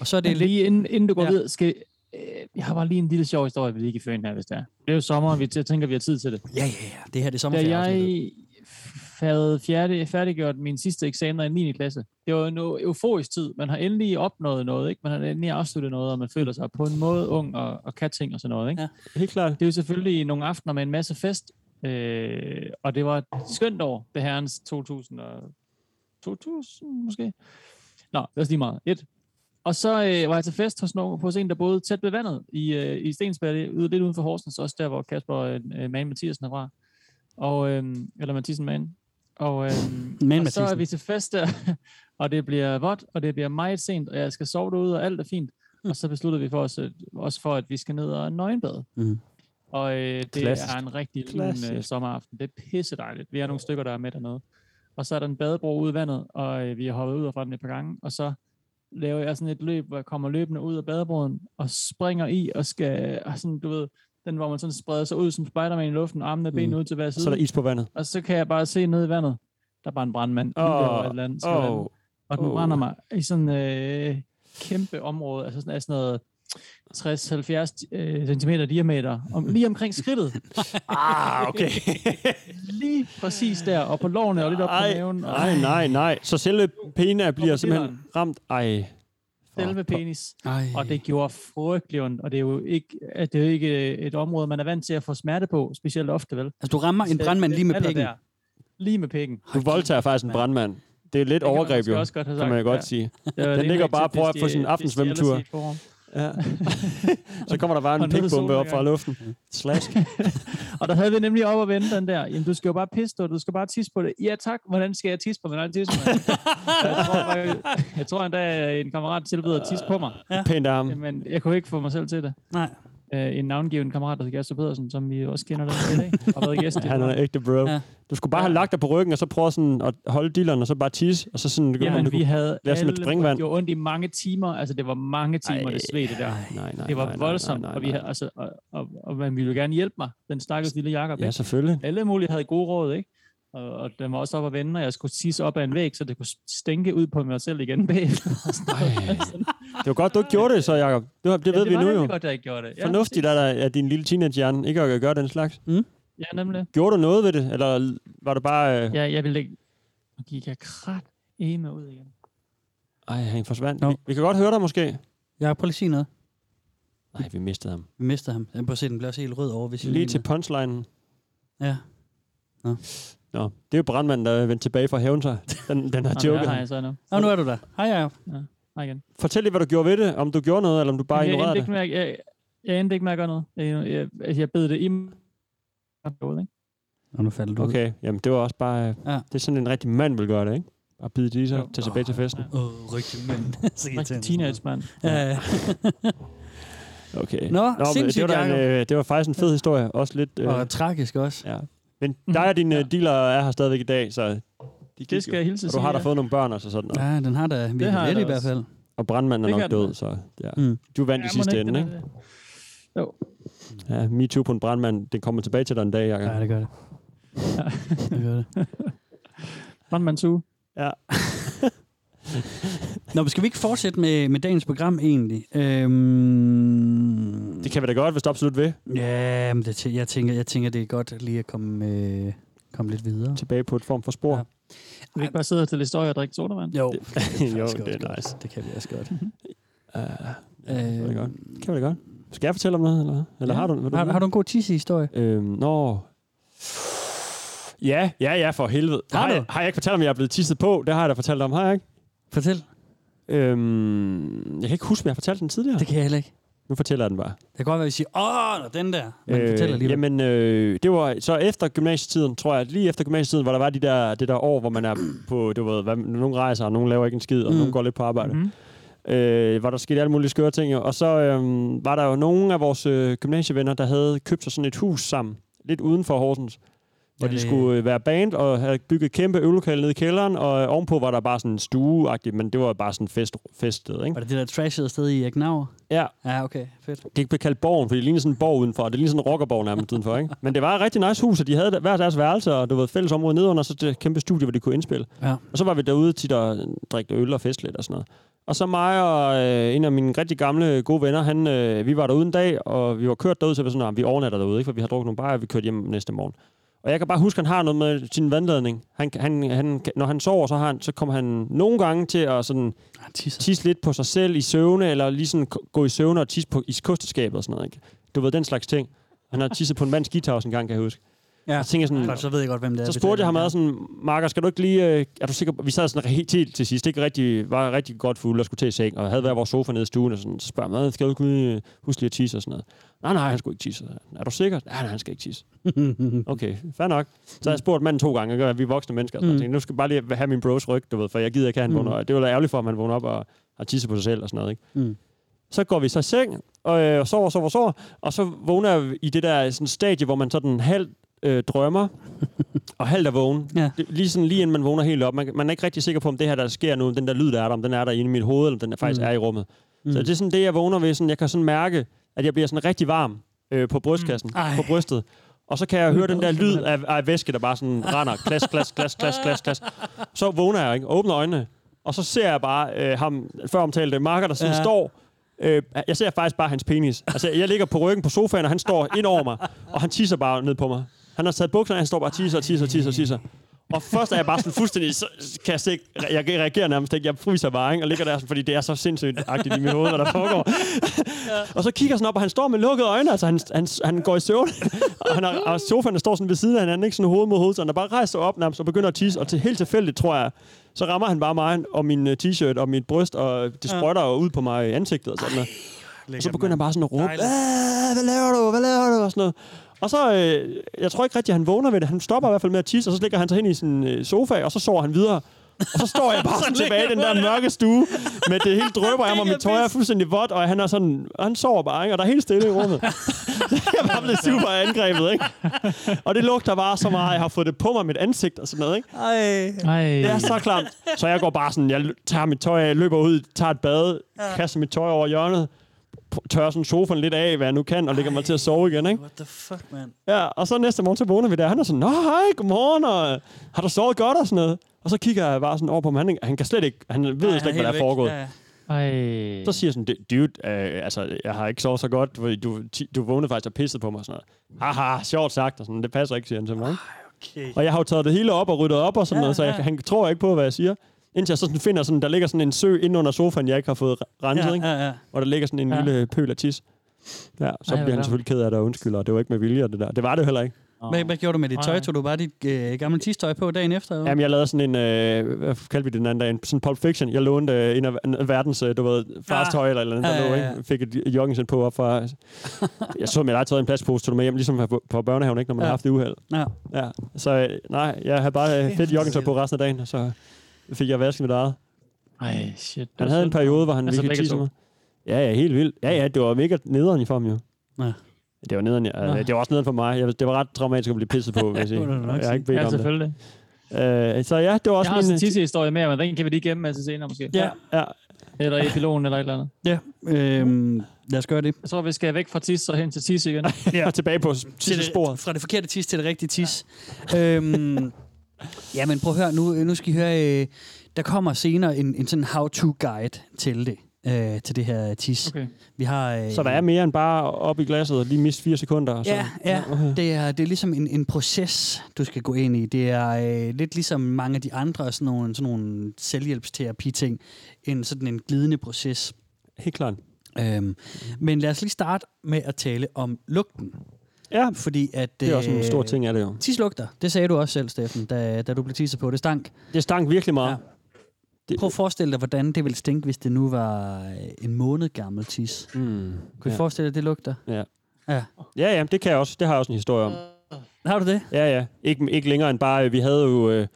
Speaker 4: Og så er
Speaker 5: Det
Speaker 4: det
Speaker 5: er
Speaker 4: lidt...
Speaker 5: lige inden, inden du går
Speaker 4: Ja.
Speaker 5: ja. videre, skal, øh, jeg har bare lige en lille sjov historie, vi lige kan føre ind her, hvis det er. Det er jo sommer, og vi, jeg tænker, vi har tid til det.
Speaker 4: Ja, ja, ja. Det her det er
Speaker 5: Da
Speaker 4: sommerferie. afsnittet.
Speaker 5: jeg f- havde fjerde, færdiggjort min sidste eksamener i 9. klasse, det var jo en eu- euforisk tid. Man har endelig opnået noget, ikke? Man har endelig afsluttet noget, og man føler sig på en måde ung og, og kan ting og sådan noget, ikke?
Speaker 4: Ja.
Speaker 3: Helt klart.
Speaker 5: Det er jo selvfølgelig nogle aftener med en masse fest, øh, og det var et skønt år, det herrens 2000, og 2000 måske. Nå, det er også lige meget. Et. Og så øh, var jeg til fest hos nogen, hos en, der boede tæt ved vandet i, øh, i Stensberg, ude, lidt uden for Horsens, også der, hvor Kasper øh, Man Mathisen er fra. Og, øh, eller Mathisen Man. Og, øh,
Speaker 4: Man
Speaker 5: og så er
Speaker 4: Mathisen.
Speaker 5: vi til fest der, og det bliver vådt, og det bliver meget sent, og jeg skal sove derude, og alt er fint. Og så besluttede vi for os, øh, også for, at vi skal ned og nøgenbade.
Speaker 4: Mhm.
Speaker 5: Og øh, det
Speaker 3: Klassisk.
Speaker 5: er en rigtig lun øh,
Speaker 3: Klassisk.
Speaker 5: sommeraften. Det er pisse dejligt. Vi er nogle stykker, der er med dernede. Og så er der en badebro ude i vandet, og øh, vi har hoppet ud og fra den et par gange. Og så laver jeg sådan et løb, hvor jeg kommer løbende ud af badebroen og springer i og skal, og sådan, du ved, den hvor man sådan spreder sig ud som Spider-Man i luften, armene og benene ud til hver
Speaker 3: Mm. Så er der
Speaker 5: side.
Speaker 3: is på vandet.
Speaker 5: Og så kan jeg bare se ned i vandet. Der er bare en brandmand. lige
Speaker 3: Åh,
Speaker 5: over et eller andet, skal lande.
Speaker 3: Åh,
Speaker 5: Og den
Speaker 3: Åh.
Speaker 5: oh. brænder mig i sådan øh, kæmpe område, altså sådan, af sådan noget 60-70 øh, cm diameter, om, lige omkring skridtet.
Speaker 3: ah, okay.
Speaker 5: Lige præcis der, og på lårene og lidt op på
Speaker 3: Ej,
Speaker 5: maven. Og,
Speaker 3: nej, nej, nej. Så selve pena bliver
Speaker 5: Og på
Speaker 3: simpelthen ramt. Ej,
Speaker 5: del med penis.
Speaker 4: Ej.
Speaker 5: Og det gjorde frygtelig ondt, og det er jo ikke, at det er jo ikke øh, et område, man er vant til at få smerte på, specielt ofte, vel?
Speaker 4: Altså, du rammer en brandmand lige med
Speaker 5: Alder
Speaker 4: pikken.
Speaker 5: der. Lige med pikken.
Speaker 3: Du voldtager faktisk en brandmand. Det er lidt
Speaker 5: man
Speaker 3: overgreb,
Speaker 5: måske
Speaker 3: jo.
Speaker 5: også godt have
Speaker 3: kan man jo
Speaker 5: sagt,
Speaker 3: godt
Speaker 5: ja.
Speaker 3: sige.
Speaker 5: Det var
Speaker 3: Den
Speaker 5: det
Speaker 3: ligger
Speaker 5: indlæg
Speaker 3: bare
Speaker 5: til
Speaker 3: på
Speaker 5: Disney-
Speaker 3: for sådan en aftensvømmetur.
Speaker 5: Disney Forum.
Speaker 3: Ja. så kommer der bare
Speaker 5: Og
Speaker 3: en
Speaker 5: ned i
Speaker 3: pikbombe op
Speaker 5: solnedgang.
Speaker 3: fra luften. Slask.
Speaker 5: Og der havde vi nemlig op at vende den der. Jamen, du skal jo bare pisse, du, du skal bare tisse på det. Ja tak, hvordan skal jeg tisse på min egen tisse? mand? jeg, tror, jeg, jeg tror endda, at en kammerat tilbyder at tisse på mig.
Speaker 3: Pænt arm.
Speaker 5: Men jeg kunne ikke få mig selv til det.
Speaker 4: Nej.
Speaker 5: øh, en navngiven kammerat, der hedder Gerster Pedersen, som vi også kender den i dag, har været gæst. i
Speaker 3: Han er
Speaker 5: programmet.
Speaker 3: en ægte bro.
Speaker 4: Ja.
Speaker 3: Du skulle bare have lagt dig på ryggen, og så prøve sådan at holde dilleren, og så bare tisse, og så sådan... om du
Speaker 5: Jamen, vi
Speaker 3: kunne-
Speaker 5: havde
Speaker 3: lad os med et springvand.
Speaker 5: det var ondt i mange timer. Altså, det var mange timer, det sved det der.
Speaker 3: Nej, nej,
Speaker 5: Det
Speaker 3: nej,
Speaker 5: var
Speaker 3: nej,
Speaker 5: voldsomt,
Speaker 3: nej, nej,
Speaker 5: og, vi havde, altså, og, og, og man ville jo gerne hjælpe mig, den stakkels lille Jakob.
Speaker 3: Ja,
Speaker 5: ikke?
Speaker 3: selvfølgelig.
Speaker 5: Alle mulige havde gode råd, ikke? Og, og den var også op at vende, og jeg skulle tisse op ad en væg, så det kunne stinke ud på mig selv igen bagefter.
Speaker 3: Det var godt, du ikke gjorde det så, Jacob. Det, var- det ved
Speaker 5: det
Speaker 3: vi
Speaker 5: var
Speaker 3: nu
Speaker 5: nemlig
Speaker 3: jo.
Speaker 5: godt, jeg ikke gjorde det. Ja, Mm.
Speaker 3: Fornuftigt er der, at din lille teenagehjerne ikke at gøre den slags.
Speaker 5: Ja, nemlig.
Speaker 3: Gjorde du noget ved det, eller var det bare... Øh...
Speaker 5: Ja, jeg ville ikke... Nu gik jeg krat ene ud igen.
Speaker 3: Ej, han forsvandt.
Speaker 4: Nå.
Speaker 3: Vi, vi kan godt høre dig måske.
Speaker 4: Jeg prøver lige at sige noget.
Speaker 3: Nej, vi mistede ham.
Speaker 4: Vi mister ham. Jeg prøver at se, den bliver også helt rød over, hvis jeg
Speaker 3: Lige til punchlinen.
Speaker 4: Ja.
Speaker 3: Nå, det er jo brandmanden, der vendte tilbage fra at hævne sig. Den, den har
Speaker 5: Nå,
Speaker 3: joket.
Speaker 5: der har
Speaker 3: ham.
Speaker 5: jeg så nu.
Speaker 4: Nå, nu er du der. Hej, Jacob.
Speaker 5: Hej igen.
Speaker 3: Fortæl lige, hvad du gjorde ved det. Om du gjorde noget, eller om du bare
Speaker 5: jeg
Speaker 3: ignorerede
Speaker 5: endte
Speaker 3: det.
Speaker 5: ikke med, at, jeg, jeg endte ikke med at gøre noget. Jeg, jeg, altså, jeg bed det i mig. Ikke?
Speaker 4: Nå, nu falder du ud.
Speaker 3: Okay, jamen det var også bare... Øh,
Speaker 4: Ja.
Speaker 3: Det er sådan, en rigtig mand vil gøre det, ikke? At bide det i sig,
Speaker 5: Jo.
Speaker 3: tage tilbage til festen.
Speaker 4: Åh, oh, rigtig mænd. Så
Speaker 5: Rigtig
Speaker 4: irriterende.
Speaker 5: teenage, mand.
Speaker 4: Ja, ja.
Speaker 3: Okay.
Speaker 4: Nå,
Speaker 3: men det, var
Speaker 4: sindssygt,
Speaker 3: da en,
Speaker 4: Jacob.
Speaker 3: øh, det var faktisk en fed historie. Også lidt... Øh,
Speaker 4: Og tragisk også.
Speaker 3: ja. Men
Speaker 4: Mhm.
Speaker 3: dig og dine ja. dealer er her stadigvæk i dag, så... De gik
Speaker 5: Det skal
Speaker 3: jo.
Speaker 5: jeg hilse
Speaker 3: Og
Speaker 5: sige.
Speaker 3: du har da
Speaker 5: ja.
Speaker 3: fået nogle børn og så sådan noget.
Speaker 4: Ja, den har da
Speaker 5: har
Speaker 4: virkelig
Speaker 5: jeg
Speaker 4: lidt i
Speaker 5: da
Speaker 4: hvert
Speaker 5: også.
Speaker 4: fald.
Speaker 3: Og brandmanden
Speaker 5: Det
Speaker 3: er nok
Speaker 5: kan den
Speaker 3: død,
Speaker 5: da.
Speaker 3: så ja.
Speaker 4: Mm.
Speaker 3: du vandt
Speaker 5: Ja,
Speaker 3: i
Speaker 5: mon
Speaker 3: sidste ende,
Speaker 5: den
Speaker 3: ikke?
Speaker 5: er det.
Speaker 3: Ja, MeToo på en brandmand, det kommer tilbage til dig en dag, Jacob.
Speaker 4: Ja, det gør det.
Speaker 5: Ja.
Speaker 4: det, gør det.
Speaker 5: Brandmand Sue.
Speaker 4: Nå, men skal vi ikke fortsætte med, med dagens program egentlig? Øhm,
Speaker 3: Det kan vi da godt, hvis du
Speaker 4: Øh,
Speaker 3: absolut vil.
Speaker 4: ja, men det, tæ- jeg, tænker, jeg tænker, det er godt lige at komme, øh, komme lidt videre.
Speaker 3: Tilbage på et form for spor.
Speaker 4: Ja.
Speaker 3: Ja.
Speaker 5: Kan vi ikke bare sidde og fortælle historier og drikke sodavand? Mhm.
Speaker 4: Jo, det, faktisk
Speaker 3: jo, det er
Speaker 4: også godt.
Speaker 3: nice.
Speaker 4: Det kan vi også godt.
Speaker 3: ja, det kan vi
Speaker 4: Øhm,
Speaker 3: da godt. Det kan vi da godt. Skal jeg fortælle om noget, eller hvad? Eller
Speaker 4: ja.
Speaker 3: har du, vil
Speaker 4: har, har du en god tissehistorie?
Speaker 3: Øhm, nå... Ja, ja, ja, for helvede.
Speaker 4: Har du?
Speaker 3: jeg, har jeg ikke fortalt om, jeg er blevet tisset på? Det har jeg da fortalt om, har jeg ikke?
Speaker 4: Fortæl.
Speaker 3: Øhm, jeg kan ikke huske, om jeg har fortalt den tidligere.
Speaker 4: Det kan jeg heller ikke.
Speaker 3: Nu fortæller jeg den bare.
Speaker 4: Det kan godt være, at vi siger, åh, nå, den der. Men øh, fortæl lige.
Speaker 3: Jamen, øh, det var så efter gymnasietiden, tror jeg, lige efter gymnasietiden, hvor der var de der, det der år, hvor man er på, du ved, hvad, nogen rejser, og nogen laver ikke en skid,
Speaker 4: Mm.
Speaker 3: og
Speaker 4: Mm-hmm.
Speaker 3: mm. nogen går lidt på arbejde.
Speaker 5: Mhm.
Speaker 3: Mm. Øh, hvor der skete alle mulige skøre ting, jo. og så øh, var der jo nogle af vores øh, gymnasievenner, der havde købt sig sådan et hus sammen, lidt uden for Horsens. Hvor
Speaker 4: Ja,
Speaker 3: de
Speaker 4: det-
Speaker 3: skulle øh, være band og havde bygget et kæmpe øvelokale nede i kælderen, og øh, ovenpå var der bare sådan en stue men det var bare sådan fest, feststed, ikke?
Speaker 4: Var det det der trashede sted i Agnaver?
Speaker 3: Ja,
Speaker 4: Ja, okay. Fedt.
Speaker 3: det blev kaldt borgen, fordi det lignede sådan en borg udenfor. Det lignede sådan en rockerborg nærmest udenfor, ikke? Men det var et rigtig nice hus, og de havde hver deres værelse, og det var et fælles område nedenunder, og så det kæmpe studie, hvor de kunne indspille.
Speaker 4: Ja.
Speaker 3: Og så var vi derude tit og drikke øl og fest lidt og sådan noget. Og så mig og øh, en af mine rigtig gamle gode venner, han, øh, vi var derude en dag, og vi var kørt derud, så vi var sådan, at vi overnatter derude, ikke? for vi har drukket nogle bajer, og vi kørte hjem næste morgen. Og jeg kan bare huske, at han har noget med sin vandladning. Han, han, han, når han sover, så, har han, så kommer han nogle gange til at sådan,
Speaker 4: Ah, tisse.
Speaker 3: tisse lidt på sig selv i søvne, eller lige sådan k- gå i søvne og tisse på i kosteskabet og sådan noget. Ikke? Du ved, den slags ting. Han har tisset på en mands guitar en gang, kan jeg huske.
Speaker 4: Ja.
Speaker 3: Ja. Så tænkte jeg sådan,
Speaker 4: Godt, så ved jeg godt, hvem det er.
Speaker 3: så
Speaker 4: hvis
Speaker 3: spurgte jeg ham
Speaker 4: det er.
Speaker 3: ad sådan, Marker, skal du ikke lige... Øh, er du sikker på-" Vi sad sådan helt til, til sidst, ikke rigtig, var rigtig godt fulde og skulle til i seng, og havde hver vores sofa nede i stuen, og sådan, så spørger man, skal du ikke lige øh, huske lige at tisse og sådan noget? Nej, nej, han skulle ikke tisse. Er du sikker? Nej, nej, han skal ikke tisse. Okay, fair nok. Så har jeg spurgt manden to gange, ikke? og vi er voksne mennesker, så jeg tænkte, nu skal jeg bare lige have min bros ryg, du ved, for jeg gider ikke, at han vågner. op. Det var da ærgerligt for, at man vågner op og har tisset på sig selv og sådan noget, ikke? Så går vi så i seng, og øh, sover, sover, sover, og så vågner jeg i det der sådan, stadie, hvor man sådan halvt øh, drømmer, og halvt er vågen.
Speaker 4: Ja.
Speaker 3: Det, lige, sådan, lige inden man vågner helt op. Man, man er ikke rigtig sikker på, om det her, der sker nu, om den der lyd, der er der, om den er der inde i mit hoved, eller om den er, faktisk mm. er i rummet. Mm. Så det er sådan det, jeg vågner ved. Sådan, jeg kan sådan mærke, at jeg bliver sådan rigtig varm øh, på brystkassen,
Speaker 4: Ej.
Speaker 3: mm. på brystet. Og så kan jeg høre den der lyd af, af væske, der bare sådan render. Klas, klas, klas, klas, klas, klas. Så vågner jeg, ikke? Åbner øjnene. Og så ser jeg bare øh, ham, før omtalte Marker, der sådan
Speaker 4: Ja.
Speaker 3: ja. står Øh, jeg ser faktisk bare hans penis. Altså, jeg ligger på ryggen på sofaen, og han står ind over mig, og han tisser bare ned på mig. Han har taget bukserne, og han står bare og tisser og tisser og tisser og tisser. Og først er jeg bare sådan fuldstændig, så kan jeg, slet ikke, jeg reagerer nærmest ikke, jeg fryser bare, ikke? og ligger der sådan, fordi det er så sindssygt agtigt i mit hoved, hvad der foregår. og så kigger jeg sådan op, og han står med lukkede øjne, altså han, han, han går i søvn, og, han er, og sofaen står sådan ved siden af hinanden, ikke sådan hoved mod hoved, så han er bare rejst sig op nærmest og begynder at tisse, og til helt tilfældigt, tror jeg, så rammer han bare mig og min øh, t-shirt og mit bryst, og det sprøjter jo ud på mig i ansigtet og sådan noget. Og så begynder han bare sådan at råbe,
Speaker 10: Dejligt.
Speaker 3: "Ah, hvad laver du, hvad laver du, og sådan noget. Og så, øh, jeg tror ikke rigtig, at han vågner ved det. Han stopper i hvert fald med at tisse, og så ligger han sig hen i sin øh, sofa, og så sover han videre. Og så står jeg bare sådan tilbage i den der mørke stue, med det hele drøber af mig, mit tøj er fuldstændig vådt, og han er sådan, og han sover bare, ikke? og der er helt stille i rummet. jeg var blevet super angrebet, ikke? Og det lugter bare så meget, jeg har fået det på mig, mit ansigt og sådan noget, ikke?
Speaker 10: Ej.
Speaker 5: Ej,
Speaker 3: Det er så klamt. Så jeg går bare sådan, jeg lø- tager mit tøj af, løber ud, tager et bad, kaster mit tøj over hjørnet, p- tørrer sådan sofaen lidt af, hvad jeg nu kan, og lægger mig til at sove igen, ikke?
Speaker 10: What the fuck, man?
Speaker 3: Ja, og så næste morgen, så vågner vi der. Han er sådan, Nå, hej, godmorgen, og har du sovet godt og sådan noget? Og så kigger jeg bare sådan over på ham. Han, han kan slet ikke, han ved slet ikke, hvad der er foregået.
Speaker 10: Ja, ja.
Speaker 5: ej.
Speaker 3: Så siger jeg sådan, "Du- dude, øh, altså, jeg har ikke sovet så godt, fordi du, ti- du vågnede faktisk og pissede på mig og sådan noget. Haha, sjovt sagt, og sådan, det passer ikke, siger han til mig. ikke?
Speaker 10: Okay.
Speaker 3: Og jeg har jo taget det hele op og ryddet op og sådan
Speaker 10: Ja,
Speaker 3: ja, noget, så jeg,
Speaker 10: ja.
Speaker 3: han tror ikke på, hvad jeg siger. Indtil jeg så sådan finder sådan, der ligger sådan en sø inde under sofaen, jeg ikke har fået re- renset,
Speaker 10: Ja,
Speaker 3: ikke?
Speaker 10: ja, ja.
Speaker 3: Og der ligger sådan en
Speaker 5: Ja.
Speaker 3: ja. lille pøl af tis. Ja, så
Speaker 5: hvor
Speaker 3: bliver han
Speaker 5: klamt.
Speaker 3: selvfølgelig ked af det og undskylder, og det var ikke med vilje og det der. Det var det jo heller ikke.
Speaker 4: Hvad, hvad gjorde du med dit tøj?
Speaker 5: Ej.
Speaker 4: Tog du bare dit øh, gamle tistøj på dagen efter? Eller? hvad?
Speaker 3: Jamen, jeg lavede sådan en, øh, hvad kaldte vi det den anden dag, en, sådan Pulp Fiction. Jeg lånte øh, en af en- verdens, øh, du ved, fars
Speaker 4: Ah.
Speaker 3: tøj eller et eller andet,
Speaker 4: Ja,
Speaker 3: der lå,
Speaker 4: ja, ja.
Speaker 3: ikke? Fik et joggingsæt på op fra... jeg så, at jeg havde taget en plastpose, tog det med hjem, ligesom på, på børnehaven, ikke, når man
Speaker 4: Ja.
Speaker 3: har haft det uheld.
Speaker 4: Ja.
Speaker 3: Ja, så øh, nej, jeg havde bare øh, fedt joggingtøj på resten af dagen, og så fik jeg vasket mit eget.
Speaker 5: Ej, shit.
Speaker 3: Han havde en periode, hvor han
Speaker 5: Altså,
Speaker 3: altså, virkelig
Speaker 5: begge
Speaker 3: tissede
Speaker 5: to.
Speaker 3: mig. Ja, ja, helt vildt. Ja, ja, det var mega nederen i form, jo.
Speaker 4: Ja.
Speaker 3: Det var, nederen,
Speaker 5: Nå.
Speaker 3: øh, det var også nederen for mig. Jeg, det var ret traumatisk at blive pisset på, vil jeg sige.
Speaker 4: må du nok
Speaker 3: Jeg har
Speaker 4: sige.
Speaker 3: ikke bedt om
Speaker 5: Ja,
Speaker 3: det.
Speaker 5: selvfølgelig.
Speaker 3: Øh, så ja, det var
Speaker 5: Jeg
Speaker 3: også
Speaker 5: har også
Speaker 3: min...
Speaker 5: en tissehistorie med, men den kan vi lige gemme altså senere måske.
Speaker 3: ja, ja,
Speaker 5: Eller i epilogen eller et eller andet.
Speaker 4: ja. Øhm, lad os gøre det.
Speaker 5: Jeg tror, vi skal væk fra tisse og hen til tisse igen.
Speaker 3: ja. og tilbage på sidste spor.
Speaker 4: Fra det forkerte tis til det rigtige tis. Ja. Øhm, ja, men prøv at høre, nu, nu skal I høre, øh, der kommer senere en, en sådan how-to-guide til det, øh, til det her tis.
Speaker 5: Okay.
Speaker 4: Vi har, øh,
Speaker 3: Så der er mere end bare op i glasset og lige miste fire sekunder. Og så.
Speaker 4: Ja, ja. Det, er, det er ligesom en, en proces, du skal gå ind i. Det er øh, lidt ligesom mange af de andre sådan nogle, sådan nogle selvhjælpsterapi-ting. En, sådan en glidende proces.
Speaker 3: Helt klart.
Speaker 4: Øhm, men lad os lige starte med at tale om lugten.
Speaker 3: Ja,
Speaker 4: Fordi at,
Speaker 3: det er også en stor
Speaker 4: øh,
Speaker 3: ting, er det jo.
Speaker 4: Tislugter, det sagde du også selv, Steffen, da, da du blev tisset på. Det stank.
Speaker 3: Det stank virkelig meget.
Speaker 4: Ja.
Speaker 3: Det,
Speaker 4: Prøv at forestille dig, hvordan det ville stinke, hvis det nu var øh, en måned gammel tis.
Speaker 3: mm,
Speaker 4: Kunne ja. I
Speaker 3: ja.
Speaker 4: forestille dig, det lugter?
Speaker 3: Ja.
Speaker 4: ja.
Speaker 3: ja, ja, det kan jeg også. Det har jeg også en historie om.
Speaker 4: Har du det?
Speaker 3: Ja, ja. Ikke, ikke længere end bare, øh, vi havde jo... Øh,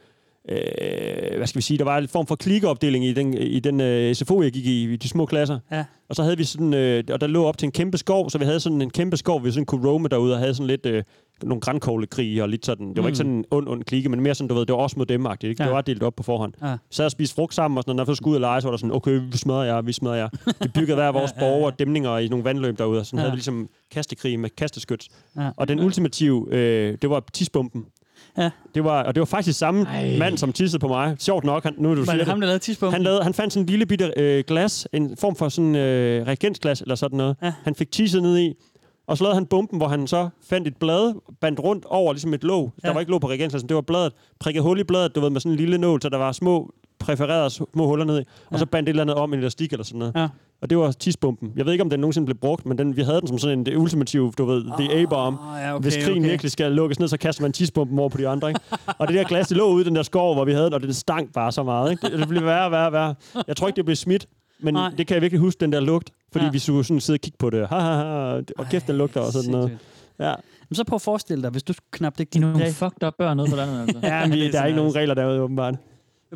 Speaker 3: øh, hvad skal vi sige, der var en form for klikkeopdeling i den, i den øh, SFO, jeg gik i, i de små klasser.
Speaker 4: Ja.
Speaker 3: Og så havde vi sådan, øh, og der lå op til en kæmpe skov, så vi havde sådan en kæmpe skov, vi sådan kunne roame derude og havde sådan lidt øh, nogle grankoglekrige og lidt sådan, det var ikke sådan en ond, ond klikke, men mere sådan, du ved, det var også mod dem ikke? Ja.
Speaker 4: Mm. Ja.
Speaker 3: Det var delt op på forhånd.
Speaker 4: Ja.
Speaker 3: Så og spiste frugt sammen, og sådan, og når vi skulle ud og lege, så var der sådan, okay, vi smadrer jer, vi smadrer jer. Vi byggede hver vores borger og dæmninger i nogle vandløb derude, og sådan
Speaker 4: Ja.
Speaker 3: ja. havde vi ligesom kastekrig med kasteskyt.
Speaker 4: Ja.
Speaker 3: Og den ultimative, øh, det var tisbomben.
Speaker 4: Ja.
Speaker 3: Det var, og det var faktisk samme
Speaker 5: Ej.
Speaker 3: Ej. mand, som tissede på mig. Sjovt nok, han, nu er du
Speaker 4: Var
Speaker 3: siger
Speaker 4: det ham,
Speaker 3: det.
Speaker 4: der lavede tispumpen?
Speaker 3: Han, lavede, han fandt sådan en lille bitte øh, glas, en form for sådan øh, reagensglas eller sådan noget.
Speaker 4: Ja.
Speaker 3: Han fik tisset ned i, og så lavede han bomben, hvor han så fandt et blad, bandt rundt over ligesom et låg. Ja.
Speaker 4: Ja.
Speaker 3: Der var ikke låg på reagensglasen, det var bladet. Prikket hul i bladet, du ved, med sådan en lille nål, så der var små præfererede små huller ned i, og
Speaker 4: Ja.
Speaker 3: så bandt et eller andet om i en elastik eller sådan noget.
Speaker 4: Ja.
Speaker 3: Og det var tisbomben. Jeg ved ikke, om den nogensinde blev brugt, men den, vi havde den som sådan en det ultimative, du ved, the A-bomb.
Speaker 4: Åh, Ah, ja, okay,
Speaker 3: Okay, Hvis krigen
Speaker 4: okay.
Speaker 3: okay. virkelig skal lukkes ned, så kaster man tidsbomben over på de andre. Ikke? Og det der glas, det lå ude i den der skov, hvor vi havde den, og det stank bare så meget. Ikke? Det, det blev værre og værre og værre. Jeg tror ikke, det blev smidt, men
Speaker 4: Nej.
Speaker 3: Nej. det kan jeg virkelig huske, den der lugt. Fordi
Speaker 4: Ja.
Speaker 3: ja. vi skulle sådan sidde og kigge på det. Ha, ha, ha, og kæft, den lugter og sådan noget.
Speaker 4: Sindssygt.
Speaker 3: Ja,
Speaker 4: Men så prøv at forestille dig, hvis du knap ikke
Speaker 5: De er nogle
Speaker 4: glas-
Speaker 5: fucked up børn nede på landet, altså.
Speaker 3: ja
Speaker 4: Det er
Speaker 3: vi, der er
Speaker 4: sådan
Speaker 3: ikke nogen regler derude, åbenbart.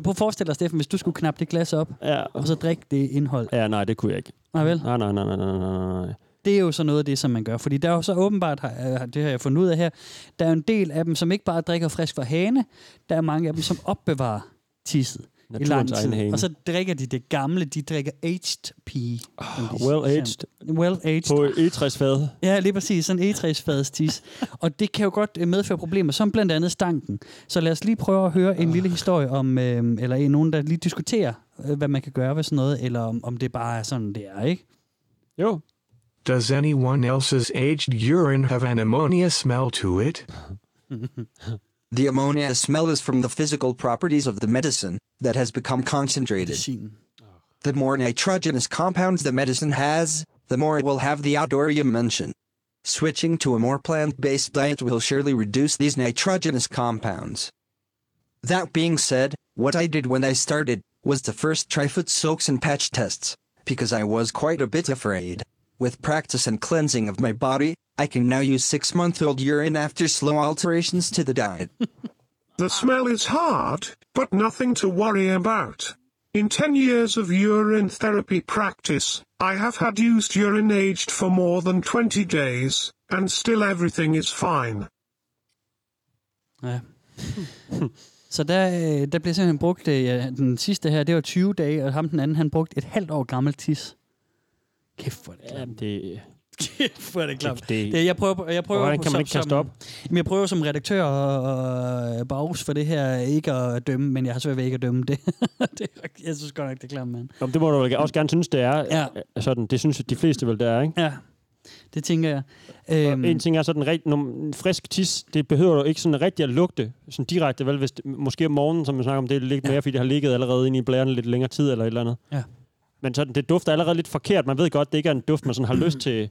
Speaker 4: Prøv at forestille dig, Steffen, hvis du skulle knappe det glas op,
Speaker 3: Ja.
Speaker 4: og så drikke det indhold.
Speaker 3: ja, nej, det kunne jeg ikke.
Speaker 4: Nej vel?
Speaker 3: Nej, nej, nej, nej, nej, nej, nej.
Speaker 4: Det er jo så noget af det, som man gør. Fordi der er jo så åbenbart, har- øh, det har jeg fundet ud af her, der er jo en del af dem, som ikke bare drikker frisk fra hane, der er mange af dem, som opbevarer tisset i lang
Speaker 3: Naturens
Speaker 4: tid.
Speaker 3: egen hane.
Speaker 4: Og så drikker de det gamle, de drikker aged pee. som de
Speaker 3: Well
Speaker 4: siger.
Speaker 3: aged
Speaker 4: Well aged.
Speaker 3: på egetræsfad.
Speaker 4: Ja, lige præcis. Sådan en egetræsfadstis. og det kan jo godt øh, medføre problemer, som blandt andet stanken. Så lad os lige prøve at høre
Speaker 3: Ah.
Speaker 4: en lille historie om, øh, eller en, nogen, der lige diskuterer, øh, hvad man kan gøre ved sådan noget, eller om, om det bare er sådan, det er, ikke?
Speaker 3: Jo,
Speaker 11: Does anyone else's aged urine have an ammonia smell to it?
Speaker 10: The ammonia smell is from the physical properties of the medicine that has become concentrated.
Speaker 4: Medicin.
Speaker 10: The more nitrogenous compounds the medicine has, the more it will have the outdorium mention. Switching to a more plant-based diet will surely reduce these nitrogenous compounds. That being said, what I did when I started was the first try foot soaks and patch tests, because I was quite a bit afraid. With practice and cleansing of my body, I can now use six-month-old urine after slow alterations to the diet.
Speaker 11: The smell is hard, but nothing to worry about. In 10 years of urine therapy practice, I have had used urine aged for more than 20 days, and still everything is fine.
Speaker 4: Ja. Så der, øh, der blev simpelthen brugt, øh, ja, den sidste her, det var 20 dage, og ham den anden, han brugte et halvt år gammelt tis. Kæft, hvor er det klamt.
Speaker 3: Jamen, det...
Speaker 4: Kæft, hvor er det klamt.
Speaker 3: Det-
Speaker 4: Det, jeg prøver, på- jeg prøver
Speaker 3: Hvordan
Speaker 4: på-
Speaker 3: kan man
Speaker 4: som,
Speaker 3: ikke kaste
Speaker 4: som,
Speaker 3: op?
Speaker 4: Jamen, jeg prøver som redaktør og, og bagus for det her ikke at dømme, men jeg har svært ved ikke at dømme det. det er- jeg synes godt nok, det er klamt, mand.
Speaker 3: Jamen, det må du vel også gerne synes, det er.
Speaker 4: Ja.
Speaker 3: Ja. Sådan, det synes de fleste vel, det er, ikke?
Speaker 4: Ja, det tænker jeg. Øhm,
Speaker 3: Mm. En ting er sådan rigt, nom- en frisk tis, det behøver du ikke sådan rigtig at lugte sådan direkte, vel? Hvis det, måske om morgenen, som vi snakker om, det er lidt mere, fordi det har ligget allerede inde i blærerne lidt længere tid eller et eller andet.
Speaker 4: Ja.
Speaker 3: Men sådan, det dufter allerede lidt forkert. Man ved godt, det ikke er en duft, man sådan har lyst til.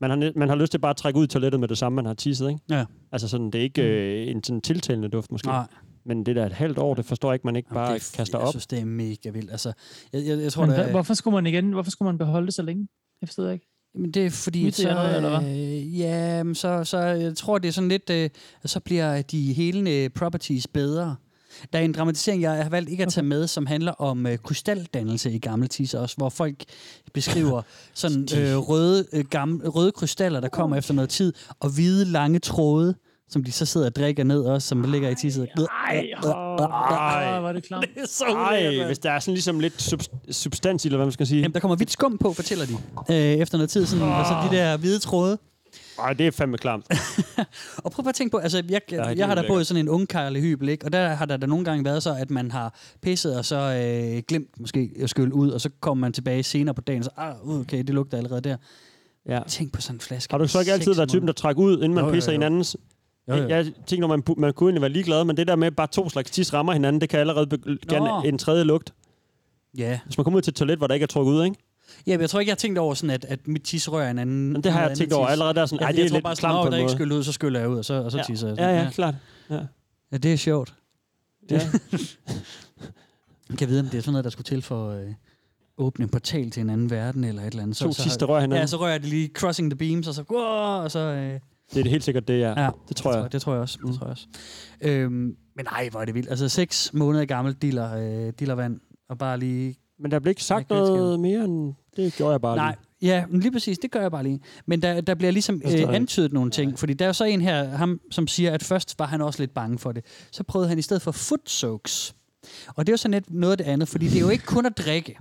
Speaker 3: Man har, næ- man har lyst til bare at trække ud i toilettet med det samme, man har tisset, ikke?
Speaker 4: ja. Mm.
Speaker 3: Altså sådan, det er ikke øh, en sådan tiltalende duft måske.
Speaker 4: Nej.
Speaker 3: Men det der et halvt år, det forstår jeg ikke, man ikke bare
Speaker 4: det, er-
Speaker 3: kaster
Speaker 4: Jeg
Speaker 3: op.
Speaker 4: synes, det er mega vildt. Altså, jeg, jeg, jeg tror,
Speaker 5: Men
Speaker 4: der,
Speaker 5: hvad, hvorfor skulle man igen, hvorfor skulle man beholde det så længe? Jeg forstår det ikke.
Speaker 4: Jamen, det er fordi,
Speaker 5: Nyt i
Speaker 4: så,
Speaker 5: januar, eller hvad?
Speaker 4: øh, ja, men så, så jeg tror, det er sådan lidt, øh, at så bliver de helende properties bedre. Der er en dramatisering, jeg har valgt ikke at tage med, som handler om øh, krystaldannelse i gamle teaser også, hvor folk beskriver sådan øh, røde, øh, gamle, røde krystaller, der kommer efter noget tid, og hvide lange tråde, som de så sidder og drikker ned også, som ligger i tisset.
Speaker 5: Ej,
Speaker 3: Ej.
Speaker 5: oh, var det klart.
Speaker 4: Det er så ulækkert,
Speaker 3: Ej,
Speaker 4: mand.
Speaker 3: hvis der er sådan ligesom lidt subs- substans i, eller hvad man skal sige.
Speaker 4: Jamen, der kommer hvidt skum på, fortæller de, øh, efter noget tid, sådan, og så de der hvide tråde.
Speaker 3: Ej, det er fandme klamt.
Speaker 4: Og prøv bare at tænke på, altså jeg, jeg,
Speaker 3: det er
Speaker 4: jeg har da
Speaker 3: ulækkert.
Speaker 4: boet i sådan en ungkarlig hybel, ikke? og der har der da nogle gange været så, at man har pisset og så øh, glemt måske at skylle ud, og så kommer man tilbage senere på dagen, så ah, okay, det lugter allerede der.
Speaker 3: Ja.
Speaker 4: Tænk på sådan en flaske.
Speaker 3: Har du så ikke
Speaker 4: i
Speaker 3: altid
Speaker 4: seks
Speaker 3: været typen, der
Speaker 4: måneder.
Speaker 3: trækker ud, inden man
Speaker 4: Jo, jo,
Speaker 3: pisser
Speaker 4: jo.
Speaker 3: hinandens?
Speaker 4: Jo, jo.
Speaker 3: Jeg tænker, når man, bu- man kunne egentlig være ligeglad, men det der med, at bare to slags tis rammer hinanden, det kan allerede begynde
Speaker 4: Nå.
Speaker 3: en tredje lugt.
Speaker 4: Ja.
Speaker 3: Hvis man kommer ud til et toilet, hvor der ikke er trukket ud, ikke?
Speaker 4: ja, men jeg tror ikke, jeg har tænkt over sådan, at, at mit tis rører en anden.
Speaker 3: Men det har
Speaker 4: en
Speaker 3: jeg
Speaker 4: anden
Speaker 3: tænkt over
Speaker 4: tis.
Speaker 3: allerede der, er sådan,
Speaker 4: Jeg,
Speaker 3: ej,
Speaker 4: jeg,
Speaker 3: det er
Speaker 4: tror
Speaker 3: lidt
Speaker 4: bare
Speaker 3: klamt
Speaker 4: sådan,
Speaker 3: på
Speaker 4: "Nå, der er
Speaker 3: en
Speaker 4: ikke
Speaker 3: måde.
Speaker 4: skyllet ud, så skyller jeg ud, og så, og så tisser jeg.
Speaker 3: Ja, ja, klart. Ja.
Speaker 4: ja, det er sjovt.
Speaker 3: Ja.
Speaker 4: Man kan vide, om det er sådan noget, der skulle til for øh, åbne en portal til en anden verden, eller et eller andet.
Speaker 3: To
Speaker 4: så,
Speaker 3: tis, der rører hinanden.
Speaker 4: Ja, så rører jeg det lige crossing the beams, og så... Wow, og så øh,
Speaker 3: Det er det helt sikkert det, ja.
Speaker 4: Ja,
Speaker 3: Det tror jeg. Mm.
Speaker 4: Det tror jeg også. Det tror jeg også. Øhm, men nej, hvor er det vildt. Altså, seks måneder gammel diller, øh, dillervand, og bare lige...
Speaker 3: Men der blev ikke sagt
Speaker 4: Jeg kan ikke
Speaker 3: noget mere end... Det gjorde jeg bare
Speaker 4: Nej, ja, men lige præcis, det gør jeg bare lige. Men der, der bliver ligesom
Speaker 3: står
Speaker 4: øh,
Speaker 3: det.
Speaker 4: antydet nogle ting, fordi der er jo så en her, ham, som siger, at først var han også lidt bange for det. Så prøvede han i stedet for foot soaks. Og det er jo sådan lidt noget af det andet, fordi det er jo ikke kun at drikke.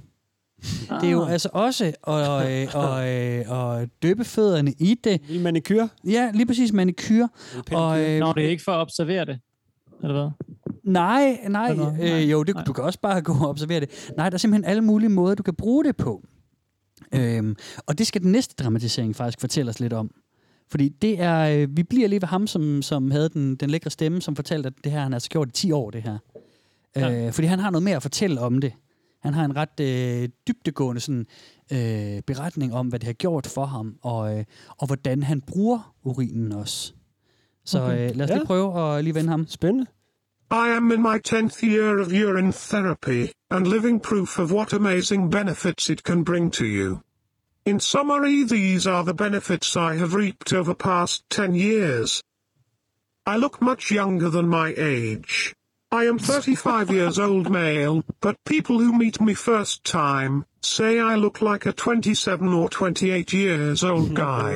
Speaker 5: Ah.
Speaker 4: Det er jo altså også at, øh, og, øh, og døbe fødderne i det.
Speaker 3: lige. I manikyr?
Speaker 4: Ja, lige præcis manikyr. Og, øh,
Speaker 5: Nå, det er ikke for at observere det. Eller hvad?
Speaker 4: Nej, nej.
Speaker 5: Eller hvad?
Speaker 4: Øh,
Speaker 5: Nej,
Speaker 4: jo, det,
Speaker 5: nej.
Speaker 4: du kan også bare gå og observere det. Nej, der er simpelthen alle mulige måder, du kan bruge det på. Øhm, og det skal den næste dramatisering faktisk fortælle os lidt om. Fordi det er, øh, vi bliver lige ved ham, som, som havde den, den lækre stemme, som fortalte, at det her, han har altså gjort i 10 år, det her.
Speaker 5: Ja.
Speaker 4: Ja. Øh, fordi han har noget mere at fortælle om det. Han har en ret øh, dybtegående sådan, øh, beretning om, hvad det har gjort for ham, og, øh, og hvordan han bruger urinen også. Så øh, lad os lige
Speaker 3: Ja.
Speaker 4: prøve at lige vende ham.
Speaker 3: Spændende.
Speaker 11: I am in my 10th year of urine therapy, and living proof of what amazing benefits it can bring to you. In summary, these are the benefits I have reaped over past 10 years. I look much younger than my age. I am 35 years old male, but people who meet me first time say I look like a 27 or 28 years old guy.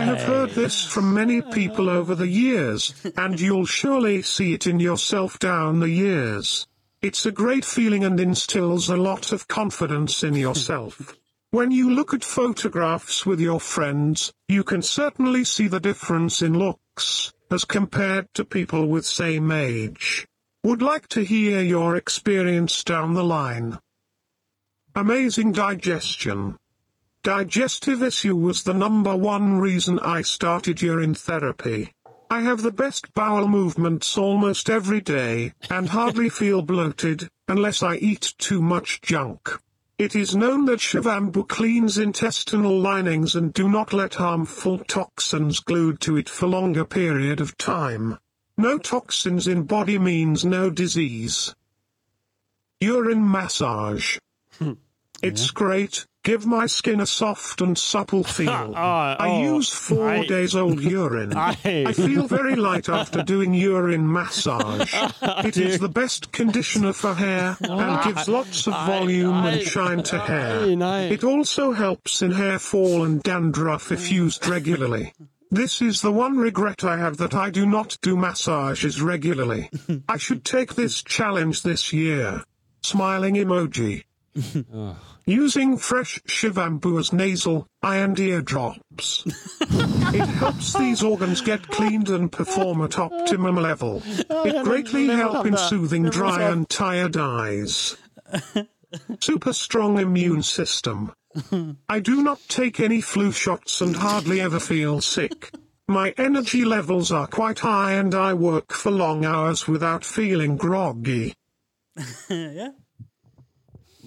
Speaker 11: I have heard this from many people over the years, and you'll surely see it in yourself down the years. It's a great feeling and instills a lot of confidence in yourself. When you look at photographs with your friends, you can certainly see the difference in looks, as compared to people with same age. Would like to hear your experience down the line. Amazing digestion. Digestive issue was the number one reason I started urine therapy. I have the best bowel movements almost every day, and hardly feel bloated, unless I eat too much junk. It is known that Shivambu cleans intestinal linings and do not let harmful toxins glued to it for longer period of time. No toxins in body means no disease. Urine massage.
Speaker 3: Hmm.
Speaker 11: It's great. Give my skin a soft and supple feel.
Speaker 3: Ah,
Speaker 11: I
Speaker 3: oh,
Speaker 11: use four
Speaker 3: I-
Speaker 11: days old urine.
Speaker 3: Ej.
Speaker 11: I feel very light after doing urine massage.
Speaker 3: Oh,
Speaker 11: It is the best conditioner for hair and gives lots of volume and shine to hair.
Speaker 3: Ej, nej.
Speaker 11: It also helps in hair fall and dandruff if used regularly. This is the one regret I have that I do not do massages regularly. I should take this challenge this year. Smiling emoji. Using fresh Shivambu as nasal, eye and ear drops. it helps these organs get cleaned and perform at optimum level. It greatly help in soothing dry and tired eyes. Super strong immune system. I do not take any flu shots and hardly ever feel sick. My energy levels are quite high and I work for long hours without feeling groggy.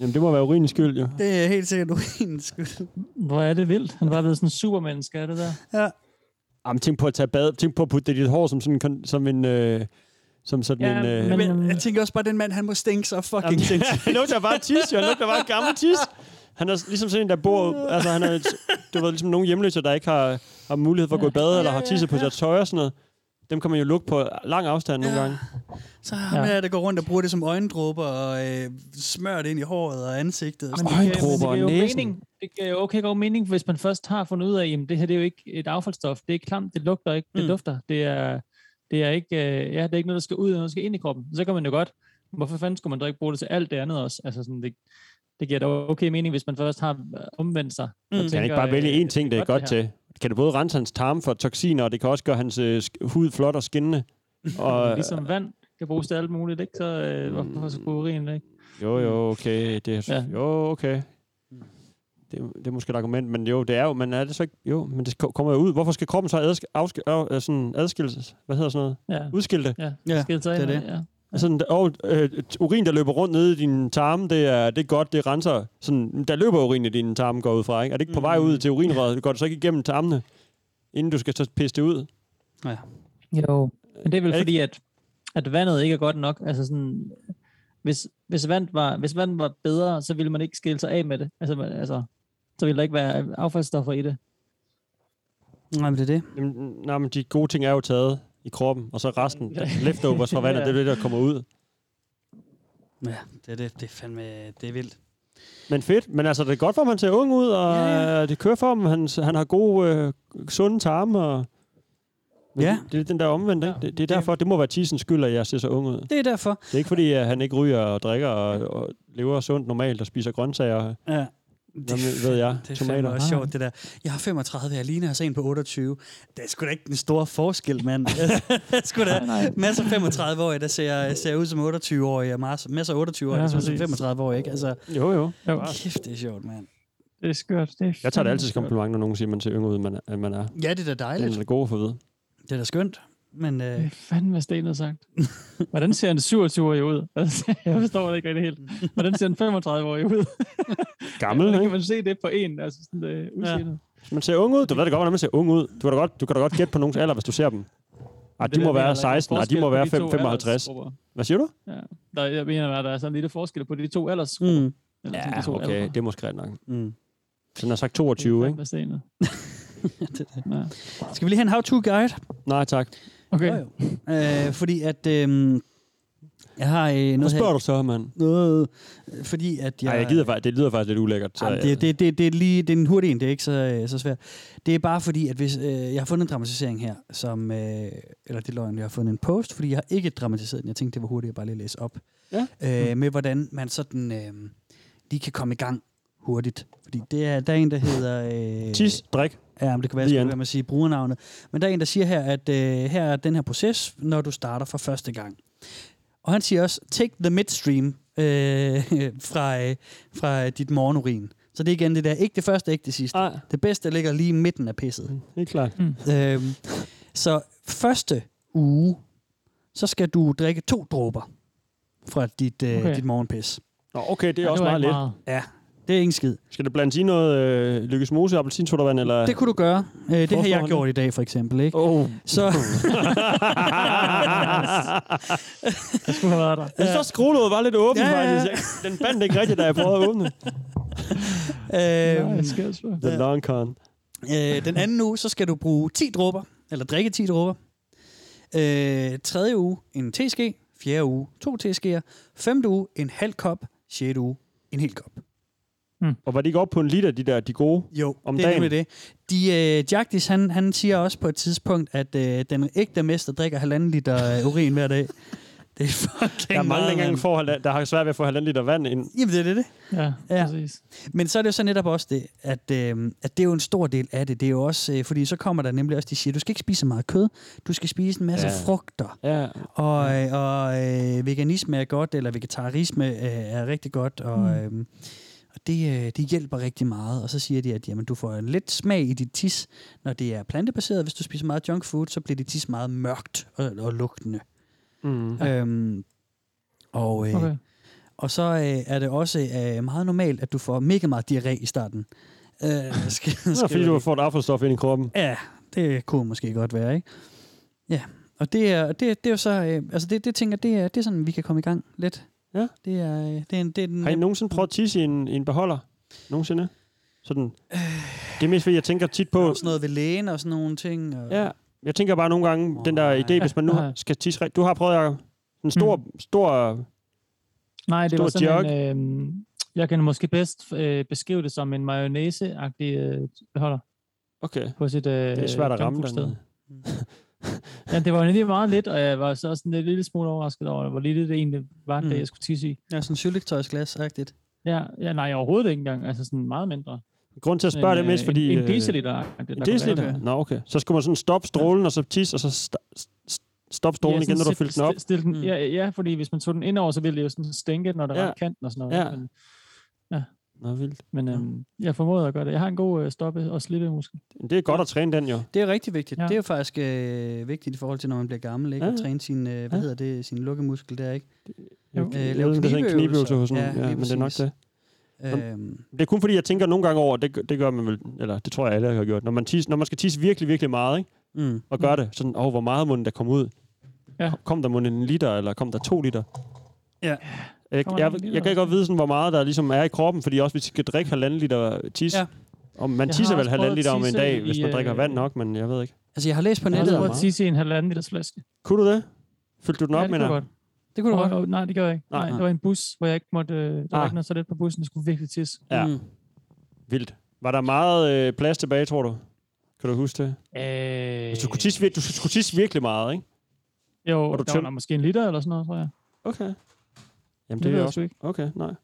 Speaker 3: Jamen, det må være urinens skyld, jo.
Speaker 4: Det er helt sikkert urinens skyld.
Speaker 5: Hvor er det vildt. Han var blevet sådan en supermenneske, er det der?
Speaker 4: Ja.
Speaker 3: Jamen, tænk på at tage bad. Tænk på at putte det i dit hår som sådan en... kon- Som en øh, som sådan
Speaker 5: Ja,
Speaker 3: en... Øh,
Speaker 5: men-
Speaker 4: Men jeg tænker også bare, at den mand, han må stinke så fucking sindssygt.
Speaker 3: han lugter bare af tis, jo. Han lugter bare af gammel tis. Han er ligesom sådan en, der bor... Altså, han er, du ved, ligesom nogle hjemløse, der ikke har, har mulighed for at gå i bad, eller har tisset på sit tøj og sådan noget. Dem kan man jo lugte på lang afstand nogle gange.
Speaker 4: Så ham øh, mm.
Speaker 5: Ja.
Speaker 4: ja. der, der går rundt og bruger det som øjendråber og øh, smører det ind i håret og ansigtet. Og sådan.
Speaker 5: Men det
Speaker 3: Øjendråber
Speaker 5: giver jo
Speaker 3: og næsen.
Speaker 5: mening. Det giver jo okay god mening, hvis man først har fundet ud af, at det her det er jo ikke et affaldsstof. Det er ikke klamt, det lugter ikke, det
Speaker 4: Mm.
Speaker 5: dufter. Det er, det, er ikke, øh, ja, det er ikke noget, der skal ud, det er noget, der skal ind i kroppen. Så kan man jo godt. Hvorfor fanden skulle man da ikke bruge det til alt det andet også? Altså sådan, det, det giver da okay mening, hvis man først har øh, omvendt sig. Mm.
Speaker 3: Kan han ikke bare vælge én ting, øh, det er godt til? Kan det både rense hans tarme for toksiner, og det kan også gøre hans øh, sk- hud flot og skinnende? Og,
Speaker 5: Ligesom vand kan bruges til alt muligt, ikke? Så øh, hvorfor skulle urin ikke?
Speaker 3: Jo, jo, okay. Det er,
Speaker 5: Ja.
Speaker 3: Jo, okay. Det, det er måske et argument, men jo, det er jo, men er det så ikke, jo, men det ko- kommer jo ud. Hvorfor skal kroppen så adsk, afsk, øh, øh, sådan adskilles, hvad hedder sådan noget,
Speaker 5: Ja,
Speaker 3: udskilte?
Speaker 5: ja.
Speaker 4: Ja,
Speaker 5: Skil sig
Speaker 4: det er
Speaker 5: af med
Speaker 4: det.
Speaker 5: Ja.
Speaker 3: Altså, sådan, og, øh, urin, der løber rundt nede i dine tarme, det er, det er godt, det renser. Sådan, der løber urin i dine tarme, går jeg ud fra, ikke? Er det ikke på vej
Speaker 5: Mm.
Speaker 3: ud til urinrøret? Går det så ikke igennem tarmene, inden du skal så pisse det ud?
Speaker 5: Jo, men det er vel
Speaker 3: Er det
Speaker 5: fordi, at, at vandet ikke er godt nok. Altså sådan, hvis, hvis, vand var, hvis vand var bedre, så ville man ikke skille sig af med det. Altså, man- altså så ville der ikke være affaldsstoffer i det.
Speaker 4: Nej, men det er det.
Speaker 3: Jamen, nej, men de gode ting er jo taget i kroppen, og så resten, der- leftovers fra vandet,
Speaker 5: Ja.
Speaker 3: det er det, der kommer ud.
Speaker 4: Ja, det er det. Det er fandme, det er vildt.
Speaker 3: Men fedt. Men altså, det er godt for ham, han ser ung ud, og
Speaker 4: Ja,
Speaker 3: ja, ja. det kører for ham. Han, han har gode, øh, sunde tarme, og men
Speaker 4: Ja.
Speaker 3: det, det er den der omvendt, ikke? Det, det er derfor, det må være tissens skyld, at jeg ser så ung ud.
Speaker 4: Det er derfor.
Speaker 3: Det er ikke fordi, at han ikke ryger og drikker og, og lever sundt normalt og spiser grøntsager.
Speaker 4: Ja.
Speaker 3: Hvad ved jeg?
Speaker 4: Det er fandme
Speaker 3: Tomater.
Speaker 4: også sjovt, det der. Jeg har 35, jeg ligner altså en på 28. Det er sgu da ikke den store forskel, mand. det er sgu da masser af 35-årige, der ser, ser ud som 28-årige, og mas- masser af 28-årige, der
Speaker 5: Ja,
Speaker 4: ser ud som
Speaker 5: præcis.
Speaker 4: 35-årige, ikke? Altså,
Speaker 3: Jo, jo.
Speaker 5: Jo,
Speaker 4: kæft, det er sjovt, mand.
Speaker 5: det er skørt. Det er
Speaker 3: Jeg tager det altid som kompliment, når nogen siger, at man ser yngre ud, end man, end man er.
Speaker 4: Ja, det er da
Speaker 3: Det er
Speaker 4: dejligt.
Speaker 3: da god for at vide.
Speaker 4: Det er da skønt. Men øh,
Speaker 5: Mm. Det er fandme stenet sagt. Hvordan ser en 27-årig ud? Altså, jeg forstår det ikke rigtig helt. Hvordan ser en 35-årig ud?
Speaker 3: Gammel,
Speaker 5: Hvordan kan
Speaker 3: ikke?
Speaker 5: man se det på en? Altså, sådan, øh, udseendet.
Speaker 3: Man ser ung ud. Du ved da godt, hvordan man ser ung ud. Du kan da godt, du kan da godt gætte på nogens alder, hvis du ser dem. Ej,
Speaker 5: Det
Speaker 3: de må
Speaker 5: der, jeg mener, der er
Speaker 3: være 16, og de
Speaker 5: forskel
Speaker 3: må
Speaker 5: på
Speaker 3: være
Speaker 5: de
Speaker 3: 5,
Speaker 5: to
Speaker 3: 55.
Speaker 5: aldersgrupper.
Speaker 3: Hvad siger du?
Speaker 5: Der, jeg mener, der er sådan en lille forskel på de to alders.
Speaker 4: Mm.
Speaker 5: Eller sådan
Speaker 3: Ja,
Speaker 5: de to
Speaker 3: okay,
Speaker 5: aldre.
Speaker 3: det er måske ret nok.
Speaker 4: Mm.
Speaker 3: Så den har sagt
Speaker 5: Det er
Speaker 3: 22, ikke?
Speaker 5: fandme stenet. Ja.
Speaker 4: skal vi lige have en how-to-guide?
Speaker 3: Nej, tak.
Speaker 5: Okay.
Speaker 4: Jo, jo. Øh, fordi at... Øh, jeg har øh, noget
Speaker 3: Hvad
Speaker 4: her-
Speaker 3: spørger du så, mand?
Speaker 4: noget, øh, fordi at jeg...
Speaker 3: Nej, jeg gider faktisk, det lyder faktisk lidt ulækkert. Så, øh.
Speaker 4: Ej, men det, det, det, det, er lige, det er en hurtig en, det er ikke så, øh, så svært. Det er bare fordi, at hvis, øh, jeg har fundet en dramatisering her, som, øh, eller det er løgn, jeg har fundet en post, fordi jeg har ikke dramatiseret den. Jeg tænkte, det var hurtigt at bare lige læse op.
Speaker 3: Ja.
Speaker 4: Øh, med hvordan man sådan øh, lige kan komme i gang hurtigt. Fordi det er, der er en, der hedder... Øh,
Speaker 3: Tis, drik.
Speaker 4: Ja, men det kan være,
Speaker 3: Lige
Speaker 4: jeg
Speaker 3: an.
Speaker 4: skulle være med at sige brugernavnet. Men der er en, der siger her, at øh, her er den her proces, når du starter for første gang. Og han siger også, take the midstream øh, fra, øh, fra dit morgenurin. Så det er igen det der, ikke det første, ikke det sidste.
Speaker 3: Nej, Mm,
Speaker 4: Det bedste ligger lige i midten af pisset.
Speaker 3: helt klart.
Speaker 4: Øhm, Så første uge, så skal du drikke to dråber fra dit, øh,
Speaker 3: Okay.
Speaker 4: okay. dit morgenpis.
Speaker 3: Nå, okay, det er Ja, det også var meget ikke lidt. meget.
Speaker 4: Ja, det er ingen skid.
Speaker 3: Skal det blandes i noget øh, Lykkes Mose, appelsinsodavand, eller...
Speaker 4: Det kunne du gøre. Øh, det har jeg
Speaker 3: Forforhånden.
Speaker 4: gjort i dag, for eksempel. Ikke?
Speaker 3: Oh.
Speaker 4: Så...
Speaker 5: Det skulle have været der.
Speaker 3: Jeg synes også, skruelåget var lidt åben,
Speaker 4: Ja,
Speaker 3: ja,
Speaker 4: ja, ja.
Speaker 3: ja. faktisk. Jeg- Den bandt ikke rigtigt, da jeg prøvede at åbne.
Speaker 4: Øhm,
Speaker 3: Nej, skærsvær. The long con.
Speaker 4: Øh, den anden uge, så skal du bruge 10 dråber, eller drikke 10 dråber. Øh, tredje uge, en teske. Fjerde uge, to teskeer. Femte uge, en halv kop. Sjette uge, en hel kop.
Speaker 3: Mm. Og var de ikke oppe på en liter, de der, de gode?
Speaker 4: Jo,
Speaker 3: om
Speaker 4: det er
Speaker 3: dagen.
Speaker 4: nemlig det. De, øh, Jagdis, han, han siger også på et tidspunkt, at øh, den ægte mester drikker halvanden liter øh, urin hver dag. Det er fucking
Speaker 3: Der er mange,
Speaker 4: meget,
Speaker 3: der, ikke engang
Speaker 4: mand.
Speaker 3: får halvand, der har svært ved at få halvanden liter vand ind.
Speaker 4: Jamen, det er det, det.
Speaker 5: Ja,
Speaker 4: ja. Men så er det jo så netop også det, at, øh, at det er jo en stor del af det. Det er jo også, øh, fordi så kommer der nemlig også, de siger, du skal ikke spise så meget kød, du skal spise en masse
Speaker 3: Ja.
Speaker 4: ja. frugter.
Speaker 3: Ja.
Speaker 4: Og, øh, og øh, veganisme er godt, eller vegetarisme øh, er rigtig godt, og,
Speaker 3: Mm.
Speaker 4: øh, og det, øh, det hjælper rigtig meget. Og så siger de, at jamen, du får lidt smag i dit tis, når det er plantebaseret. Hvis du spiser meget junk food, så bliver dit tis meget mørkt og, og lugtende.
Speaker 3: Mm.
Speaker 4: Øhm, og, øh,
Speaker 3: Okay.
Speaker 4: okay. og så øh, er det også øh, meget normalt, at du får mega meget diarré i starten. Øh, skal,
Speaker 3: Nå, fordi du får et affaldsstof ind i kroppen.
Speaker 4: Ja, det kunne måske godt være, ikke? Ja, og det er, det, det er jo så, øh, altså det, det tænker, jeg, det er, det er sådan, vi kan komme i gang lidt.
Speaker 3: Ja.
Speaker 4: Det er, øh, det er, en, det er den,
Speaker 3: Har I nogensinde prøvet at tisse i en, i en beholder? Nogensinde? Sådan. Det er mest, fordi jeg tænker tit på...
Speaker 4: sådan noget ved lægen og sådan nogle ting. Og,
Speaker 3: Ja, jeg tænker bare nogle gange, den der idé, hvis man nu
Speaker 5: Nej. Mm.
Speaker 3: skal tisse... rigt- Du har prøvet, Jacob, en stor, stor
Speaker 5: Nej, det
Speaker 3: Stor
Speaker 5: var sådan en, øh, jeg kan måske bedst øh, beskrive det som en mayonnaise-agtig øh, beholder.
Speaker 3: Okay.
Speaker 5: På sit, øh,
Speaker 3: Det er svært at ramme
Speaker 5: sted.
Speaker 3: dernede.
Speaker 5: ja, det var egentlig meget lidt, og jeg var så også en lille smule overrasket over, hvor lille det egentlig var, mm.
Speaker 4: Mm.
Speaker 5: det jeg skulle tisse i.
Speaker 4: Ja, sådan syltetøjsglas-agtigt.
Speaker 5: Ja, ja, nej, overhovedet ikke engang. Altså sådan meget mindre.
Speaker 3: Grund til at
Speaker 5: Sådan
Speaker 3: spørge
Speaker 5: en,
Speaker 3: det er mest,
Speaker 5: øh,
Speaker 3: fordi...
Speaker 5: En, en
Speaker 3: øh,
Speaker 5: deciliter.
Speaker 3: En deciliter? Nå, okay. Så skulle man sådan stoppe strålen, og så tisse, og så sta- st- stoppe strålen igen, når du har fyldt den op. Mm.
Speaker 5: Stil den, ja, ja, fordi hvis man tog den ind over, så ville det jo sådan stænke, når der
Speaker 3: Ja.
Speaker 5: ja. var kanten og sådan noget.
Speaker 3: Ja.
Speaker 5: Men, ja.
Speaker 3: Nå, vildt.
Speaker 5: Men øhm, jeg formoder at gøre det. Jeg har en god øh, stoppe- og slippemuskel.
Speaker 3: Det er godt at træne den jo.
Speaker 4: Det er rigtig vigtigt.
Speaker 5: Ja.
Speaker 4: Ja. Det er jo faktisk øh, vigtigt i forhold til, når man bliver gammel, ikke?
Speaker 3: Ja,
Speaker 4: Ja. At
Speaker 3: ja.
Speaker 4: træne sin, øh, hvad
Speaker 3: Ja.
Speaker 4: hedder det, sin lukkemuskel der, ikke? Øh,
Speaker 3: Jo. Jeg ved ikke, om det hedder en knibeøvelse hos nogen. Ja,
Speaker 4: lige
Speaker 3: men det er nok
Speaker 4: præcis.
Speaker 3: det.
Speaker 4: Øhm.
Speaker 3: Det er kun fordi, jeg tænker nogle gange over, det, det gør man vel, eller det tror jeg alle har gjort, når man, tis, når man skal tisse virkelig, virkelig meget, ikke?
Speaker 4: Mm.
Speaker 3: og gør det, sådan, åh, hvor meget må den der komme ud?
Speaker 5: Ja.
Speaker 3: Kom der må den en liter, eller kom der to liter?
Speaker 4: Ja.
Speaker 3: Jeg,
Speaker 4: Kommer
Speaker 3: jeg,
Speaker 4: der en liter?
Speaker 3: jeg kan ikke godt vide, sådan, hvor meget der ligesom er i kroppen, fordi også hvis vi skal drikke halvanden liter tis,
Speaker 4: Ja.
Speaker 3: ja. og man
Speaker 5: Jeg
Speaker 3: tisser
Speaker 5: har
Speaker 3: vel
Speaker 5: også prøvet
Speaker 3: halvanden
Speaker 5: at
Speaker 3: liter om en
Speaker 5: tisse
Speaker 3: dag,
Speaker 5: i,
Speaker 3: hvis man drikker
Speaker 5: øh,
Speaker 3: vand nok, men jeg ved ikke.
Speaker 4: Altså, jeg har læst på
Speaker 5: Jeg har
Speaker 4: nettet...
Speaker 5: prøvet at tisse i en halvanden liters flaske.
Speaker 3: Kunne du det? Fyldte du den
Speaker 5: Ja,
Speaker 3: op,
Speaker 5: det kunne
Speaker 3: mener
Speaker 5: jeg
Speaker 3: jeg?
Speaker 5: godt.
Speaker 4: Det kunne du
Speaker 5: Åh,
Speaker 4: godt.
Speaker 5: åh, Nej, det gjorde jeg ikke. Nej,
Speaker 3: Nej.
Speaker 5: det var en bus, hvor jeg ikke måtte... Øh, der var
Speaker 3: Ah.
Speaker 5: ikke noget så lidt på bussen, jeg skulle virkelig tisse.
Speaker 3: Ja.
Speaker 4: Mm.
Speaker 3: Vildt. Var der meget øh, plads tilbage, tror du? Kan du huske det?
Speaker 5: Øh,
Speaker 3: Hvis du, kunne tisse, vir- du skulle tisse virkelig meget, ikke?
Speaker 5: Jo,
Speaker 3: Og du
Speaker 5: der var
Speaker 3: tøm-
Speaker 5: nok måske en liter eller sådan noget, tror jeg.
Speaker 3: Okay. Jamen,
Speaker 5: Det
Speaker 3: det,
Speaker 5: ved
Speaker 3: er
Speaker 5: jeg
Speaker 3: også...
Speaker 5: sgu ikke.
Speaker 3: Ikke. Okay, nej.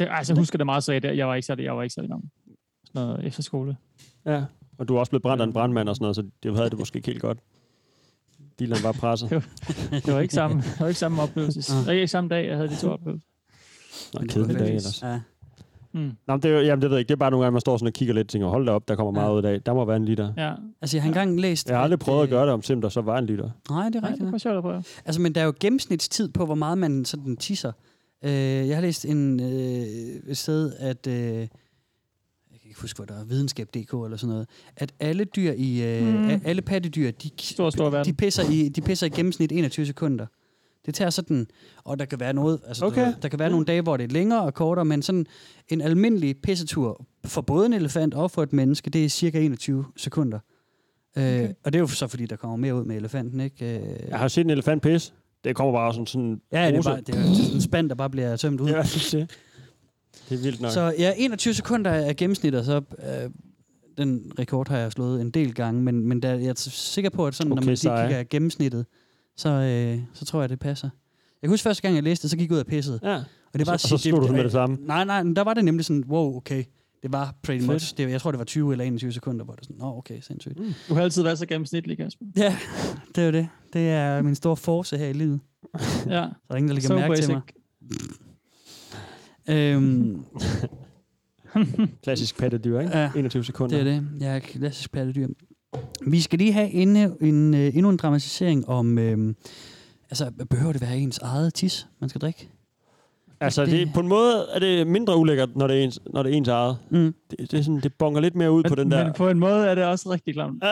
Speaker 5: Det, altså, jeg husker det meget så der. Jeg var ikke særlig, jeg var ikke særlig gammel. Sådan noget efter skole.
Speaker 3: Ja. Og du er også blevet brændt af en brandmand og sådan noget, så det havde det måske ikke helt godt. Dealeren var presset.
Speaker 5: Det var ikke samme, det var ikke samme oplevelse.
Speaker 3: Ah.
Speaker 5: Det var ikke samme dag, jeg havde de to oplevelser.
Speaker 3: Nå, kedelig dag ellers.
Speaker 4: Ja.
Speaker 5: Mm.
Speaker 3: Nå, men det, er jo- jamen, det ved jeg ikke. Det er bare nogle gange, man står sådan og kigger lidt og tænker, hold da op, der kommer meget ud af. Der må være en liter.
Speaker 5: Ja.
Speaker 4: Altså, jeg har engang læst...
Speaker 3: Jeg har aldrig
Speaker 4: at,
Speaker 3: prøvet at
Speaker 4: øh,
Speaker 3: gøre det, om simpelthen der så var en liter.
Speaker 4: Nej, det er
Speaker 5: Nej,
Speaker 4: rigtigt.
Speaker 5: det var
Speaker 4: nok.
Speaker 5: sjovt at prøve.
Speaker 4: Altså, men der er jo gennemsnitstid på, hvor meget man sådan tisser. Øh, jeg har læst en øh, et sted, at... Øh, jeg kan ikke huske, hvor der er videnskab.dk eller sådan noget. At alle dyr i... Øh,
Speaker 5: Mm.
Speaker 4: mm. Alle pattedyr, de,
Speaker 5: Stor, stor verden.
Speaker 4: de, pisser i, de pisser i gennemsnit 21 sekunder. Det tager sådan... Og der kan være noget... Altså, okay.
Speaker 3: Okay.
Speaker 4: der, der kan være nogle dage, hvor det er længere og kortere, men sådan en almindelig pissetur for både en elefant og for et menneske, det er cirka 21 sekunder. Okay. Øh, og det er jo så, fordi der kommer mere ud med elefanten, ikke? Øh,
Speaker 3: Jeg har set en elefant pisse. Det kommer bare sådan sådan...
Speaker 4: Ja, det er,
Speaker 3: pose.
Speaker 4: bare, det er jo sådan en spand, der bare bliver tømt ud.
Speaker 3: Ja, det, det er vildt nok.
Speaker 4: så ja, 21 sekunder er gennemsnit, og så øh, den rekord har jeg slået en del gange, men, men der, jeg er sikker på, at sådan, okay, når
Speaker 3: Okay,
Speaker 4: man lige
Speaker 3: sej.
Speaker 4: kigger af gennemsnittet, så, øh, så tror jeg, det passer. Jeg kan huske første gang, jeg læste det, så gik jeg ud og pissede.
Speaker 3: Ja.
Speaker 4: Og det var
Speaker 3: og så, og så
Speaker 4: shit,
Speaker 3: slog du den med det samme.
Speaker 4: Nej, nej, men der var det nemlig sådan, wow, okay. Det var pretty
Speaker 3: Fedt.
Speaker 4: much. Det, jeg tror, det var 20 eller 21 sekunder, hvor det sådan, nå, okay, sindssygt. Mm.
Speaker 5: Du har altid været så gennemsnitlig, Kasper.
Speaker 4: Ja, det er jo det. Det er min store force her i livet.
Speaker 5: Ja.
Speaker 4: Så er der ingen, der lægger
Speaker 5: So
Speaker 4: mærke til
Speaker 5: basic.
Speaker 4: mig. Øhm,
Speaker 3: Klassisk pattedyr, ikke?
Speaker 4: Ja,
Speaker 3: 21 sekunder.
Speaker 4: det er det. Jeg er klassisk pattedyr. Vi skal lige have endnu en, øh, endnu en dramatisering om... Øh, altså, behøver det være ens eget tis, man skal drikke?
Speaker 3: Altså, det, på en måde er det mindre ulækkert, når det er ens, når det er ens eget.
Speaker 4: Mm.
Speaker 3: Det, det, er sådan, det bonger lidt mere ud på den der...
Speaker 5: Men på en måde er det også rigtig klamt.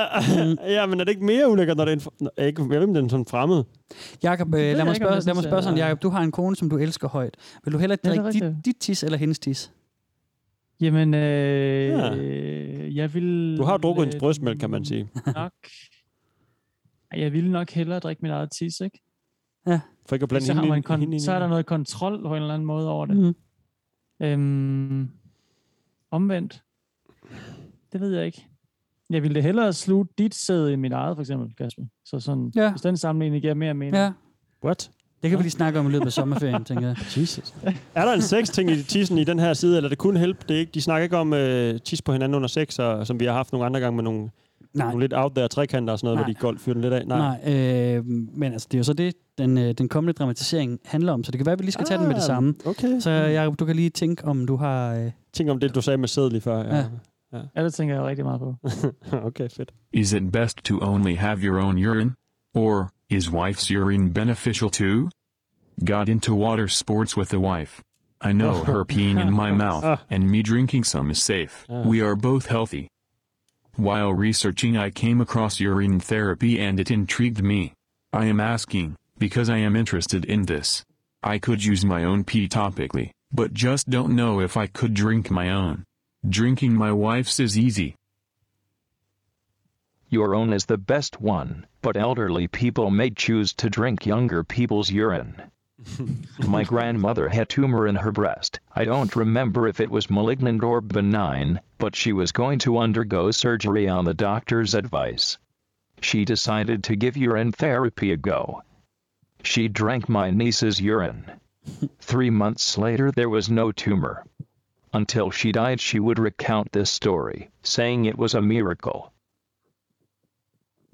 Speaker 3: ja, men er det ikke mere ulækkert, når det er en... fr- Nå, jeg ikke- jeg ved ikke, om den er sådan fremmed.
Speaker 4: Jakob, øh, lad, mig spørge, lad mig spørge sådan, Jacob, du har en kone, som du elsker højt. Vil du hellere
Speaker 5: Ja, det er
Speaker 4: drikke dit, dit tis eller hendes tis?
Speaker 5: Jamen, øh, ja. jeg vil...
Speaker 3: Du har jo drukket
Speaker 5: øh,
Speaker 3: hendes brystmælk, kan man sige.
Speaker 5: Nok, jeg ville nok hellere drikke mit eget tis, ikke?
Speaker 3: For ikke at blande
Speaker 5: så, har
Speaker 3: hende,
Speaker 5: man
Speaker 3: ind- hende
Speaker 5: kon-
Speaker 3: ind i
Speaker 5: så er
Speaker 3: det.
Speaker 5: der noget kontrol på en eller anden måde over det.
Speaker 4: Mhm.
Speaker 5: Øhm, omvendt. Det ved jeg ikke. Jeg ville da hellere sluge dit sæde i mit eget, for eksempel, Kasper. Så sådan,
Speaker 4: Ja.
Speaker 5: ja. hvis den sammenligning giver mere mening.
Speaker 4: Ja.
Speaker 3: What?
Speaker 4: Det kan vi lige snakke om i løbet af sommerferien, tænker jeg.
Speaker 3: Jesus. Er der en sex-ting i tissen i den her side, eller er det kun help? Det er ikke, de snakker ikke om øh, tis på hinanden under sex, og, som vi har haft nogle andre gange med nogle,
Speaker 4: Nej.
Speaker 3: nogle lidt out there trekanter og sådan noget,
Speaker 4: Nej.
Speaker 3: hvor de golf fyrer den lidt af. Nej.
Speaker 4: Nej, øh, men altså, det er jo så det, den, øh, den kommende dramatisering handler om, så det kan være, at vi lige skal tage den med det
Speaker 3: Ah,
Speaker 4: samme.
Speaker 3: Okay.
Speaker 4: Så
Speaker 3: Så
Speaker 4: Jacob, du kan lige tænke, om du har... Øh,
Speaker 3: tænk om det, du sagde med sæd lige før. Ja.
Speaker 5: Ja, det tænker jeg rigtig meget på.
Speaker 3: okay, fedt.
Speaker 12: Is it best to only have your own urine? Or, is wife's urine beneficial too? Got into water sports with the wife. I know her peeing in my mouth, and me drinking some is safe. We are both healthy. While researching, I came across urine therapy and it intrigued me. I am asking, because I am interested in this. I could use my own pee topically, but just don't know if I could drink my own. Drinking my wife's is easy.
Speaker 13: Your own is the best one, but elderly people may choose to drink younger people's urine. My grandmother had tumor in her breast. I don't remember if it was malignant or benign, but she was going to undergo surgery on the doctor's advice. She decided to give urine therapy a go. She drank my niece's urine. Three months later, there was no tumor. Until she died, she would recount this story, saying it was a miracle.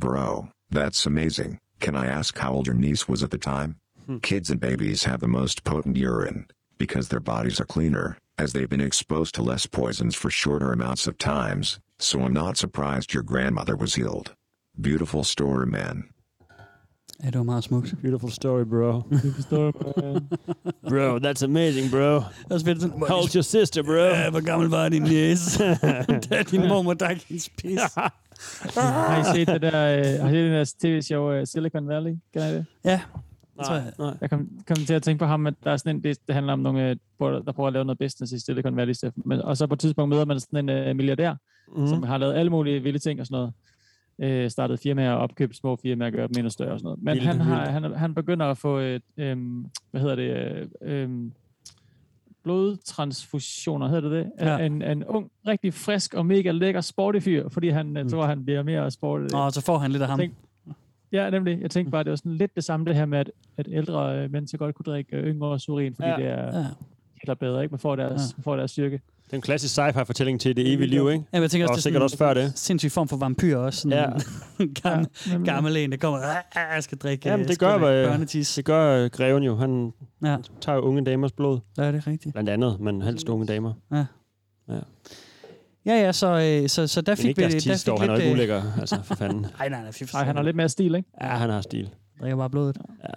Speaker 14: Bro, that's amazing. Can I ask how old your niece was at the time? Kids and babies have the most potent urine because their bodies are cleaner, as they've been exposed to less poisons for shorter amounts of times. So I'm not surprised your grandmother was healed. Beautiful story, man.
Speaker 4: ja, det var meget smukt.
Speaker 3: Beautiful story, bro. bro, that's amazing, bro.
Speaker 4: Og så bliver det sådan, hvor,
Speaker 3: Hold your sister, bro.
Speaker 4: ja, hvor gammel var din næse? da din mormor drak hendes pis.
Speaker 5: Har
Speaker 4: Ah.
Speaker 5: I set det der, øh, har I set det der tv-show øh, Silicon Valley? Kan I det?
Speaker 4: ja, det tror jeg.
Speaker 3: nej.
Speaker 5: Jeg kom, kom til at tænke på ham, at der er sådan en, det, det handler om nogle, øh, bor- der prøver at lave noget business i Silicon Valley. Steffen. Men, og så på et tidspunkt møder man sådan en øh, milliardær,
Speaker 3: Mhm.
Speaker 5: mm. som har lavet alle mulige vilde ting og sådan noget. Øh, startet firmaer og opkøbt små firmaer og gør dem endnu større og sådan noget. Men
Speaker 3: Vildt,
Speaker 5: han, har,
Speaker 3: vildt.
Speaker 5: han, han begynder at få, øh, øh, hvad hedder det, øh, øh, blodtransfusioner, hedder det det?
Speaker 4: Ja.
Speaker 5: Ja. En, en ung, rigtig frisk og mega lækker sporty fyr, fordi han øh, tror, han bliver mere sportet.
Speaker 4: Mm. Nå, så får han lidt af ham. Mm.
Speaker 5: Tænk- Ja, nemlig. Jeg tænkte bare, det var sådan lidt det samme det her med, at, at ældre øh, mennesker godt kunne drikke øh, yngre urin, fordi
Speaker 3: Ja.
Speaker 5: ja. det er
Speaker 4: Ja.
Speaker 5: heller bedre, ikke? Man får deres,
Speaker 4: Ja.
Speaker 5: ja. man får deres styrke.
Speaker 3: Det er en klassisk sci-fi-fortælling til det evige liv, ikke?
Speaker 4: Ja, men jeg tænker også,
Speaker 3: Og
Speaker 4: det er
Speaker 3: sikkert også før det.
Speaker 4: sindssyg form for vampyr også. Sådan
Speaker 3: Ja.
Speaker 4: en gammel,
Speaker 5: nemlig.
Speaker 4: gammel en, der kommer og jeg skal drikke
Speaker 3: Jamen,
Speaker 4: øh,
Speaker 3: det
Speaker 4: skal
Speaker 3: gør,
Speaker 4: drikke
Speaker 3: hvad-
Speaker 4: børnetis.
Speaker 3: Det gør øh, greven jo. Han
Speaker 4: Ja,
Speaker 3: tager jo unge damers blod,
Speaker 4: ja, det er rigtigt.
Speaker 3: blandt andet, men helst unge damer.
Speaker 4: Ja, ja, så, øh, så, så der
Speaker 3: Men
Speaker 4: fik
Speaker 3: ikke
Speaker 4: vi...
Speaker 3: deres tis, dog. Han er jo
Speaker 4: lidt,
Speaker 3: ikke
Speaker 4: øh,
Speaker 3: ulækker, altså, for fanden.
Speaker 4: Nej, nej, nej. fy for
Speaker 5: Nej, han har
Speaker 4: satan.
Speaker 5: lidt mere stil, ikke?
Speaker 3: Ja, han har stil.
Speaker 4: drikker bare blodet.
Speaker 3: Ja.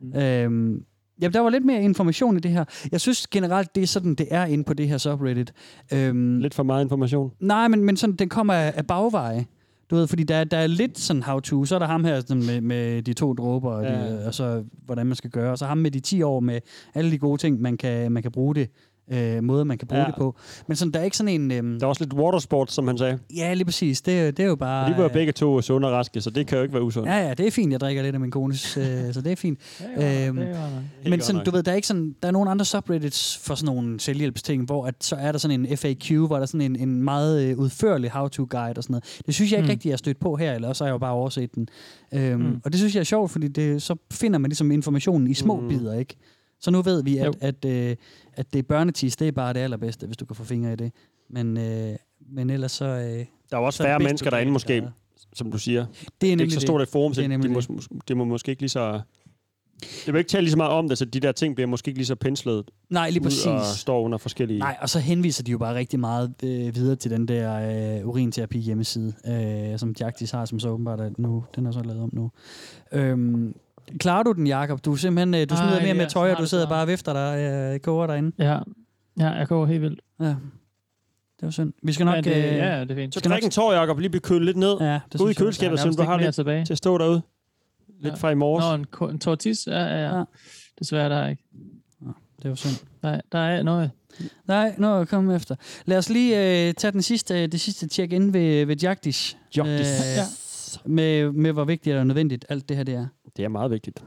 Speaker 3: Mm.
Speaker 4: Ja. Øhm, jamen, der var lidt mere information i det her. Jeg synes generelt, det er sådan, det er inde på det her subreddit. Øhm,
Speaker 3: Lidt for meget information.
Speaker 4: Nej, men, men sådan, den kommer af, af bagveje. Du ved, fordi der, er- der er lidt sådan how-to. Så er der ham her sådan med, med de to dråber, og, ja. de, øh,
Speaker 3: Ja.
Speaker 4: og så hvordan man skal gøre. Og så ham med de 10 år med alle de gode ting, man kan, man kan bruge det. Øh, måder, man kan bruge ja.
Speaker 3: Ja.
Speaker 4: det på. Men sådan, der er ikke sådan en... Øhm,
Speaker 3: Der er også lidt watersport, som han sagde.
Speaker 4: ja, lige præcis. Det, det er jo bare...
Speaker 3: Og de var jo begge to sunde og raske, så det kan jo ikke være usundt.
Speaker 4: Ja, ja, det er fint. Jeg drikker lidt af min kones, øh, så det er fint. Øhm,
Speaker 5: Det var,
Speaker 3: Helt
Speaker 4: Men
Speaker 3: godt
Speaker 4: sådan,
Speaker 3: nok.
Speaker 4: du ved, der er ikke sådan, der er nogle andre subreddits for sådan nogle selvhjælpsting, hvor at, så er der sådan en FAQ, hvor der er sådan en, en meget øh, udførlig how-to-guide og sådan noget. Det synes jeg ikke mm.
Speaker 5: Mm.
Speaker 4: rigtig, jeg er stødt på her, eller også har jeg jo bare overset den. Øhm, mm.
Speaker 5: Mm.
Speaker 4: Og det synes jeg er sjovt, fordi det, så finder man ligesom informationen i små mm.
Speaker 3: Mm.
Speaker 4: bidder, ikke? Så nu ved vi, at,
Speaker 5: Jo.
Speaker 4: at, øh, at det er børnetis, det er bare det allerbedste, hvis du kan få fingre i det. Men, øh, men ellers så... Øh,
Speaker 3: Der er jo også
Speaker 4: så er det
Speaker 3: færre
Speaker 4: bedst,
Speaker 3: mennesker
Speaker 4: du kan,
Speaker 3: derinde måske,
Speaker 4: der er.
Speaker 3: som du siger.
Speaker 4: det er
Speaker 3: Det er
Speaker 4: nemlig
Speaker 3: ikke så stort
Speaker 4: det.
Speaker 3: et forum, så
Speaker 4: Det er
Speaker 3: det,
Speaker 4: nemlig
Speaker 3: det, må, det må måske ikke lige så... Det vil ikke tale lige så meget om det, så de der ting bliver måske ikke lige så penslet
Speaker 4: Nej, lige præcis.
Speaker 3: Ud og står under forskellige...
Speaker 4: Nej, og så henviser de jo bare rigtig meget øh, videre til den der øh, urinterapi hjemmeside, øh, som Jagtis har, som så åbenbart er nu. Den er så lavet om nu. Øhm, klarer du den, Jakob? Du, er simpelthen, øh, du smider
Speaker 5: Ej,
Speaker 4: mere
Speaker 5: ja,
Speaker 4: med tøj, og
Speaker 5: snart
Speaker 4: du
Speaker 5: er
Speaker 4: sidder
Speaker 5: snart.
Speaker 4: bare og vifter dig, øh, koger derinde.
Speaker 5: Ja. ja, jeg går helt vildt.
Speaker 4: Ja. Det var synd. Vi skal nok... øh,
Speaker 5: Men det- ja, det er fint.
Speaker 3: Så
Speaker 5: Skal
Speaker 3: drik
Speaker 5: nok-
Speaker 3: en tår, Jacob, og lige blive kølet lidt ned.
Speaker 4: Ja,
Speaker 3: Gå ud i køleskabet, så du har lidt
Speaker 5: tilbage.
Speaker 3: til at stå derude. Lidt
Speaker 5: Ja.
Speaker 3: fra i morges.
Speaker 5: Nå, en, ko- en tortis? Ja, ja, ja. Desværre, der er ikke.
Speaker 4: Det var synd.
Speaker 5: Der, der er noget.
Speaker 4: Nej, nå, kom efter. Lad os lige øh, tage den sidste, det sidste tjek ind ved, ved Jagdish.
Speaker 3: Jagdish.
Speaker 4: ja. med, med, hvor vigtigt og nødvendigt alt det her det er.
Speaker 3: Det er meget vigtigt.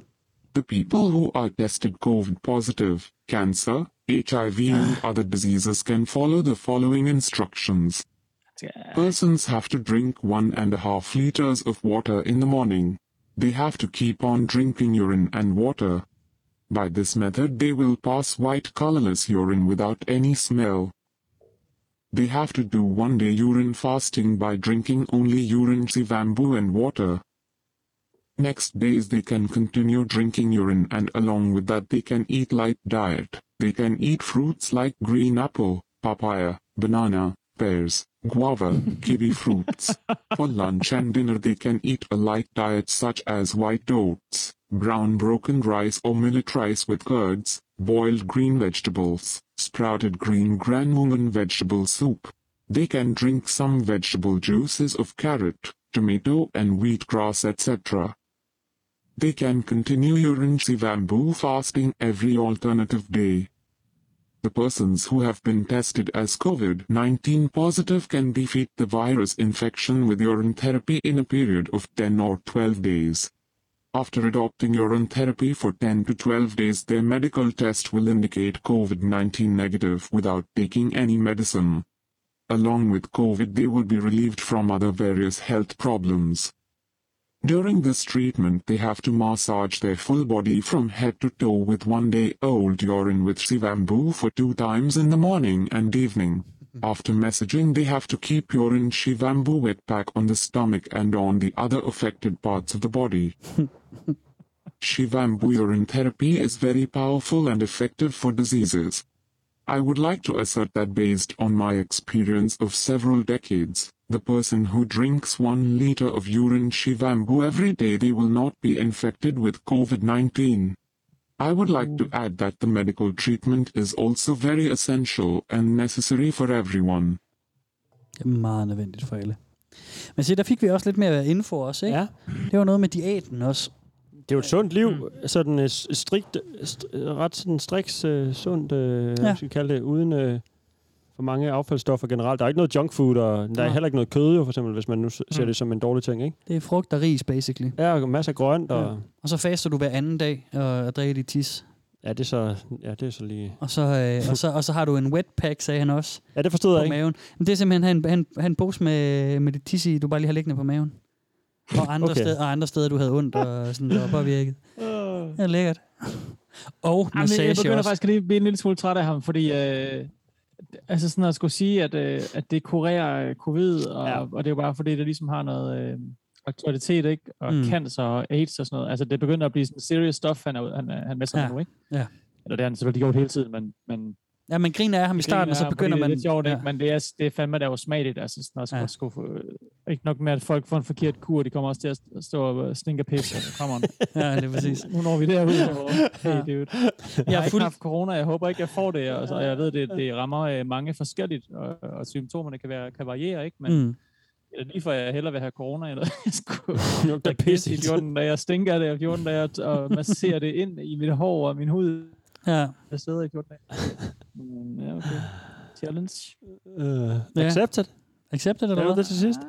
Speaker 7: The people who are tested COVID positive, cancer, HIV, and other diseases can follow the following instructions.
Speaker 12: uh,
Speaker 7: Persons have to drink one and a half liters of water in the morning. They have to keep on drinking urine and water. By this method, they will pass white colorless urine without any smell. They have to do one day urine fasting by drinking only urine, chivambu, and water. Next days they can continue drinking urine and along with that they can eat light diet. They can eat fruits like green apple, papaya, banana, pears, guava, kiwi fruits. For lunch and dinner they can eat a light diet such as white oats, brown broken rice or millet rice with curds, boiled green vegetables, sprouted green granumen vegetable soup. They can drink some vegetable juices of carrot, tomato and wheatgrass etc. They can continue urine sivambu fasting every alternative day. The persons who have been tested as COVID-19 positive can defeat the virus infection with urine therapy in a period of 10 or 12 days. After adopting urine therapy for 10 to 12 days, their medical test will indicate COVID-19 negative without taking any medicine. Along with COVID, they will be relieved from other various health problems. During this treatment, they have to massage their full body from head to toe with one day old urine with Shivambu for two times in the morning and evening. After messaging, they have to keep urine Shivambu wet pack on the stomach and on the other affected parts of the body. Shivambu urine therapy is very powerful and effective for diseases. I would like to assert that based on my experience of several decades, the person who drinks 1 liter of urine Shivambu every day they will not be infected with COVID-19. I would like to add that the medical treatment is also very essential and necessary for everyone.
Speaker 4: Det er meget nødvendigt for alle. Men se, der fik vi også lidt mere info også, ikke?
Speaker 3: Ja.
Speaker 4: Det var noget med diæten også.
Speaker 3: Det er jo et sundt liv. Mm. Sådan øh, s- strikt, st- ret sådan striks øh, sundt, øh, ja. skal vi kalde det, uden øh, for mange affaldsstoffer generelt. Der er ikke noget junk food, og der er
Speaker 4: Nej.
Speaker 3: heller ikke noget kød, jo, for eksempel, hvis man nu s- ser
Speaker 4: Mm.
Speaker 3: det som en dårlig ting. Ikke?
Speaker 4: Det er frugt og ris, basically.
Speaker 3: Ja, og masser af grønt. Og,
Speaker 4: Ja. Og så faster du hver anden dag og, og drikker dit tis.
Speaker 3: ja. det er så, ja, det er så lige...
Speaker 4: Og så, øh, og, så, og så har du en wetpack, sagde han også.
Speaker 3: Ja, det forstod
Speaker 4: på
Speaker 3: jeg ikke.
Speaker 4: Maven. Men det er simpelthen han, han, han pose med, med dit tis i, du bare lige har liggende på maven. Og andre,
Speaker 3: Okay.
Speaker 4: okay. steder, og andre steder, du havde ondt og sådan, der var påvirket.
Speaker 3: Øh.
Speaker 4: Det er lækkert. Og
Speaker 5: Jamen,
Speaker 4: massage
Speaker 5: jeg begynder
Speaker 4: også.
Speaker 5: faktisk at lige blive en lille smule træt af ham, fordi øh, altså sådan at skulle sige, at, øh, at det kurerer øh, covid, og, ja. og det er jo bare fordi, det ligesom har noget øh, aktualitet, ikke? Og
Speaker 4: Mm.
Speaker 5: mm. cancer og aids og sådan noget. Altså det begynder at blive sådan serious stuff, han er, ude- han, er- han er med sig
Speaker 4: Ja.
Speaker 5: ja. nu, ikke?
Speaker 4: Ja.
Speaker 5: Eller det har han selvfølgelig gjort hele tiden, men... men
Speaker 4: Ja, man griner af ham i
Speaker 5: det
Speaker 4: starten,
Speaker 5: griner
Speaker 4: og så
Speaker 5: af ham, fordi
Speaker 4: begynder
Speaker 5: Det er
Speaker 4: man...
Speaker 5: lidt sjovt, ja. men det er, det er fandme, der er jo smageligt, altså sådan at, ja. at skulle, få- øh, ikke nok med, at folk får en forkert kur, de kommer også til at st- stå og øh, stinke pisse, altså, kommer
Speaker 4: Ja, det er præcis.
Speaker 5: nu når vi derud. hvor- Hey, dude. Jeg
Speaker 4: Jeg er
Speaker 5: har ikke
Speaker 4: fuld-
Speaker 5: haft corona, jeg håber ikke, jeg får det. Og, så, og jeg ved, det, det rammer øh, mange forskelligt, og, og symptomerne kan, være, kan variere, ikke? Men
Speaker 4: Mm.
Speaker 5: mm. eller lige for, at jeg hellere vil have corona, eller jeg skulle
Speaker 3: lugter
Speaker 5: drikke pisse i 14 dage, og stinker af det i 14 dage, og- og masserer det ind i mit hår og min hud.
Speaker 4: Ja.
Speaker 5: Jeg sidder i 14 dage.
Speaker 3: Mm,
Speaker 5: Men, ja, okay. Challenge.
Speaker 3: Uh,
Speaker 4: Ja.
Speaker 3: accepted.
Speaker 4: Accepted, eller
Speaker 3: Eller
Speaker 4: hvad?
Speaker 3: det til sidst?
Speaker 5: Ah,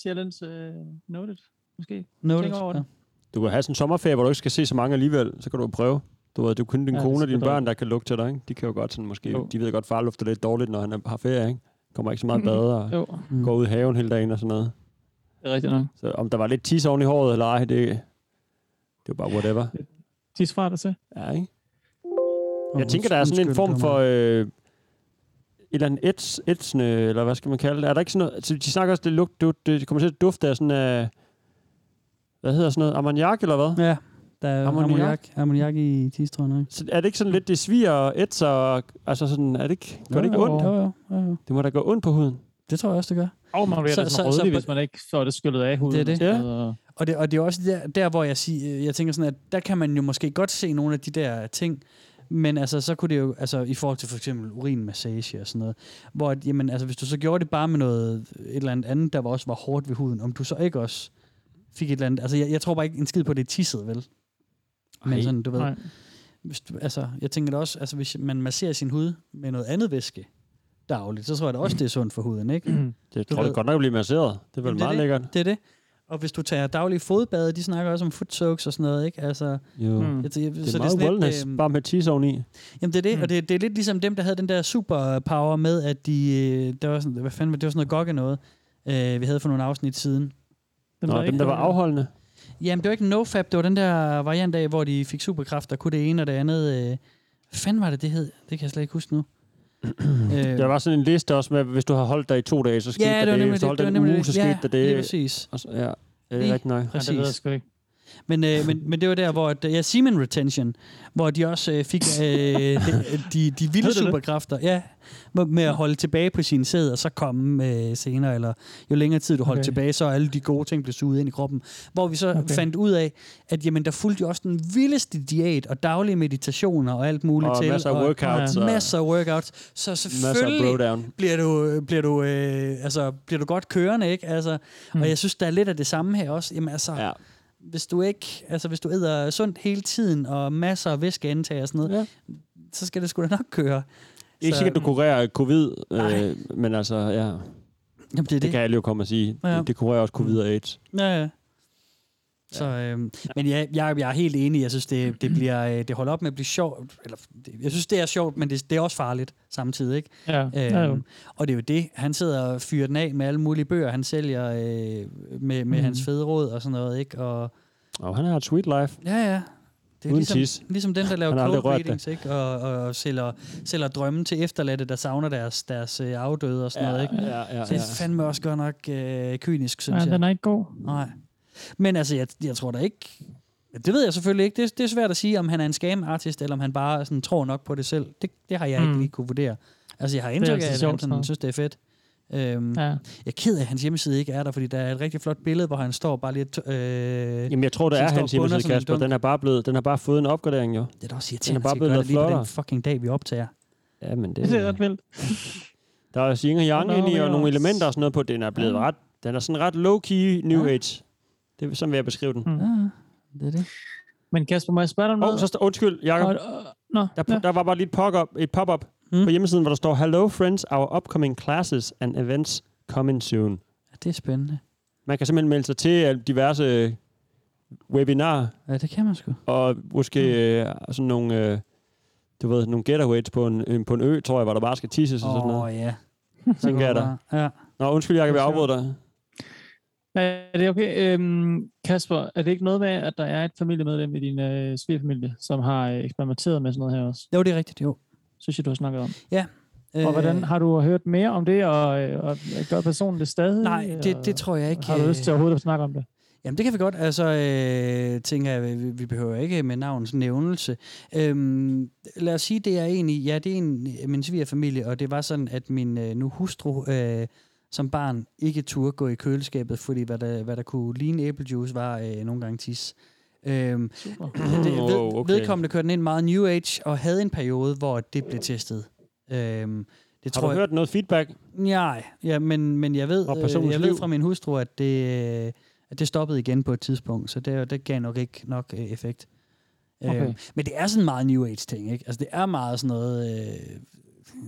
Speaker 5: Challenge uh, noted, måske.
Speaker 4: Noted,
Speaker 5: Tænk over
Speaker 4: ja.
Speaker 5: det.
Speaker 3: Du kan have sådan en sommerferie, hvor du ikke skal se så mange alligevel. Så kan du prøve. Du ved, du kun din
Speaker 5: Ja,
Speaker 3: ja,
Speaker 5: det
Speaker 3: kone og
Speaker 5: skal
Speaker 3: dine
Speaker 5: du.
Speaker 3: børn, der kan lugte til dig. Ikke? De kan jo godt sådan måske...
Speaker 5: Jo.
Speaker 3: Jo. De ved godt, far lugter lidt dårligt, når han er- har ferie, ikke? Kommer ikke så meget bade og
Speaker 5: Jo,
Speaker 3: går ud i haven hele dagen og sådan noget.
Speaker 5: det er rigtigt nok.
Speaker 3: Så om der var lidt tis oven i håret eller ej, det, det var bare whatever.
Speaker 5: Tis fra dig til.
Speaker 3: Ja, ikke? Jeg tænker, der er sådan en
Speaker 4: Undskyld,
Speaker 3: form
Speaker 4: dommer.
Speaker 3: for... Øh, et eller andet ets, etsende, eller hvad skal man kalde det? Er der ikke sådan noget... Så de snakker også, det, lugt, det, det kommer til at dufte af sådan... Øh, hvad hedder sådan noget? Ammoniak, eller hvad?
Speaker 4: Ja. Der er
Speaker 3: Ammoniak.
Speaker 4: ammoniak, ammoniak, ammoniak i tistrøjen, ikke?
Speaker 3: Så er det ikke sådan lidt, det sviger og ætser, og- altså sådan, er det ikke, gør det ikke ondt?
Speaker 4: Jo, jo, jo, jo.
Speaker 3: Det må da gå ondt på huden.
Speaker 4: Det tror jeg også, det gør.
Speaker 5: Og man bliver
Speaker 4: Så-
Speaker 5: så,
Speaker 4: så-
Speaker 5: så,
Speaker 4: så
Speaker 5: rødlig,
Speaker 4: på-
Speaker 5: hvis man ikke får det skyllet af huden.
Speaker 4: Det er
Speaker 5: og
Speaker 4: det.
Speaker 5: sådan noget, og-
Speaker 4: Og det, og det er også der, der hvor jeg, siger, jeg tænker sådan, at der kan man jo måske godt se nogle af de der ting, men altså, så kunne det jo, altså i forhold til for eksempel urinmassage og sådan noget, hvor, at, jamen, altså, hvis du så gjorde det bare med noget, et eller andet andet, der var også var hårdt ved huden, om du så ikke også fik et eller andet, altså jeg, jeg tror bare ikke en skid på, at det er tisset, vel? Men
Speaker 5: Ej,
Speaker 4: sådan, du ved,
Speaker 5: nej.
Speaker 4: hvis du, altså, jeg tænker da også, altså hvis man masserer sin hud med noget andet væske dagligt, så tror jeg da
Speaker 5: Mm.
Speaker 4: også, det er sundt for huden, ikke?
Speaker 3: Det
Speaker 4: Du
Speaker 3: tror jeg
Speaker 4: ved-
Speaker 3: godt nok bliver masseret. Det er vel
Speaker 4: Jamen, det er
Speaker 3: meget lækkert.
Speaker 4: Det er det. Og hvis du tager daglige fodbade, de snakker også om foot soaks og sådan noget, ikke? Altså,
Speaker 3: Jo. Mm.
Speaker 4: jeg, jeg,
Speaker 3: Det er meget
Speaker 4: sådan lidt,
Speaker 3: wellness,
Speaker 4: øhm,
Speaker 3: bare med cheese oveni.
Speaker 4: Jamen det er det, mm. og det, det er lidt ligesom dem, der havde den der superpower med, at de, øh, der var sådan, hvad fanden, var det? det var sådan noget gokke noget, øh, vi havde for nogle afsnit siden.
Speaker 5: Den
Speaker 3: Nå, dem, der var afholdende.
Speaker 4: Jamen det var ikke nofap, det var den der variant af, hvor de fik superkræfter, kunne det ene og det andet. Øh, hvad fanden var det, det hed? Det kan jeg slet ikke huske nu. øh,
Speaker 3: Der var sådan en liste også med, at hvis du har holdt dig i to dage, så skete
Speaker 4: Ja, det var
Speaker 3: der det.
Speaker 4: nemlig
Speaker 3: Hvis du
Speaker 4: det,
Speaker 3: holdt
Speaker 4: det
Speaker 3: dig
Speaker 4: var
Speaker 3: en
Speaker 4: nemlig
Speaker 3: uge,
Speaker 4: det.
Speaker 3: så
Speaker 4: Ja,
Speaker 3: skete der det.
Speaker 4: lige præcis.
Speaker 3: Og så- Ja, det
Speaker 4: Lige
Speaker 3: er rigtig nok.
Speaker 5: Ja, det ved jeg
Speaker 4: Præcis.
Speaker 5: sgu ikke.
Speaker 4: Men, øh, men, men det var der, hvor at, ja, semen retention, hvor de også øh, fik øh, de, de, de vilde
Speaker 5: det?
Speaker 4: superkræfter. Ja, med- med at holde tilbage på sin sæd, og så komme øh, senere, eller jo længere tid du holdt
Speaker 5: Okay.
Speaker 4: okay. tilbage, så er alle de gode ting blev suget ind i kroppen. Hvor vi så okay. fandt ud af, at jamen, der fulgte jo også den vildeste diæt, og daglige meditationer og alt muligt
Speaker 3: Og
Speaker 4: til.
Speaker 3: masser af workouts.
Speaker 4: Og
Speaker 3: og-
Speaker 4: masser af workouts. Så
Speaker 3: Masser af
Speaker 4: selvfølgelig
Speaker 3: blowdown.
Speaker 4: bliver du, bliver du, øh, altså, bliver du godt kørende, ikke? Altså, mm. Og jeg synes, der er lidt af det samme her også. Jamen altså,
Speaker 3: Ja.
Speaker 4: ja. hvis du ikke, altså hvis du æder sundt hele tiden, og masser af væskeindtag og sådan noget,
Speaker 3: Ja.
Speaker 4: ja. så skal det sgu da nok køre.
Speaker 3: Ikke
Speaker 4: Så-
Speaker 3: sikkert, du kurerer covid, øh, men altså, ja,
Speaker 4: Jamen, det er det.
Speaker 3: det kan alle jo komme og sige.
Speaker 4: Ja.
Speaker 3: Det kurerer også covid og AIDS.
Speaker 4: Ja, ja. Så, øhm, men ja, jeg, jeg er helt enig. Jeg synes, det, det, bliver, øh, det holder op med at blive sjovt. Eller, det, jeg synes, det er sjovt, men det, det er også farligt samtidig. Ikke?
Speaker 5: Ja, ja, jo.
Speaker 4: Øhm, og det er jo det. Han sidder og fyrer den af med alle mulige bøger, han sælger øh, med, med mm. hans fede råd og sådan noget. Ikke? Og,
Speaker 3: Og han har et sweet life.
Speaker 4: ja, ja. Det er
Speaker 3: Uden
Speaker 4: ligesom,
Speaker 3: tis.
Speaker 4: ligesom den, der
Speaker 3: Han har
Speaker 4: laver
Speaker 3: aldrig
Speaker 4: cold
Speaker 3: rørt det.
Speaker 4: readings, ikke? Og, og sælger, sælger drømme til efterladte, der savner deres, deres øh, afdøde og sådan noget. Ikke?
Speaker 3: ja, ja,
Speaker 4: Det er fandme også godt nok øh, kynisk, synes
Speaker 5: Ja,
Speaker 4: jeg.
Speaker 5: den er ikke god.
Speaker 4: Nej. Men altså, jeg, jeg tror da ikke... Det ved jeg selvfølgelig ikke. Det, det er svært at sige, om han er en scam-artist, eller om han bare sådan, tror nok på det selv. Det, det har jeg mm. ikke
Speaker 5: Mm.
Speaker 4: lige kunne vurdere. Altså, jeg har
Speaker 5: er
Speaker 4: indtryk af,
Speaker 5: altid
Speaker 4: at
Speaker 5: sjovt,
Speaker 4: han
Speaker 5: sådan
Speaker 4: sådan,
Speaker 5: noget.
Speaker 4: synes, det er fedt. Øhm, ja.
Speaker 5: Ja.
Speaker 4: Jeg er ked af, at hans hjemmeside ikke er der, fordi der er et rigtig flot billede, hvor han står bare lidt... Øh, Jamen,
Speaker 3: Jamen, jeg tror, det
Speaker 4: Som
Speaker 3: er
Speaker 4: står
Speaker 3: hans
Speaker 4: bunder
Speaker 3: hjemmeside,
Speaker 4: som en
Speaker 3: Kasper.
Speaker 4: dunk.
Speaker 3: Den har bare, blevet, den har bare fået en opgradering, jo.
Speaker 4: det er da også
Speaker 3: den er
Speaker 4: irriterende,
Speaker 3: bare
Speaker 4: at
Speaker 3: blevet
Speaker 4: gøre det lige på
Speaker 3: flottere.
Speaker 4: den fucking dag, vi optager.
Speaker 3: Ja, men det,
Speaker 5: Det er ret vildt.
Speaker 3: Der er også yin og yang
Speaker 5: Og der
Speaker 3: ind i,
Speaker 5: er
Speaker 3: og
Speaker 5: vi
Speaker 3: nogle
Speaker 5: også.
Speaker 3: elementer og sådan noget på. Den er blevet
Speaker 4: Ja.
Speaker 3: ret... Den er sådan ret low-key new age. Det er sådan, vil jeg beskrive den.
Speaker 5: Mm.
Speaker 4: Ja, Ah. det er det.
Speaker 5: Men Kasper, må jeg spørge dig om
Speaker 3: Åh,
Speaker 5: noget?
Speaker 3: oh, så står, undskyld, Jacob.
Speaker 5: Og- og- Nå,
Speaker 3: Der,
Speaker 5: ja.
Speaker 3: der var bare lige et pop-up, et pop-up
Speaker 4: Mm.
Speaker 3: mm. på hjemmesiden, hvor der står, Hello friends, our upcoming classes and events coming soon.
Speaker 4: Ja, det er spændende.
Speaker 3: Man kan simpelthen melde sig til øh, diverse øh, webinarer,
Speaker 4: Ja, det kan man sgu.
Speaker 3: og måske
Speaker 5: Mm.
Speaker 3: øh, sådan nogle, øh, du ved, nogle getaways på en, en, på en ø, tror jeg, hvor der bare skal tisses og sådan
Speaker 4: Åh,
Speaker 3: noget.
Speaker 4: oh, ja.
Speaker 3: Tænker jeg da.
Speaker 4: Ja.
Speaker 3: Nå, undskyld, Jacob, jeg afbryder dig.
Speaker 5: Er det okay? Øhm, Kasper, er det ikke noget med, at der er et familiemedlem i din øh, svigerfamilie, som har øh, eksperimenteret med sådan noget her også?
Speaker 4: Jo, det er rigtigt, jo.
Speaker 5: Synes jeg, du har snakket om.
Speaker 4: Øh,
Speaker 5: Og hvordan har du hørt mere om det, og, øh, og gør personen det stadig?
Speaker 4: Nej, det, det
Speaker 5: og
Speaker 4: tror jeg ikke.
Speaker 5: Har du lyst til
Speaker 4: øh,
Speaker 5: overhovedet at snakke om det?
Speaker 4: Jamen, det kan vi godt. Altså, øh, tænker jeg, vi, vi behøver ikke med navns nævnelse. Øhm, lad os sige, det er en i, ja, det er en i min svigerfamilie, og det var sådan, at min øh, nu hustru øh, som barn ikke turde gå i køleskabet, fordi hvad der, hvad der kunne ligne æblejuice var øh, nogle gange tis. Øhm,
Speaker 5: Super.
Speaker 4: det, ved,
Speaker 3: Wow, okay.
Speaker 4: Vedkommende kørte den ind meget New Age, og havde en periode, hvor det blev testet. Øhm, det
Speaker 3: Har
Speaker 4: tror
Speaker 3: du
Speaker 4: jeg,
Speaker 3: hørt noget feedback?
Speaker 4: Nej, ja, men, men jeg ved,
Speaker 3: Og
Speaker 4: øh,
Speaker 3: personens
Speaker 4: jeg ved
Speaker 3: liv.
Speaker 4: fra min hustru, at det, øh, at det stoppede igen på et tidspunkt, så det, det gav nok ikke nok øh, effekt. Okay.
Speaker 5: Okay.
Speaker 4: Øh, men det er sådan meget New Age-ting, ikke? Altså, det er meget sådan noget... Øh,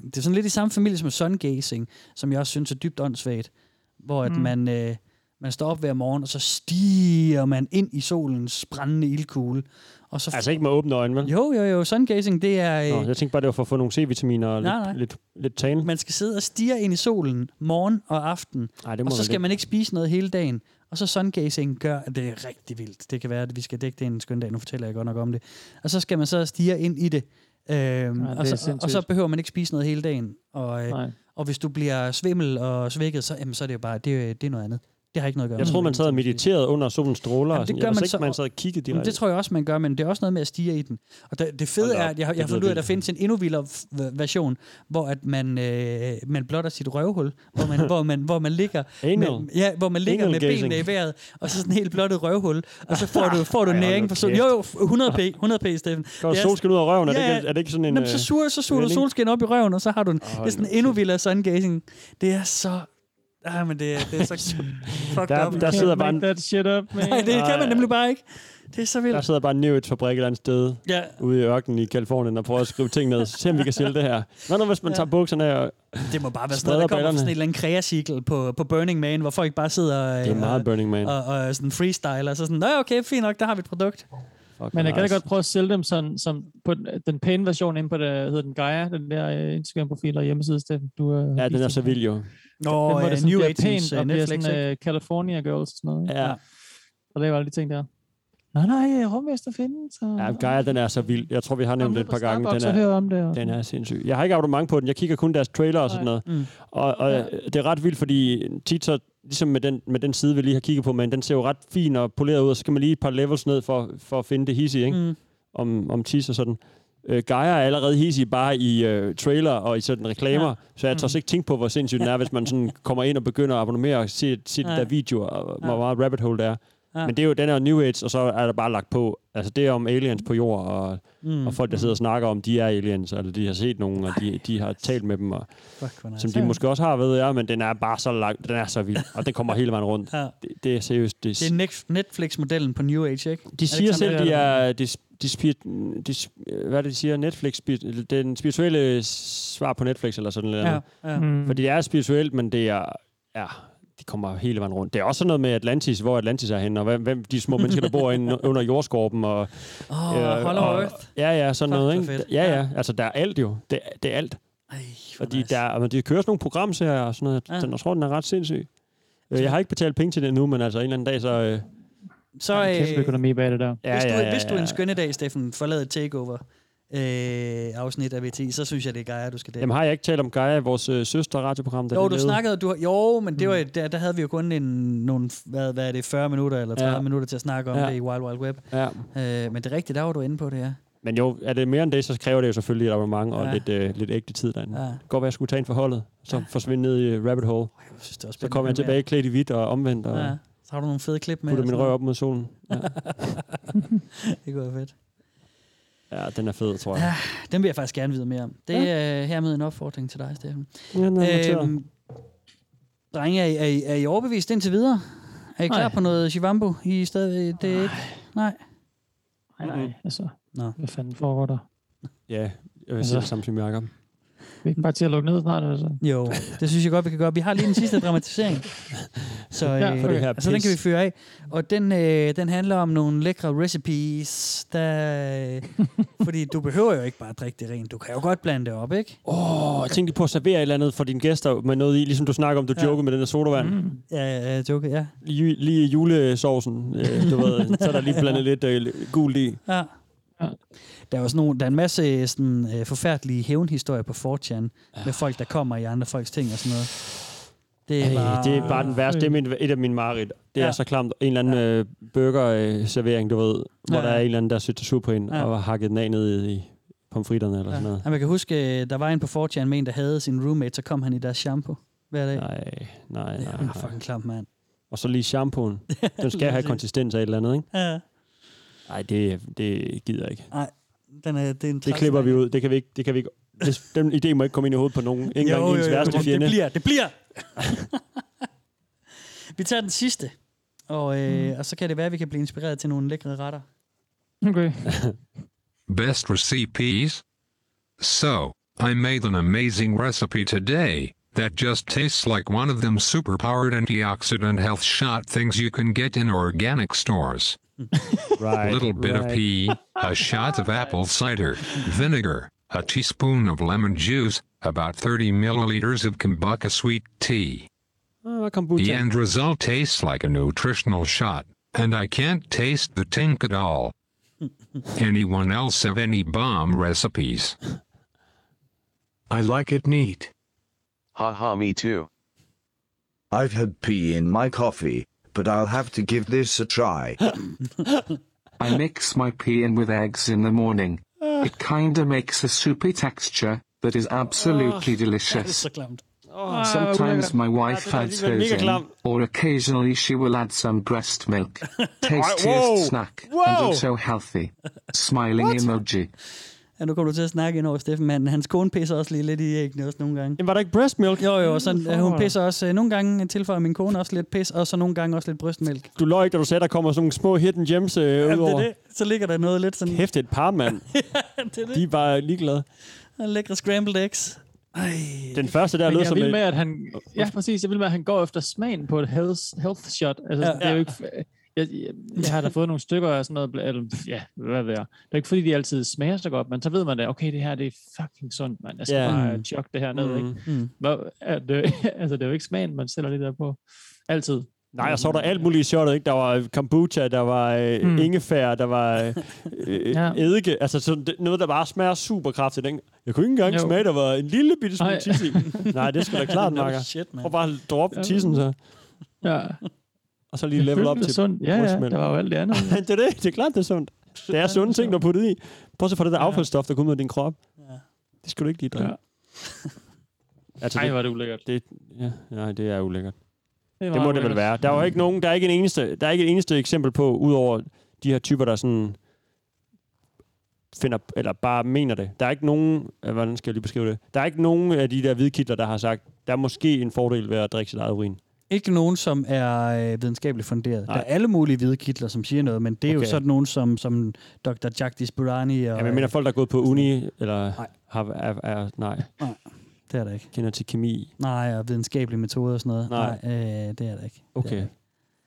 Speaker 4: det er sådan lidt i samme familie som sun gazing, som jeg også synes er dybt åndssvagt, hvor at
Speaker 5: Mm.
Speaker 4: man, øh, man står op hver morgen, og så stiger man ind i solens brændende ildkugle, og så...
Speaker 3: Altså ikke med åbne øjne, vel?
Speaker 4: Jo, jo, jo, sun gazing, det er... øh,
Speaker 3: Nå, jeg tænkte bare, det var for at få nogle C-vitaminer og
Speaker 4: Nej,
Speaker 3: lidt,
Speaker 4: nej.
Speaker 3: lidt, lidt tan.
Speaker 4: man skal sidde og stige ind i solen morgen og aften,
Speaker 3: Nej, det må
Speaker 4: og så
Speaker 3: man
Speaker 4: skal man ikke spise noget hele dagen. Og så sungazing gør, at det er rigtig vildt. Det kan være, at vi skal dække det en skøn dag. Nu fortæller jeg godt nok om det. Og så skal man så stige ind i det. Øhm, ja,
Speaker 5: er
Speaker 4: og, så,
Speaker 5: sindssygt.
Speaker 4: og så behøver man ikke spise noget hele dagen. Og, øh,
Speaker 5: Nej.
Speaker 4: og hvis du bliver svimmel og svækket, så, jamen, så er det jo bare det, er- det er noget andet. Det har ikke noget at gøre
Speaker 3: Jeg
Speaker 4: med
Speaker 3: troede, man sad og mediterede under solens stråler.
Speaker 4: Jamen,
Speaker 3: Jamen,
Speaker 4: det
Speaker 3: sådan.
Speaker 4: gør
Speaker 3: jeg
Speaker 4: man
Speaker 3: man ikke,
Speaker 4: så-
Speaker 3: man sad og kiggede
Speaker 4: Jamen,
Speaker 3: direkte.
Speaker 4: det tror jeg også, man gør, men det er også noget med at stige i den. Og det, det fede
Speaker 3: Hold da
Speaker 4: er,
Speaker 3: op,
Speaker 4: at jeg,
Speaker 3: det
Speaker 4: jeg har
Speaker 3: lyder
Speaker 4: fundet ud af, at der
Speaker 3: vildt.
Speaker 4: findes en endnu vildere f- v- version, hvor at man, øh, man blotter sit røvhul, hvor man, hvor man, hvor man ligger, med,
Speaker 3: Anal.
Speaker 4: ja, hvor man ligger
Speaker 3: Anal
Speaker 4: med
Speaker 3: gazing.
Speaker 4: benene i vejret, og så sådan en helt blottet røvhul, og så får du, får du næring. For sol. Jo, jo, 100p, 100p, Steffen.
Speaker 3: Der er
Speaker 4: Det
Speaker 3: solskin ud af røven, er det
Speaker 4: Ja,
Speaker 3: ikke- er det ikke sådan en,
Speaker 4: Nå, men så
Speaker 3: øh,
Speaker 4: suger, så suger du
Speaker 3: vending?
Speaker 4: solskin op i røven, og så har du en, det er
Speaker 3: hold
Speaker 4: sådan endnu vildere sun gazing. Det er så... Ah, men det, er- det er så fucked
Speaker 3: Der-
Speaker 4: up.
Speaker 3: der sidder bare en-
Speaker 5: That shit up, man.
Speaker 4: Nej, det kan man nemlig bare ikke. Det er så vildt.
Speaker 3: Der sidder bare en Neo-fabrik et eller andet sted
Speaker 4: Ja.
Speaker 3: ude i ørkenen i Kalifornien og prøver at skrive ting ned. Se om vi kan sælge det her. Hvad nu, hvis man
Speaker 4: Ja.
Speaker 3: tager bukserne af og
Speaker 4: Det må bare være sådan
Speaker 3: spreder
Speaker 4: noget, der kommer fra
Speaker 3: ballerne?
Speaker 4: sådan en eller anden kreacirkel på, på Burning Man, hvor folk bare sidder øh,
Speaker 3: Det er meget Burning Man.
Speaker 4: og, og, sådan freestyler, og så sådan, nå ja, okay, fint nok, der har vi et produkt.
Speaker 3: Fuck,
Speaker 5: Men jeg kan da
Speaker 3: nice.
Speaker 5: godt prøve at sælge dem sådan, som på den, den pæne version inde på det, hedder den Gaia, den der øh, Instagram-profil og hjemmeside, Steffen. Du, øh,
Speaker 3: Ja, den er så vild jo.
Speaker 4: Nå,
Speaker 5: den,
Speaker 4: ja,
Speaker 5: hvor det sådan
Speaker 4: New
Speaker 5: bliver
Speaker 4: 80's,
Speaker 5: pænt
Speaker 4: øh,
Speaker 5: og bliver
Speaker 4: Netflix,
Speaker 5: sådan øh, California Girls og sådan noget. ikke?
Speaker 3: Ja,
Speaker 5: Og det var alle de ting der. Nej, nej, rummester findes. Og,
Speaker 3: ja Gaia, den er så vild. Jeg tror, vi har nævnt det et par gange. Den
Speaker 5: Den Mm. er,
Speaker 3: er,
Speaker 5: hører om det. Og,
Speaker 3: den er sindssyg. Jeg har ikke abonnement på den. Jeg kigger kun deres trailer og sådan noget.
Speaker 4: Mm.
Speaker 3: Og, og
Speaker 5: Ja.
Speaker 3: øh, det er ret vildt, fordi tit så, ligesom med den, med den side, vi lige har kigget på, men den ser jo ret fin og poleret ud, og så skal man lige et par levels ned for, for at finde det hissige, ikke?
Speaker 4: Mm.
Speaker 3: Om, om tis og sådan. Øh, Gaia er allerede hissig bare i øh, trailer og i sådan reklamer,
Speaker 4: Ja.
Speaker 3: ja. så jeg tør slet ikke tænke på, hvor sindssygt den er, hvis man sådan kommer ind og begynder at abonnere og se, se ja.
Speaker 4: Ja.
Speaker 3: de der videoer, og hvor
Speaker 4: Ja.
Speaker 3: meget rabbit hole det er.
Speaker 4: Ja.
Speaker 3: Ja. Men det er jo den her New Age, og så er der bare lagt på. Altså det er om aliens på jord, og,
Speaker 4: Mm.
Speaker 3: mm. og folk, der sidder og snakker om, de er aliens, eller de har set nogen, og de, de har talt med dem, og
Speaker 4: Fuck, hvor nice.
Speaker 3: som de måske også har, ved jeg, men den er bare så lang, den er så vild, og den kommer hele vejen rundt.
Speaker 4: Ja.
Speaker 3: Det, det er seriøst. Det,
Speaker 4: Det
Speaker 3: det
Speaker 4: er Nex- Netflix-modellen på New Age, ikke? øh,
Speaker 3: de siger
Speaker 4: Alexander,
Speaker 3: selv,
Speaker 4: hvad
Speaker 3: de
Speaker 4: er
Speaker 3: er... De, de, spirit, de, hvad er det, de siger? Netflix, spi- den spirituelle svar på Netflix, eller sådan noget.
Speaker 4: Ja,
Speaker 3: Ja.
Speaker 4: ja.
Speaker 5: mm.
Speaker 3: Fordi det er spirituelt, men det er... Ja, de kommer hele vejen rundt. Det er også sådan noget med Atlantis, hvor Atlantis er henne, og hvem, hvem de små mennesker, der bor inde under jordskorpen. Og, øh,
Speaker 4: Åh, oh, Hollow
Speaker 3: og-
Speaker 4: Earth.
Speaker 3: Ja, ja, sådan
Speaker 4: Fuck,
Speaker 3: noget.
Speaker 4: hvor
Speaker 3: Ikke?
Speaker 4: fedt.
Speaker 3: Ja,
Speaker 4: Ja.
Speaker 3: ja, altså der er alt jo. Det, det er alt.
Speaker 4: Ej, hvor
Speaker 3: Fordi
Speaker 4: nice.
Speaker 3: nice. der, men de kører sådan nogle programserier og sådan noget.
Speaker 4: Ja.
Speaker 3: Ja. Den, jeg tror, den er ret sindssyg. Øh, Jeg har ikke betalt penge til det nu, men altså en eller anden dag, så... Øh, ja,
Speaker 4: Så,
Speaker 5: Der er en kæmpe
Speaker 4: øh,
Speaker 5: økonomi bag det der.
Speaker 4: hvis, du, hvis du en skønne dag, Steffen, forlader et takeover, øh, afsnit af VT, så synes jeg, det er Gaia, du skal dele.
Speaker 3: Jamen har jeg ikke talt om Gaia, vores øh, søster-radioprogram, der
Speaker 4: Jo,
Speaker 3: vi
Speaker 4: du
Speaker 3: lavede?
Speaker 4: snakkede, du, jo, men
Speaker 3: Mm.
Speaker 4: det var, der, der havde vi jo kun en, nogle, hvad, hvad er det, 40 minutter eller 30 ja.
Speaker 3: Ja.
Speaker 4: minutter til at snakke om ja.
Speaker 3: Ja.
Speaker 4: det i Wild Wild Web.
Speaker 3: Ja.
Speaker 4: Øh, men det er rigtigt, der var du inde på det, ja.
Speaker 3: Men jo, er det mere end det, så kræver det jo selvfølgelig et abonnement og
Speaker 4: Ja.
Speaker 3: ja. lidt, øh, lidt ægte tid derinde. Ja.
Speaker 4: ja.
Speaker 3: Godt være, jeg skulle tage en forholdet, så forsvinde ned i øh, rabbit hole.
Speaker 4: Jeg synes, det var
Speaker 3: Så
Speaker 4: spændende
Speaker 3: kommer jeg
Speaker 4: med-
Speaker 3: tilbage klædt i hvidt og omvendt, og
Speaker 4: Ja.
Speaker 3: ja.
Speaker 4: Så har du nogle fede klip med.
Speaker 3: putter
Speaker 4: og
Speaker 3: min
Speaker 4: sådan
Speaker 3: røv op mod solen. Ja.
Speaker 4: noget. Det kunne være fedt.
Speaker 3: ja, den er fed, tror jeg.
Speaker 4: Ja. Den vil jeg faktisk gerne vide mere om. Det er øh, hermed en opfordring til dig, Steffen.
Speaker 3: Ja, den er øhm,
Speaker 4: Øhm, drenge, er I, er, I, er I overbevist indtil videre? Er I klar
Speaker 5: Nej.
Speaker 4: på noget Shivambu? I er stadig, det er ikke... Nej.
Speaker 5: Nej, nej, altså.
Speaker 4: Nå.
Speaker 5: Hvad fanden foregår der?
Speaker 3: ja, jeg vil sige
Speaker 5: Altså-
Speaker 3: det samme som Jacob.
Speaker 5: Vi er ikke bare til at lukke ned snart, altså.
Speaker 4: Jo, det synes jeg godt, vi kan gøre. Vi har lige den sidste dramatisering. Så, øh,
Speaker 5: Ja,
Speaker 4: ja,
Speaker 5: for
Speaker 3: det her
Speaker 4: så den
Speaker 3: pis.
Speaker 4: kan vi fyre af. Og den, øh, den handler om nogle lækre recipes, der, øh, fordi du behøver jo ikke bare at drikke det rent. Du kan jo godt blande det op, ikke?
Speaker 3: Åh, oh, jeg tænkte lige på at servere et eller andet for dine gæster med noget i, ligesom du snakker om, du
Speaker 4: Ja.
Speaker 3: ja. joker med den der sodavand. Mm.
Speaker 4: Ja, ja, jeg joker, ja.
Speaker 3: Lige, lige julesovsen, øh, du ved, så er der lige blandet lidt øh, gult i.
Speaker 4: ja.
Speaker 5: Ja.
Speaker 4: Der er jo sådan nogle, der er en masse sådan, øh, forfærdelige hævnhistorier på 4chan, med folk, der kommer i andre folks ting og sådan noget. Det er,
Speaker 3: Ej,
Speaker 4: bare,
Speaker 3: det er bare den værste. Det er min, et af mine mareridt. Det er
Speaker 4: Ja.
Speaker 3: ja. så klamt. En eller anden ja. øh, burgerservering, du ved, hvor
Speaker 4: Ja.
Speaker 3: ja. der er en eller anden, der sætter sur på hende
Speaker 4: Ja.
Speaker 3: ja. og har hakket den af ned i pomfritterne eller ja. sådan
Speaker 4: Ja.
Speaker 3: noget.
Speaker 4: Jamen, jeg kan huske, øh, der var en på 4chan med en, der havde sin roommate, så kom han i deres shampoo hver dag.
Speaker 3: Nej, nej,
Speaker 4: det
Speaker 3: nej.
Speaker 4: er ja,
Speaker 3: nej.
Speaker 4: fucking klam, mand.
Speaker 3: Og så lige shampooen. Den skal have konsistens af et eller andet, ikke?
Speaker 4: Ja.
Speaker 3: Nej, det, det gider jeg ikke.
Speaker 4: Den er, det, er en
Speaker 3: Det
Speaker 4: træls
Speaker 3: klipper vi
Speaker 4: dreng.
Speaker 3: ud. Det kan vi ikke. Det kan vi ikke. Det, den idé må ikke komme ind i hovedet på nogen. Ikke
Speaker 4: Jo,
Speaker 3: engang ens
Speaker 4: jo, jo,
Speaker 3: værste
Speaker 4: det-
Speaker 3: fjende.
Speaker 4: Det bliver, det bliver! vi tager den sidste, og, øh, og så kan det være, at vi kan blive inspireret til nogle lækre retter.
Speaker 5: Okay.
Speaker 8: Best recipes? So, I made an amazing recipe today that just tastes like one of them superpowered antioxidant health shot things you can get in organic stores.
Speaker 3: Right,
Speaker 8: A little bit of
Speaker 3: right.
Speaker 8: pea, a shot of apple cider, vinegar, a teaspoon of lemon juice, about 30 milliliters of kombucha sweet tea.
Speaker 3: Ah, hvad kom Butan?
Speaker 8: The end result tastes like a nutritional shot, and I can't taste the tink at all. Anyone else have any bomb recipes?
Speaker 9: I like it neat.
Speaker 13: Haha, me too.
Speaker 15: I've had pee in my coffee, but I'll have to give this a try.
Speaker 16: I mix my pea in with eggs in the morning. It kinda makes a soupy texture that is absolutely
Speaker 3: Oh,
Speaker 16: delicious.
Speaker 4: Ah,
Speaker 3: Åh,
Speaker 16: Sometimes my wife
Speaker 3: det er
Speaker 16: adds
Speaker 3: alligevel
Speaker 16: hers
Speaker 3: mega
Speaker 16: in,
Speaker 3: klamt.
Speaker 16: or occasionally she will add some breast milk. Tastiest
Speaker 4: whoa.
Speaker 16: snack, and
Speaker 4: Whoa.
Speaker 16: also healthy. Smiling emoji.
Speaker 4: Ja, nu kommer du til at snakke ind over Steffen, manden. Hans kone pisser også lige lidt i æggene også nogle gange.
Speaker 3: Jamen, var der ikke breast milk?
Speaker 4: Jo, jo, og sådan, øh, hun
Speaker 3: For-
Speaker 4: pisser også. Øh, nogle gange tilføjer min kone også lidt pis, og så nogle gange også lidt brystmælk.
Speaker 3: Du løg ikke, da du sagde, der kommer sådan nogle små hidden gems øh,
Speaker 4: Jamen, det
Speaker 3: udover.
Speaker 4: er det. Så ligger der noget lidt sådan...
Speaker 3: Kæft, det er et par, mand.
Speaker 4: det er det.
Speaker 3: De er bare ligeglade.
Speaker 4: Og Lækre scrambled eggs. Øh,
Speaker 3: Den første der
Speaker 5: Men
Speaker 3: lød
Speaker 5: jeg
Speaker 3: som...
Speaker 5: vil
Speaker 3: et-
Speaker 5: med, at han, ja, præcis. Jeg vil med, at han går efter smagen på et health, health shot. Altså,
Speaker 3: Ja.
Speaker 5: ja. det er jo ikke... Jeg, jeg, jeg har da fået nogle stykker af sådan noget, bla- eller, pff, ja, hvad ved jeg. Det er ikke fordi, de altid smager så godt, men så ved man da, okay, det her, det er fucking sundt, man. Jeg skal
Speaker 3: Ja.
Speaker 5: yeah. bare
Speaker 3: Mm.
Speaker 5: chuck det her ned,
Speaker 3: Mm.
Speaker 5: mm. ikke?
Speaker 3: Mm.
Speaker 5: Hvor, at, øh, altså, det er jo ikke smagen, man sælger det der på. Altid.
Speaker 3: Nej, og så var der alt muligt i shotet, ikke? Der var kombucha, der var øh,
Speaker 5: Mm.
Speaker 3: ingefær, der var øh, øh,
Speaker 5: Ja.
Speaker 3: eddike. Altså sådan det- noget, der bare smager super kraftigt. Ikke? Jeg kunne ikke engang
Speaker 5: Jo.
Speaker 3: smage, der var en lille bitte smule
Speaker 5: Ej.
Speaker 3: tis i. Nej, det skal da klart,
Speaker 5: No
Speaker 3: Marker.
Speaker 5: shit, man.
Speaker 3: Prøv bare at droppe
Speaker 5: Ja.
Speaker 3: tissen, så.
Speaker 5: Ja.
Speaker 3: Og så lige
Speaker 5: Jeg
Speaker 3: level
Speaker 5: følte
Speaker 3: op
Speaker 5: det
Speaker 3: til
Speaker 5: sundt. Ja, ja,
Speaker 3: brystmælk.
Speaker 5: der var jo alt det andet.
Speaker 3: det er det. Det er klart, det er sundt. Det er sunde ting, du har puttet i. Prøv så for det der affaldsstof, der kommer ud af din krop. Det skal du ikke lige drikke. Altså,
Speaker 5: Ej, hvor er det ulækkert.
Speaker 3: Det, ja, nej, det er ulækkert.
Speaker 5: Det
Speaker 3: Det,
Speaker 5: er meget
Speaker 3: det må det vel
Speaker 5: ulækkert.
Speaker 3: være. Der er jo ikke nogen, der er ikke en eneste, der er ikke et eneste eksempel på, udover de her typer, der sådan finder, eller bare mener det. Der er ikke nogen, øh, hvordan skal jeg lige beskrive det? Der er ikke nogen af de der hvidkitler, der har sagt, der er måske en fordel ved at drikke sit eget urin.
Speaker 4: Ikke nogen, som er øh, videnskabeligt funderet.
Speaker 3: Nej.
Speaker 4: Der er alle mulige hvide kitler, som siger noget, men det er
Speaker 3: Okay.
Speaker 4: jo sådan nogen som, som Dr. Jagdish Burani. Og,
Speaker 3: Ja, men jeg mener folk, der er gået på uni, eller har, er, er, nej.
Speaker 4: Nej, det er der ikke.
Speaker 3: Kender til kemi.
Speaker 4: Nej, og videnskabelige metoder og sådan noget.
Speaker 3: Nej.
Speaker 4: Nej øh, det er der ikke.
Speaker 3: Okay.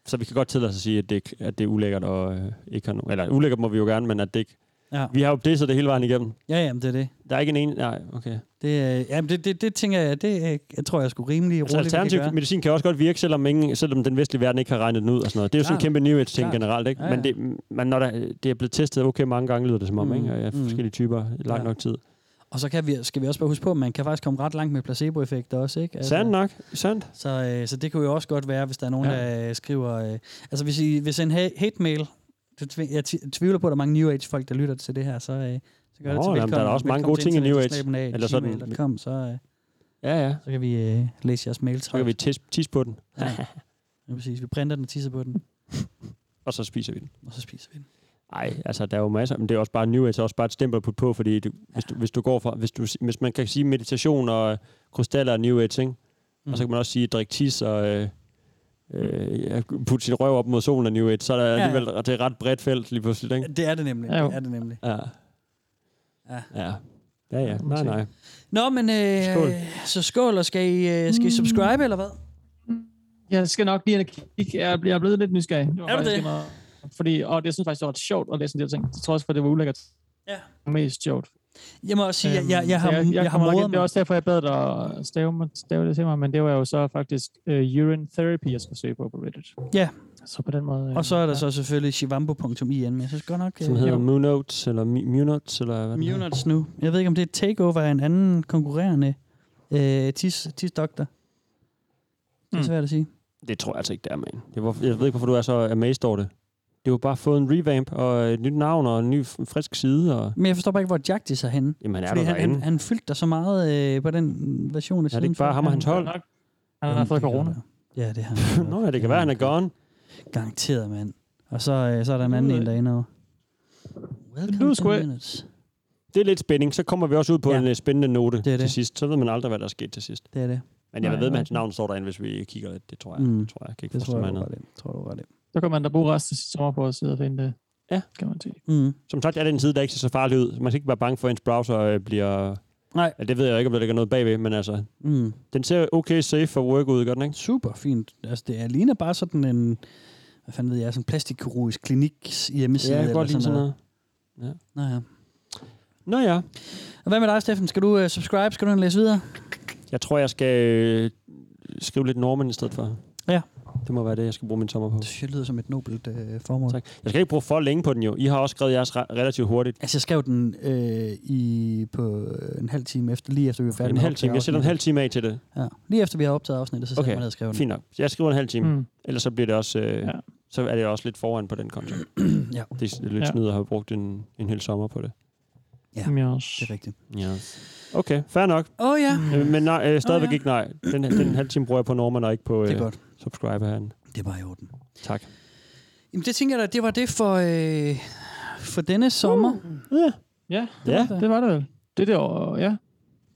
Speaker 3: Så vi kan godt tillade os at sige, at det, at det er ulækkert, og øh, ikke har nogen... Eller ulækkert må vi jo gerne, men at det ikke...
Speaker 4: Ja.
Speaker 3: Vi har jo disset det hele vejen igennem.
Speaker 4: Ja, jamen, det er det.
Speaker 3: Der er ikke en ene... Nej, okay. Altså,
Speaker 4: Det, øh, jamen, det, det, det tænker jeg, det øh, jeg tror jeg skulle rimelig
Speaker 3: Altså,
Speaker 4: roligt, vi kan
Speaker 3: alternativ
Speaker 4: gøre.
Speaker 3: medicin kan også godt virke, selvom, ingen, selvom den vestlige verden ikke har regnet den ud og sådan noget. Det er jo sådan en
Speaker 4: Klart.
Speaker 3: kæmpe new age-ting
Speaker 4: Klart.
Speaker 3: generelt, ikke?
Speaker 4: Ja,
Speaker 3: Men,
Speaker 4: ja.
Speaker 3: det, men når der, det er blevet testet okay mange gange, lyder det som om,
Speaker 4: Mm,
Speaker 3: ikke? Og af
Speaker 4: mm.
Speaker 3: forskellige typer i lang
Speaker 4: Ja.
Speaker 3: nok tid.
Speaker 4: Og så kan vi, skal vi også bare huske på, at man kan faktisk komme ret langt med placeboeffekter også, ikke? Altså,
Speaker 3: Sandt nok, sandt.
Speaker 4: Så, øh, så det kunne jo også godt være, hvis der er nogen,
Speaker 3: Ja.
Speaker 4: ja. der øh, skriver... Øh, altså hvis, I, hvis en ha- hate-mail... det tv- Jeg tv- tvivler på, at der er mange New Age-folk, der lytter til det her, så, øh, så gør
Speaker 3: Nå,
Speaker 4: det til
Speaker 3: jamen,
Speaker 4: velkommen.
Speaker 3: der er da også mange gode ting i New Age. Eller
Speaker 4: Eller
Speaker 3: sådan-
Speaker 4: sådan. Kom, så, øh,
Speaker 3: ja, ja.
Speaker 4: så kan vi øh, læse jeres mails.
Speaker 3: Så kan vi tis, tis på den.
Speaker 4: Ja. ja, præcis. Vi printer den og tisser på den.
Speaker 3: og så spiser vi den.
Speaker 4: Og så spiser vi den.
Speaker 3: Nej, altså der er jo masser, men det er også bare New Age, er også bare et stempel at putte på, fordi du, hvis, du, hvis du går fra, hvis, du, hvis man kan sige meditation og øh, krystaller er New Age, ikke? Mm. og så kan man også sige drik tis og øh, øh, putte sin røv op mod solen er New Age, så er der
Speaker 4: Ja,
Speaker 3: ja,
Speaker 4: ja.
Speaker 3: alligevel ja. det er et ret bredt felt lige pludselig. Ikke?
Speaker 4: Det er det nemlig.
Speaker 3: Ja, jo.
Speaker 4: det er det nemlig.
Speaker 3: Ja.
Speaker 4: Ja.
Speaker 3: Ja. Ja, ja. Nej, nej.
Speaker 4: Nå, men øh,
Speaker 3: Skål.
Speaker 4: skål.
Speaker 3: Mm.
Speaker 4: så skål, og skal I, øh, skal I subscribe, eller hvad?
Speaker 5: Jeg skal nok lige ind og kigge. Jeg bliver blevet lidt nysgerrig. Det var
Speaker 4: Er du
Speaker 5: faktisk
Speaker 4: det?
Speaker 5: lige Meget, fordi, og det, jeg synes faktisk, det var ret sjovt at læse en del ting. Det tror også, for det var ulækkert.
Speaker 4: Ja.
Speaker 5: Mest sjovt.
Speaker 4: Jeg må også sige, jeg, jeg,
Speaker 5: Øhm,
Speaker 4: jeg,
Speaker 5: så
Speaker 4: har, jeg, jeg, jeg har
Speaker 5: kommer nok
Speaker 4: modet
Speaker 5: ind. Det er også derfor, jeg bad dig at stave, mig- stave det til mig, men det var jo så faktisk uh, urine therapy, jeg skulle søge på på Reddit.
Speaker 4: Ja.
Speaker 5: Så på den måde... øh,
Speaker 4: Og så er der så selvfølgelig shivambo.in, men jeg synes godt nok...
Speaker 3: Som hedder Moonotes, eller Mi- Munotes, eller hvad den hedder.
Speaker 4: Munots nu. Jeg ved ikke, om det er et takeover af en anden konkurrerende øh, tis, tisdoktor. Det
Speaker 5: Hmm.
Speaker 4: er
Speaker 3: Mm.
Speaker 4: svært at sige.
Speaker 3: Det tror jeg altså ikke, det er, man. Jeg, var, jeg ved ikke, hvorfor du er så amazed over det. Det har jo bare fået en revamp, og et nyt navn, og en ny f- frisk side, og...
Speaker 4: Men jeg forstår bare ikke, hvor Jagdis er henne.
Speaker 3: Jamen, han er
Speaker 4: Fordi
Speaker 3: der
Speaker 4: han,
Speaker 3: derinde.
Speaker 4: han, han fyldte dig så meget øh, på den version af
Speaker 3: Er det ikke bare ham og hans hold?
Speaker 5: Han har fået corona.
Speaker 4: Ja, det har han.
Speaker 3: Nå, ja, det kan være, han er gone.
Speaker 4: Garanteret, mand. Og så, øh, så er der en anden en derinde over. Welcome to minutes.
Speaker 3: Det er lidt spænding. Så kommer vi også ud på ja.
Speaker 4: Ja.
Speaker 3: en øh, spændende note det
Speaker 4: det.
Speaker 3: til sidst. Så ved man aldrig, hvad der er sket til sidst.
Speaker 4: Det er det.
Speaker 3: Men jeg
Speaker 5: Nej,
Speaker 3: ved med,
Speaker 5: nej.
Speaker 3: at hans navn står derinde, hvis vi kigger lidt. Det tror jeg. Mm. Tror jeg. jeg kan ikke
Speaker 4: Det tror
Speaker 3: forestille
Speaker 4: jeg,
Speaker 3: mig
Speaker 4: du har
Speaker 3: andet.
Speaker 4: ret i. Tror du ret i.
Speaker 5: Så kan man da bruge resten af sit sommer på at sidde og finde det.
Speaker 3: Ja.
Speaker 5: Kan man sige.
Speaker 4: Mm.
Speaker 3: Som sagt er det en side, der ikke ser så farlig ud. Man skal ikke være bange for, at ens browser øh, bliver...
Speaker 4: Nej.
Speaker 3: Ja, det ved jeg jo ikke, om der ligger noget bagved, men altså...
Speaker 4: Mm.
Speaker 3: Den ser okay safe for work ud, gør den ikke?
Speaker 4: Super fint. Altså, det er ligner bare sådan en, hvad fanden ved jeg, sådan en plastikkirurgisk klinik hjemmeside.
Speaker 3: Ja, jeg kan godt
Speaker 4: eller
Speaker 3: lide sådan noget.
Speaker 4: Nå
Speaker 3: Ja.
Speaker 4: ja.
Speaker 3: Nå ja.
Speaker 4: Og hvad med dig, Steffen? Skal du uh, subscribe? Skal du ind og læse videre?
Speaker 3: Jeg tror, jeg skal øh, skrive lidt Norman i stedet for.
Speaker 4: Ja.
Speaker 3: Det må være det, jeg skal bruge min sommer på. Det
Speaker 4: synes jeg lyder som et nobelt øh, formål.
Speaker 3: Tak. Jeg skal ikke bruge for længe på den jo. I har også skrevet jeres re- relativt hurtigt.
Speaker 4: Altså, jeg skrev den øh, i, på øh, en halv time efter, lige efter vi var færdige
Speaker 3: En
Speaker 4: med at
Speaker 3: halv
Speaker 4: optage
Speaker 3: time. Jeg sætter en
Speaker 4: afsnittet.
Speaker 3: halv time af til det.
Speaker 4: Ja. Lige efter vi har optaget afsnittet, så sætter okay. man ned og skriver den.
Speaker 3: fint nok. Jeg skriver en halv time.
Speaker 4: Mm.
Speaker 3: Mm. Ellers så bliver det også... Øh, ja. Så er det også lidt foran på den konto.
Speaker 4: ja.
Speaker 3: Det er lidt
Speaker 4: Ja.
Speaker 3: snyder at have brugt en, en hel sommer på det.
Speaker 4: Ja,
Speaker 5: yes.
Speaker 4: det er rigtigt.
Speaker 3: Yes. Okay, fair nok.
Speaker 4: Åh oh, ja.
Speaker 3: Øh, Men nej, øh, stadigvæk
Speaker 4: Åh,
Speaker 3: oh,
Speaker 4: ja.
Speaker 3: ja. ikke nej. Den, den halve time bruger jeg på Norman og ikke på øh,
Speaker 4: Det er godt.
Speaker 3: subscribe herinde.
Speaker 4: Det er bare i orden.
Speaker 3: Tak.
Speaker 4: Jamen, det tænker jeg da, det var det for, øh, for denne sommer.
Speaker 3: Ja.
Speaker 5: Ja,
Speaker 4: det
Speaker 5: ja.
Speaker 4: var det.
Speaker 5: det var det vel. Det der, år, ja.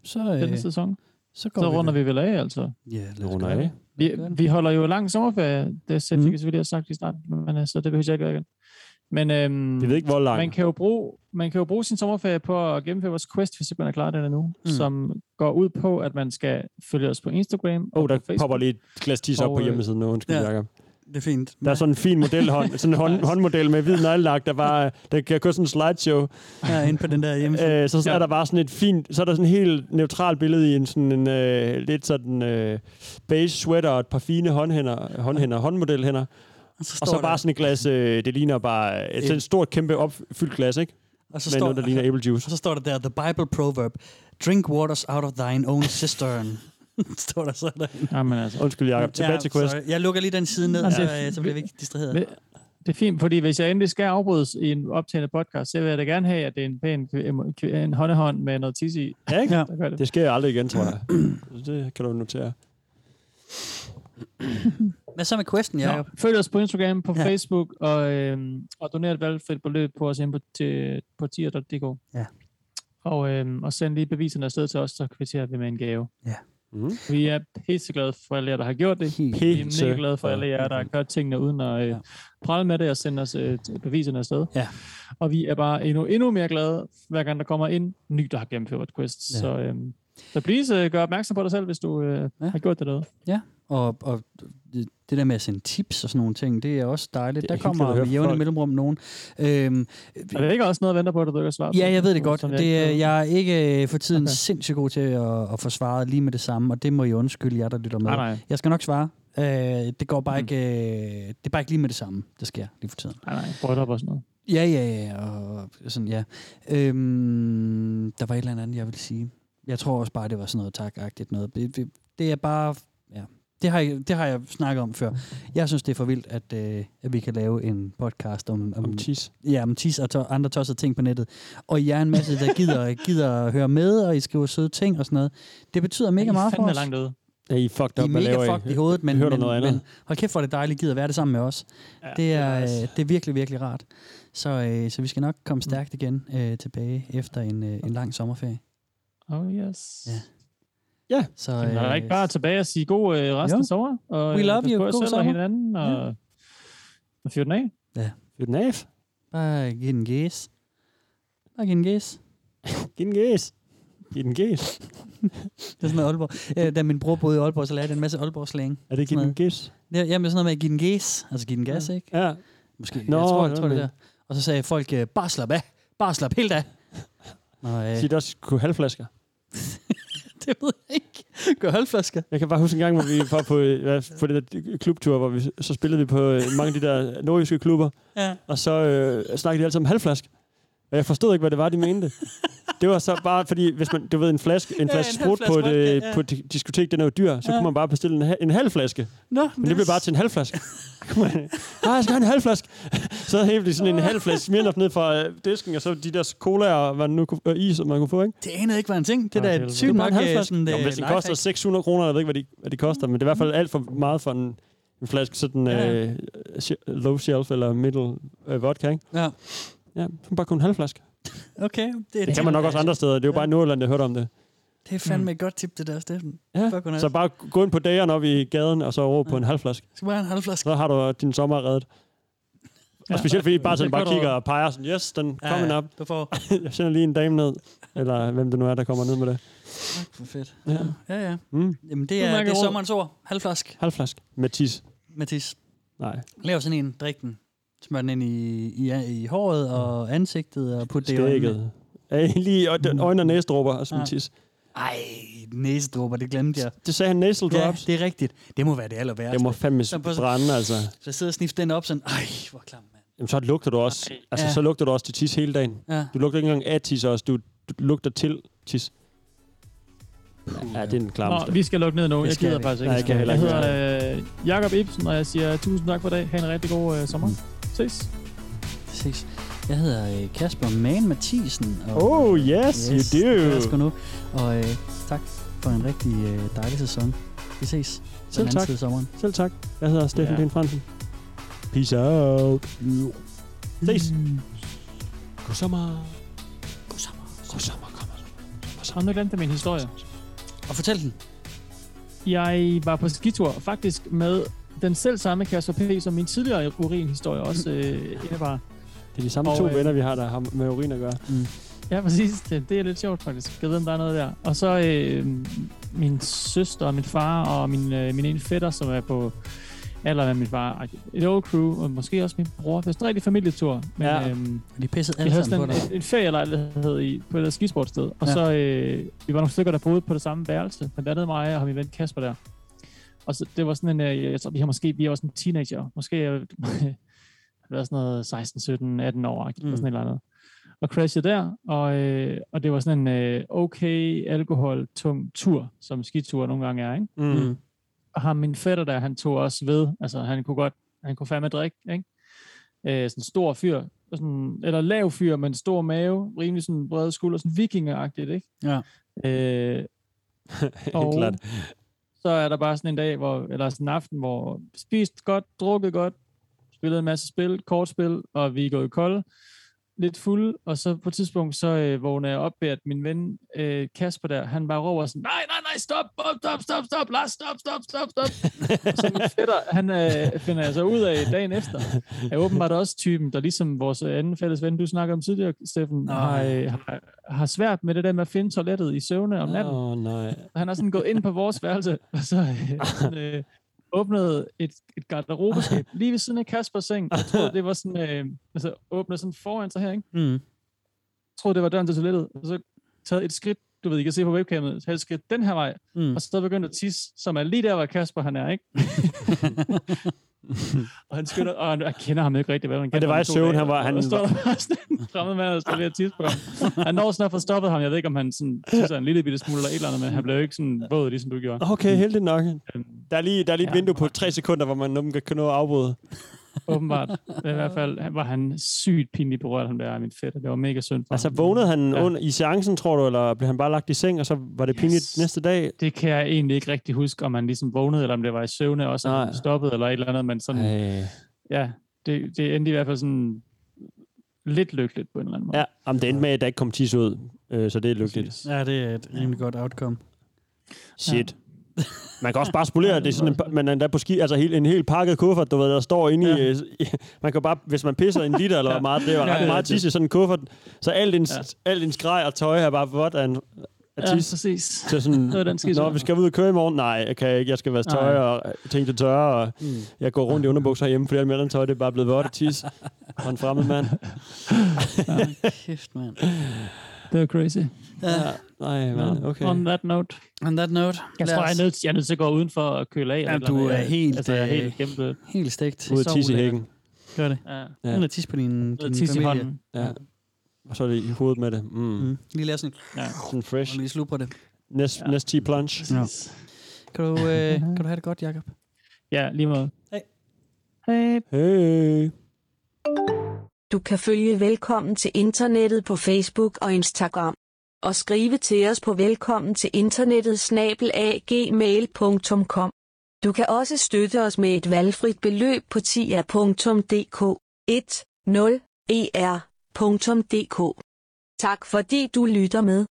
Speaker 4: Så,
Speaker 5: Denne
Speaker 4: øh,
Speaker 5: sæson.
Speaker 4: Så,
Speaker 5: så runder vi vel af, altså.
Speaker 4: Ja,
Speaker 3: lad os gøre det.
Speaker 5: Vi, vi holder jo lang sommerferie, det er mm. jeg selvfølgelig har sagt i starten, men, øh, så det behøver jeg ikke gøre igen. Men øhm,
Speaker 3: Vi ved ikke, hvor lang.
Speaker 5: man kan, jo bruge, man kan jo bruge sin sommerferie på at gennemføre vores quest, hvis ikke man er klar den endnu,
Speaker 3: Mm.
Speaker 5: mm. som går ud på, at man skal følge os på Instagram.
Speaker 3: Åh, oh, der
Speaker 5: på Facebook.
Speaker 3: popper lige et glas tis op
Speaker 5: Og,
Speaker 3: på
Speaker 5: øh,
Speaker 3: hjemmesiden nu. Undskyld,
Speaker 5: ja.
Speaker 3: ja. Jacob.
Speaker 4: Det er fint.
Speaker 3: Der er sådan en fin modelhånd, sådan en hånd, håndmodel med hvid neglelak, der, bare, der kan køre sådan en slideshow.
Speaker 4: Ja, inde på den der hjemmeside.
Speaker 3: Øh, så, så er der bare sådan et fint, så er der sådan et helt neutralt billede i en sådan en øh, lidt sådan øh, beige sweater og et par fine håndhænder, håndhænder håndmodelhænder.
Speaker 4: Og så,
Speaker 3: og så
Speaker 4: står
Speaker 3: bare
Speaker 4: der-
Speaker 3: sådan et glas, øh, det ligner bare et, sådan et stort, kæmpe opfyldt glas, ikke?
Speaker 4: Og så
Speaker 3: Med
Speaker 4: står-
Speaker 3: noget, der ligner æblejuice.
Speaker 4: Og så står der der, the Bible proverb, drink waters out of thine own cistern. står der så der.
Speaker 5: Jamen, altså.
Speaker 3: Undskyld, Jacob. Tilbage til Quest.
Speaker 4: sorry. Jeg lukker lige den side ned,
Speaker 5: Jamen,
Speaker 4: så,
Speaker 5: det er
Speaker 4: øh, så bliver vi ikke distraheret.
Speaker 5: Det, det er fint, fordi hvis jeg endelig skal afbrydes i en optagende podcast, så vil jeg da gerne have, at det er en pæn kv- kv- en håndehånd med noget tisse i.
Speaker 3: Ja, ikke?
Speaker 5: Der gør det.
Speaker 3: Det sker aldrig igen, tror jeg. Så det kan du notere.
Speaker 4: Hvad så med questen, Jacob?
Speaker 5: Nå, følg os på Instagram, på
Speaker 4: Ja.
Speaker 5: ja. Facebook, og, øhm, og doner et valgfrit beløb på os inde på, til, på tier.dk.
Speaker 4: Ja.
Speaker 5: Og, øhm, og send lige beviserne afsted til os, så kvitterer vi med en gave.
Speaker 4: Ja.
Speaker 3: Mm.
Speaker 5: Vi er pisseglade for alle jer, der har gjort det. Vi er mega glade for alle jer, der har gjort tingene uden at øh, prale med det og sende os øh, beviserne afsted.
Speaker 4: Ja.
Speaker 5: Og vi er bare endnu, endnu mere glade, hver gang der kommer en ny, der har gennemført vores quest.
Speaker 4: Ja.
Speaker 5: Ja. Så, øhm, så please øh, gør opmærksom på dig selv, hvis du øh, ja. har gjort det derude.
Speaker 4: Ja, og, og det det der med at sende tips og sådan nogle ting, det er også dejligt.
Speaker 5: Det
Speaker 4: Det
Speaker 5: er
Speaker 4: er der
Speaker 5: hyggeligt
Speaker 4: kommer
Speaker 5: at høre
Speaker 4: med
Speaker 5: fra
Speaker 4: jævne
Speaker 5: folk.
Speaker 4: mellemrum nogen. Øhm,
Speaker 5: Er der ikke også noget, der venter på, at du ikke har svaret på?
Speaker 4: Ja, jeg ved det godt.
Speaker 5: Som
Speaker 4: Det,
Speaker 5: ikke ved?
Speaker 4: er- jeg er ikke øh, for tiden okay. sindssygt god til at, at få svaret lige med det samme, og det må I undskylde jer, der lytter med.
Speaker 5: Nej, nej.
Speaker 4: Jeg skal nok svare. Øh, det går bare mm. ikke, øh, det er bare ikke lige med det samme, det sker lige for tiden.
Speaker 5: Nej, nej, brød op og sådan noget.
Speaker 4: Ja, ja, ja, og sådan, ja. Øhm, der var et eller andet, jeg ville sige. Jeg tror også bare, det var sådan noget takagtigt noget. Det, det, det er bare, ja, det har, jeg, det har jeg snakket om før. Jeg synes, det er for vildt, at, øh, at vi kan lave en podcast om... Om, om
Speaker 3: tis.
Speaker 4: Ja, om tis og to, andre tossede ting på nettet. Og I er en masse, der gider, gider at høre med, og I skriver søde ting og sådan noget. Det betyder mega meget for os.
Speaker 5: ude.
Speaker 3: Ja, I er fucked
Speaker 4: I
Speaker 3: up.
Speaker 4: er
Speaker 3: Hvad laver
Speaker 4: mega fucked i hovedet, men,
Speaker 3: Hører du
Speaker 4: men,
Speaker 3: noget andet?
Speaker 4: men hold kæft, hvor er det dejligt, I gider være det sammen med os. Ja, det, er, det, er det er virkelig, virkelig rart. Så, øh, så vi skal nok komme stærkt igen øh, tilbage efter en, øh, en lang sommerferie.
Speaker 5: Oh yes.
Speaker 4: Ja.
Speaker 3: Ja.
Speaker 4: Så, øh,
Speaker 5: Jamen, er der ikke bare tilbage at sige god øh, resten
Speaker 4: Jo.
Speaker 5: af sommer? Og,
Speaker 4: We
Speaker 5: øh,
Speaker 4: love
Speaker 5: pas
Speaker 4: you.
Speaker 5: på jer
Speaker 4: God
Speaker 5: selv
Speaker 4: sommer.
Speaker 5: Og hinanden, og, ja. og fyr den af.
Speaker 4: Ja.
Speaker 3: Fyr den af.
Speaker 4: Bare giv den gæs. Bare giv den gæs.
Speaker 3: giv den gæs. Giv den gæs.
Speaker 4: det er sådan noget Aalborg. Øh, da min bror boede i Aalborg, så lærte jeg en masse Aalborg slang.
Speaker 3: Er det giv den gæs?
Speaker 4: Ja, jamen sådan noget med at give den gæs. Altså give den gas,
Speaker 3: Ja.
Speaker 4: ikke?
Speaker 3: Ja.
Speaker 4: Måske.
Speaker 3: Nå,
Speaker 4: jeg tror,
Speaker 3: nå,
Speaker 4: jeg tror det
Speaker 3: men-
Speaker 4: der. Og så sagde folk, øh, bare slap af. Bare slap helt af. Nej.
Speaker 3: Sig det også kunne halvflasker.
Speaker 4: øh, det ved jeg ikke. Gør halvflasker.
Speaker 3: Jeg kan bare huske en gang, hvor vi var på, øh, på det der klubtur, hvor vi, så spillede vi på øh, mange af de der nordjyske klubber,
Speaker 4: Ja.
Speaker 3: og så øh, snakkede de altid om halvflask. Og jeg forstod ikke, hvad det var, de mente. Det var så bare, fordi hvis man, du ved, en flaske, en
Speaker 4: Ja,
Speaker 3: flaske
Speaker 4: en
Speaker 3: sprut
Speaker 4: halv
Speaker 3: på et,
Speaker 4: flaske
Speaker 3: øh,
Speaker 4: vodka, ja.
Speaker 3: på et di- diskotek, den er jo dyr, så
Speaker 4: Ja.
Speaker 3: kunne man bare bestille en, ha- en halv flaske.
Speaker 4: Nå,
Speaker 3: Men det blev bare til en halv flaske. Nej, jeg skal have en halv flaske. Så hævde de sådan en halv flaske Smirnoff ned fra øh, disken, og så de der cola og hvad den nu kunne, og is, som man kunne få, ikke?
Speaker 4: Det anede ikke var en ting. Det
Speaker 3: Nej,
Speaker 4: der er
Speaker 3: helvede.
Speaker 4: sygt
Speaker 3: Det er bare
Speaker 4: nok
Speaker 3: en
Speaker 4: øh,
Speaker 3: halvflaske.
Speaker 4: sådan
Speaker 3: Jo, men hvis den koster 600 kroner, jeg ved ikke, hvad de, hvad de koster, men det er i hvert fald alt for meget for en, en flaske sådan
Speaker 4: Ja.
Speaker 3: ja. øh, she- low shelf eller middle øh, vodka, ikke?
Speaker 4: Ja.
Speaker 3: Ja, så bare kun en halv flaske.
Speaker 4: Okay, det,
Speaker 3: Det kan man nok også andre steder. Det er jo bare i Nordjylland, jeg hørte om det.
Speaker 4: Det er fandme et godt tip, det der, Steffen.
Speaker 3: Mm. Ja,
Speaker 4: Fuck, hvor nice.
Speaker 3: Så bare gå ind på dageren op i gaden, og så råb på en halv flaske.
Speaker 4: Skal bare have en halv flaske.
Speaker 3: Så har du din sommer reddet.
Speaker 4: Ja.
Speaker 3: Og specielt fordi bare sådan
Speaker 4: Det
Speaker 3: bare
Speaker 4: gør du.
Speaker 3: kigger og peger sådan, yes, den
Speaker 4: Ja,
Speaker 3: kommer
Speaker 4: ja,
Speaker 3: op.
Speaker 4: du får.
Speaker 3: jeg sender lige en dame ned, eller hvem det nu er, der kommer ned med det.
Speaker 4: Fuck, hvor fedt.
Speaker 3: Ja.
Speaker 4: Ja, ja.
Speaker 3: Mm.
Speaker 4: Jamen, det er,
Speaker 5: Udmærket
Speaker 4: det er
Speaker 5: råd.
Speaker 4: sommerens ord. Halvflask.
Speaker 3: Halvflask. Med tis.
Speaker 4: Med tis.
Speaker 3: Nej.
Speaker 4: Lav sådan en, drik den. Smør den ind i, i, i
Speaker 3: Mm.
Speaker 4: håret og ansigtet og put det i øjnene.
Speaker 3: Skægget. Ja, lige øj- den øjne og næse dråber og sådan
Speaker 4: Ja.
Speaker 3: tis.
Speaker 4: Ej, næsedrupper, det glemte jeg.
Speaker 3: Det sagde han nasal drops.
Speaker 4: Ja, det er rigtigt. Det må være det aller værste.
Speaker 3: Det må fandme
Speaker 4: Så på-
Speaker 3: brænde, altså.
Speaker 4: Så jeg sidder og sniffer den op sådan, ej, hvor klam.
Speaker 3: Jamen, så lugter du også. Altså,
Speaker 4: Ja.
Speaker 3: så lugter du også til tis hele dagen.
Speaker 4: Ja.
Speaker 3: Du lugter ikke engang af tis også. Du, du lugter til tis. Ja, det er den klamme.
Speaker 5: Nå, vi skal lukke ned nu. Jeg gider faktisk ikke.
Speaker 3: Nej, jeg kan heller
Speaker 5: jeg
Speaker 3: ikke.
Speaker 5: hedder øh, Jakob Ibsen, og jeg siger tusind tak for i dag. Ha' en rigtig god øh, sommer. Ses.
Speaker 4: Præcis. Jeg hedder øh, Kasper Man Mathisen. Og,
Speaker 3: Oh, yes, you do.
Speaker 4: det gør jeg sgu nu. Og øh, tak for en rigtig øh, dejlig sæson. Vi ses. på den
Speaker 3: Selv
Speaker 4: anden
Speaker 3: tak.
Speaker 4: side af sommeren.
Speaker 3: Selv tak. Jeg hedder Steffen
Speaker 4: Ja.
Speaker 3: ja. Lind Fransen. Peace out.
Speaker 4: Mm.
Speaker 3: Ses. God sommer.
Speaker 4: God sommer.
Speaker 3: God sommer. God sommer.
Speaker 5: Har du glemt af min historie?
Speaker 4: Og fortæl den.
Speaker 5: Jeg var på skitur, faktisk med den selv samme Kasper P., som min tidligere urinhistorie også øh, indebar.
Speaker 3: Det er de samme
Speaker 5: Og,
Speaker 3: to
Speaker 5: øh,
Speaker 3: venner, vi har, der har med urin at gøre.
Speaker 4: Mm.
Speaker 5: Ja, præcis. Det, det er lidt sjovt, faktisk. Jeg ved, om der er noget der. Og så øh, min søster og min far og min, øh, min ene fætter, som er på alder med min far. Et old crew, og måske også min bror. Det var sådan en rigtig familietur. Men,
Speaker 4: Ja.
Speaker 5: øhm,
Speaker 4: De pissede
Speaker 5: vi
Speaker 4: alle
Speaker 5: havde
Speaker 4: sammen
Speaker 5: sådan
Speaker 4: på
Speaker 5: en, en ferielejlighed i, på et eller andet skisportsted. Og
Speaker 4: Ja.
Speaker 5: så øh, vi var nogle stykker, der boede på det samme værelse. Blandt andet mig og min ven Kasper der. Og så, det var sådan en, øh, jeg tror, vi har måske, vi var sådan teenager. Måske øh, været sådan noget 16, 17, 18 år, mm. eller sådan et eller andet. Og crashede der, og, øh, og det var sådan en øh, okay alkohol-tung tur, som skitur nogle gange er, ikke?
Speaker 3: Mm.
Speaker 5: Og ham, min fætter der, han tog også ved, altså han kunne godt, han kunne fandme drikke, ikke? Øh, sådan en stor fyr, sådan, eller lav fyr, men stor mave, rimelig sådan brede skuldre, sådan vikingeragtigt, ikke?
Speaker 4: Ja.
Speaker 5: Øh, og
Speaker 3: klart.
Speaker 5: så er der bare sådan en dag, hvor, eller sådan en aften, hvor spist godt, drukket godt, spillet en masse spil, kortspil, og vi er gået kolde, lidt fulde, og så på et tidspunkt, så øh, vågner jeg op ved, at min ven øh, Kasper der, han bare råber sådan, nej, nej, nej, stop, stop, stop, stop, stop, Lars, stop, stop, stop, stop. så min fætter, han øh, finder jeg så ud af dagen efter, er åbenbart også typen, der ligesom vores anden fælles ven, du snakker om tidligere, Steffen, har, øh, har, har svært med det der med at finde toilettet i søvne om natten.
Speaker 3: Åh, oh, nej.
Speaker 5: Han har sådan gået ind på vores værelse, og så øh, sådan, øh, åbnede et, et garderobeskab lige ved siden af Kaspers seng. Jeg troede, det var sådan, øh, altså åbnet sådan foran sig her, ikke?
Speaker 4: Mm.
Speaker 5: Jeg troede, det var døren til toilettet, og så taget et skridt, du ved, I kan se på webcamet, taget et skridt den her vej,
Speaker 4: Mm.
Speaker 5: og så begyndte at tisse, som er lige der, hvor Kasper han er, ikke? og han skynder, og han, jeg kender ham ikke rigtig, hvad han kender
Speaker 3: det var
Speaker 5: ham
Speaker 3: i
Speaker 5: to
Speaker 3: søvn,
Speaker 5: dage,
Speaker 3: han var- han
Speaker 5: Og så står
Speaker 3: var-
Speaker 5: der bare sådan en fremmed mand, der står ved at tisse på ham. Han når snart får stoppet ham, jeg ved ikke, om han sådan, tisser en lille bitte smule eller et eller andet, men han blev jo ikke sådan våd, ligesom du gjorde.
Speaker 3: Okay, heldigt nok. Der er lige, der er lige et
Speaker 5: Ja.
Speaker 3: vindue på tre sekunder, hvor man nogen kan nå at afbryde.
Speaker 5: Åbenbart. I hvert fald han- var han sygt pinligt berørt, han der af min fætter. Det var mega synd for
Speaker 3: Altså,
Speaker 5: ham.
Speaker 3: vågnede han
Speaker 5: Ja.
Speaker 3: ja. under, i seancen, tror du, eller blev han bare lagt i seng, og så var det yes. pinligt næste dag?
Speaker 5: Det kan jeg egentlig ikke rigtig huske, om han ligesom vågnede, eller om det var i søvne også, om han stoppede eller et eller andet, men sådan,
Speaker 3: Ej.
Speaker 5: ja, det, det endte i hvert fald sådan lidt lykkeligt på en eller anden måde.
Speaker 3: Ja, om det endte med, at der ikke kom tis ud, øh, så det er lykkeligt.
Speaker 4: Ja, det er et rimelig godt outcome.
Speaker 3: Shit. Man kan også bare spolere det er sådan en, pa- man er endda på ski, altså helt, en helt pakket kuffert, du ved, der står inde i, øh, i, man kan bare, hvis man pisser en liter eller hvor meget, det er jo
Speaker 5: Ja,
Speaker 3: ret
Speaker 5: ja,
Speaker 3: meget
Speaker 5: det-
Speaker 3: tis i sådan en kuffert, så alt ens, ja. alt ens grej og tøj er bare vådt af en af
Speaker 5: Ja,
Speaker 3: tis.
Speaker 5: præcis.
Speaker 3: Så sådan,
Speaker 5: Det var den skidt.
Speaker 3: når vi skal ud og køre i morgen, nej, jeg kan ikke, jeg skal vaske tøj
Speaker 5: Nej.
Speaker 3: og øh, ting til tørre, og mm. jeg går rundt i underbukser hjemme, fordi alt mit andet tøj, det er bare blevet vådt af tis og en fremmed mand.
Speaker 4: Kæft, mand.
Speaker 5: Det var crazy.
Speaker 4: Ja.
Speaker 3: Nej,
Speaker 5: Nå,
Speaker 3: man, okay.
Speaker 5: On that note.
Speaker 4: Mm. On that note.
Speaker 5: Jeg
Speaker 4: lad
Speaker 5: tror,
Speaker 4: os-
Speaker 5: jeg er, nødt, jeg er nødt til at gå udenfor og køle af. eller
Speaker 4: Jamen,
Speaker 5: et
Speaker 4: du
Speaker 5: eller andet.
Speaker 4: er helt,
Speaker 5: Altså, jeg er
Speaker 4: øh,
Speaker 5: helt kæmpe.
Speaker 4: Helt stegt.
Speaker 3: Ud at tisse i hækken.
Speaker 4: Gør det.
Speaker 5: Ja.
Speaker 4: Ja. Eller tis på din, din
Speaker 5: tisse i
Speaker 4: familie.
Speaker 5: hånden.
Speaker 3: Ja. Og så er det i hovedet med det. Mm. Mm.
Speaker 4: Lige lave sådan
Speaker 5: ja.
Speaker 3: Sådan fresh.
Speaker 4: Og lige slubre det.
Speaker 3: Næst, ja. næst 10 plunge.
Speaker 4: Ja. Kan du, øh, kan du have det godt, Jacob?
Speaker 5: Ja, lige måde.
Speaker 2: Hey.
Speaker 3: hey.
Speaker 2: Du kan følge Velkommen til Internettet på Facebook og Instagram. Og skrive til os på velkommen til internettet snabelagmail.com. Du kan også støtte os med et valgfrit beløb på tia.dk E 10er.dk. Tak fordi du lytter med.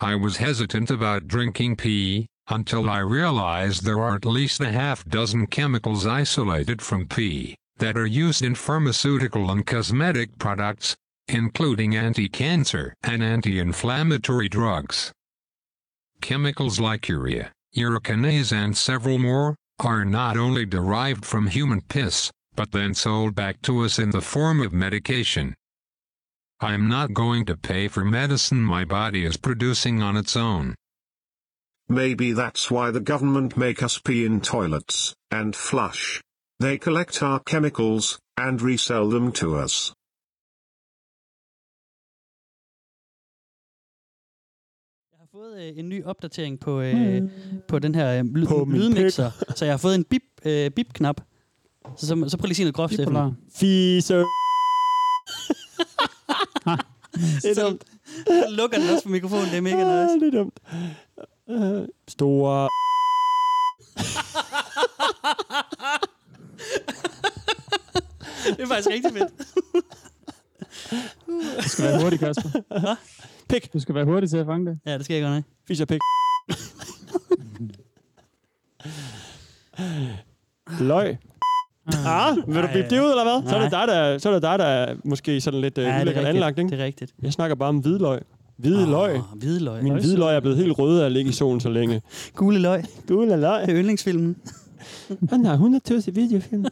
Speaker 8: I was hesitant about drinking pee until I realized there are at least a half dozen chemicals isolated from pee that are used in pharmaceutical and cosmetic products, including anti cancer and anti inflammatory drugs. Chemicals like urea, urocanase, and several more are not only derived from human piss, but then sold back to us in the form of medication. I'm not going to pay for medicine my body is producing on its own.
Speaker 11: Maybe that's why the government make us pee in toilets and flush. They collect our chemicals and resell them to us.
Speaker 4: Jeg har fået øh, en ny opdatering på, øh,
Speaker 3: Hmm.
Speaker 4: på den her øh, lyd, lydmixer, så jeg har fået en bip, øh, bip-knap. Så, så, så prøv lige at sige noget groft, Steffen.
Speaker 3: Bipolar. Fise. Ah.
Speaker 4: det er dumt. Så lukker den også på mikrofonen, det er mega nice.
Speaker 3: Ah, det er dumt. Øh, store...
Speaker 4: Det er faktisk rigtig fedt.
Speaker 5: Du skal være hurtig, Kasper.
Speaker 3: Pik.
Speaker 5: Du skal være hurtig til at fange det.
Speaker 4: Ja, det skal jeg godt nok.
Speaker 3: Fis og pik. Løg. Ah, vil du
Speaker 4: Ej.
Speaker 3: blive det ud, eller hvad? Så er det
Speaker 4: Nej.
Speaker 3: dig, der, så er det dig, der er måske sådan lidt øh,
Speaker 4: Ja, det er
Speaker 3: ulækkert
Speaker 4: rigtigt.
Speaker 3: anlagt, ikke?
Speaker 4: Det er rigtigt.
Speaker 3: Jeg snakker bare om hvidløg. Hvidløg.
Speaker 4: Åh, hvidløg.
Speaker 3: Min hvidløg er blevet helt rød af at ligge i solen så længe.
Speaker 4: Gule løg.
Speaker 3: Gule løg.
Speaker 4: Det er yndlingsfilmen.
Speaker 3: Han har 100 tusind videofilm.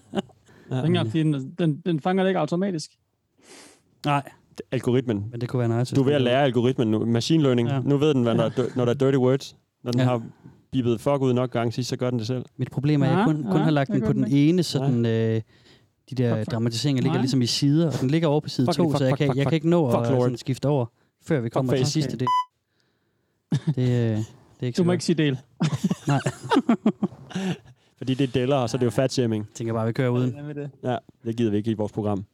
Speaker 5: Den, engang, fordi den, den, den fanger det ikke automatisk.
Speaker 4: Nej.
Speaker 3: Algoritmen.
Speaker 4: Men det kunne være nice.
Speaker 3: Du er ved at lære algoritmen nu. Machine learning.
Speaker 4: Ja.
Speaker 3: Ja. Nu ved den, hvad når, når der er dirty words. Når den
Speaker 4: Ja.
Speaker 3: ja. har bippet fuck ud nok gange sidst, så gør den det selv.
Speaker 4: Mit problem er, at jeg
Speaker 3: Ja,
Speaker 4: kun, kun
Speaker 3: ja,
Speaker 4: har lagt
Speaker 3: det
Speaker 4: den på
Speaker 3: gør
Speaker 4: den
Speaker 3: den
Speaker 4: ene, så den, øh, de der dramatiseringer ligger
Speaker 3: Nej.
Speaker 4: ligesom i sider, og den ligger over på side
Speaker 3: Fuck,
Speaker 4: 2,
Speaker 3: fuck,
Speaker 4: så jeg
Speaker 3: fuck,
Speaker 4: kan,
Speaker 3: fuck,
Speaker 4: jeg kan
Speaker 3: fuck.
Speaker 4: ikke nå
Speaker 3: Fuck
Speaker 4: at
Speaker 3: lord.
Speaker 4: sådan, skifte over, før vi
Speaker 3: Fuck
Speaker 4: kommer til
Speaker 3: face.
Speaker 4: sidste del. Det, øh, det er ikke
Speaker 5: Du må ikke sige del.
Speaker 4: Nej.
Speaker 3: Fordi det er deller, og så er det jo fat shaming.
Speaker 4: tænker bare, vi kører uden.
Speaker 5: Ja,
Speaker 3: Ja, det gider vi ikke i vores program.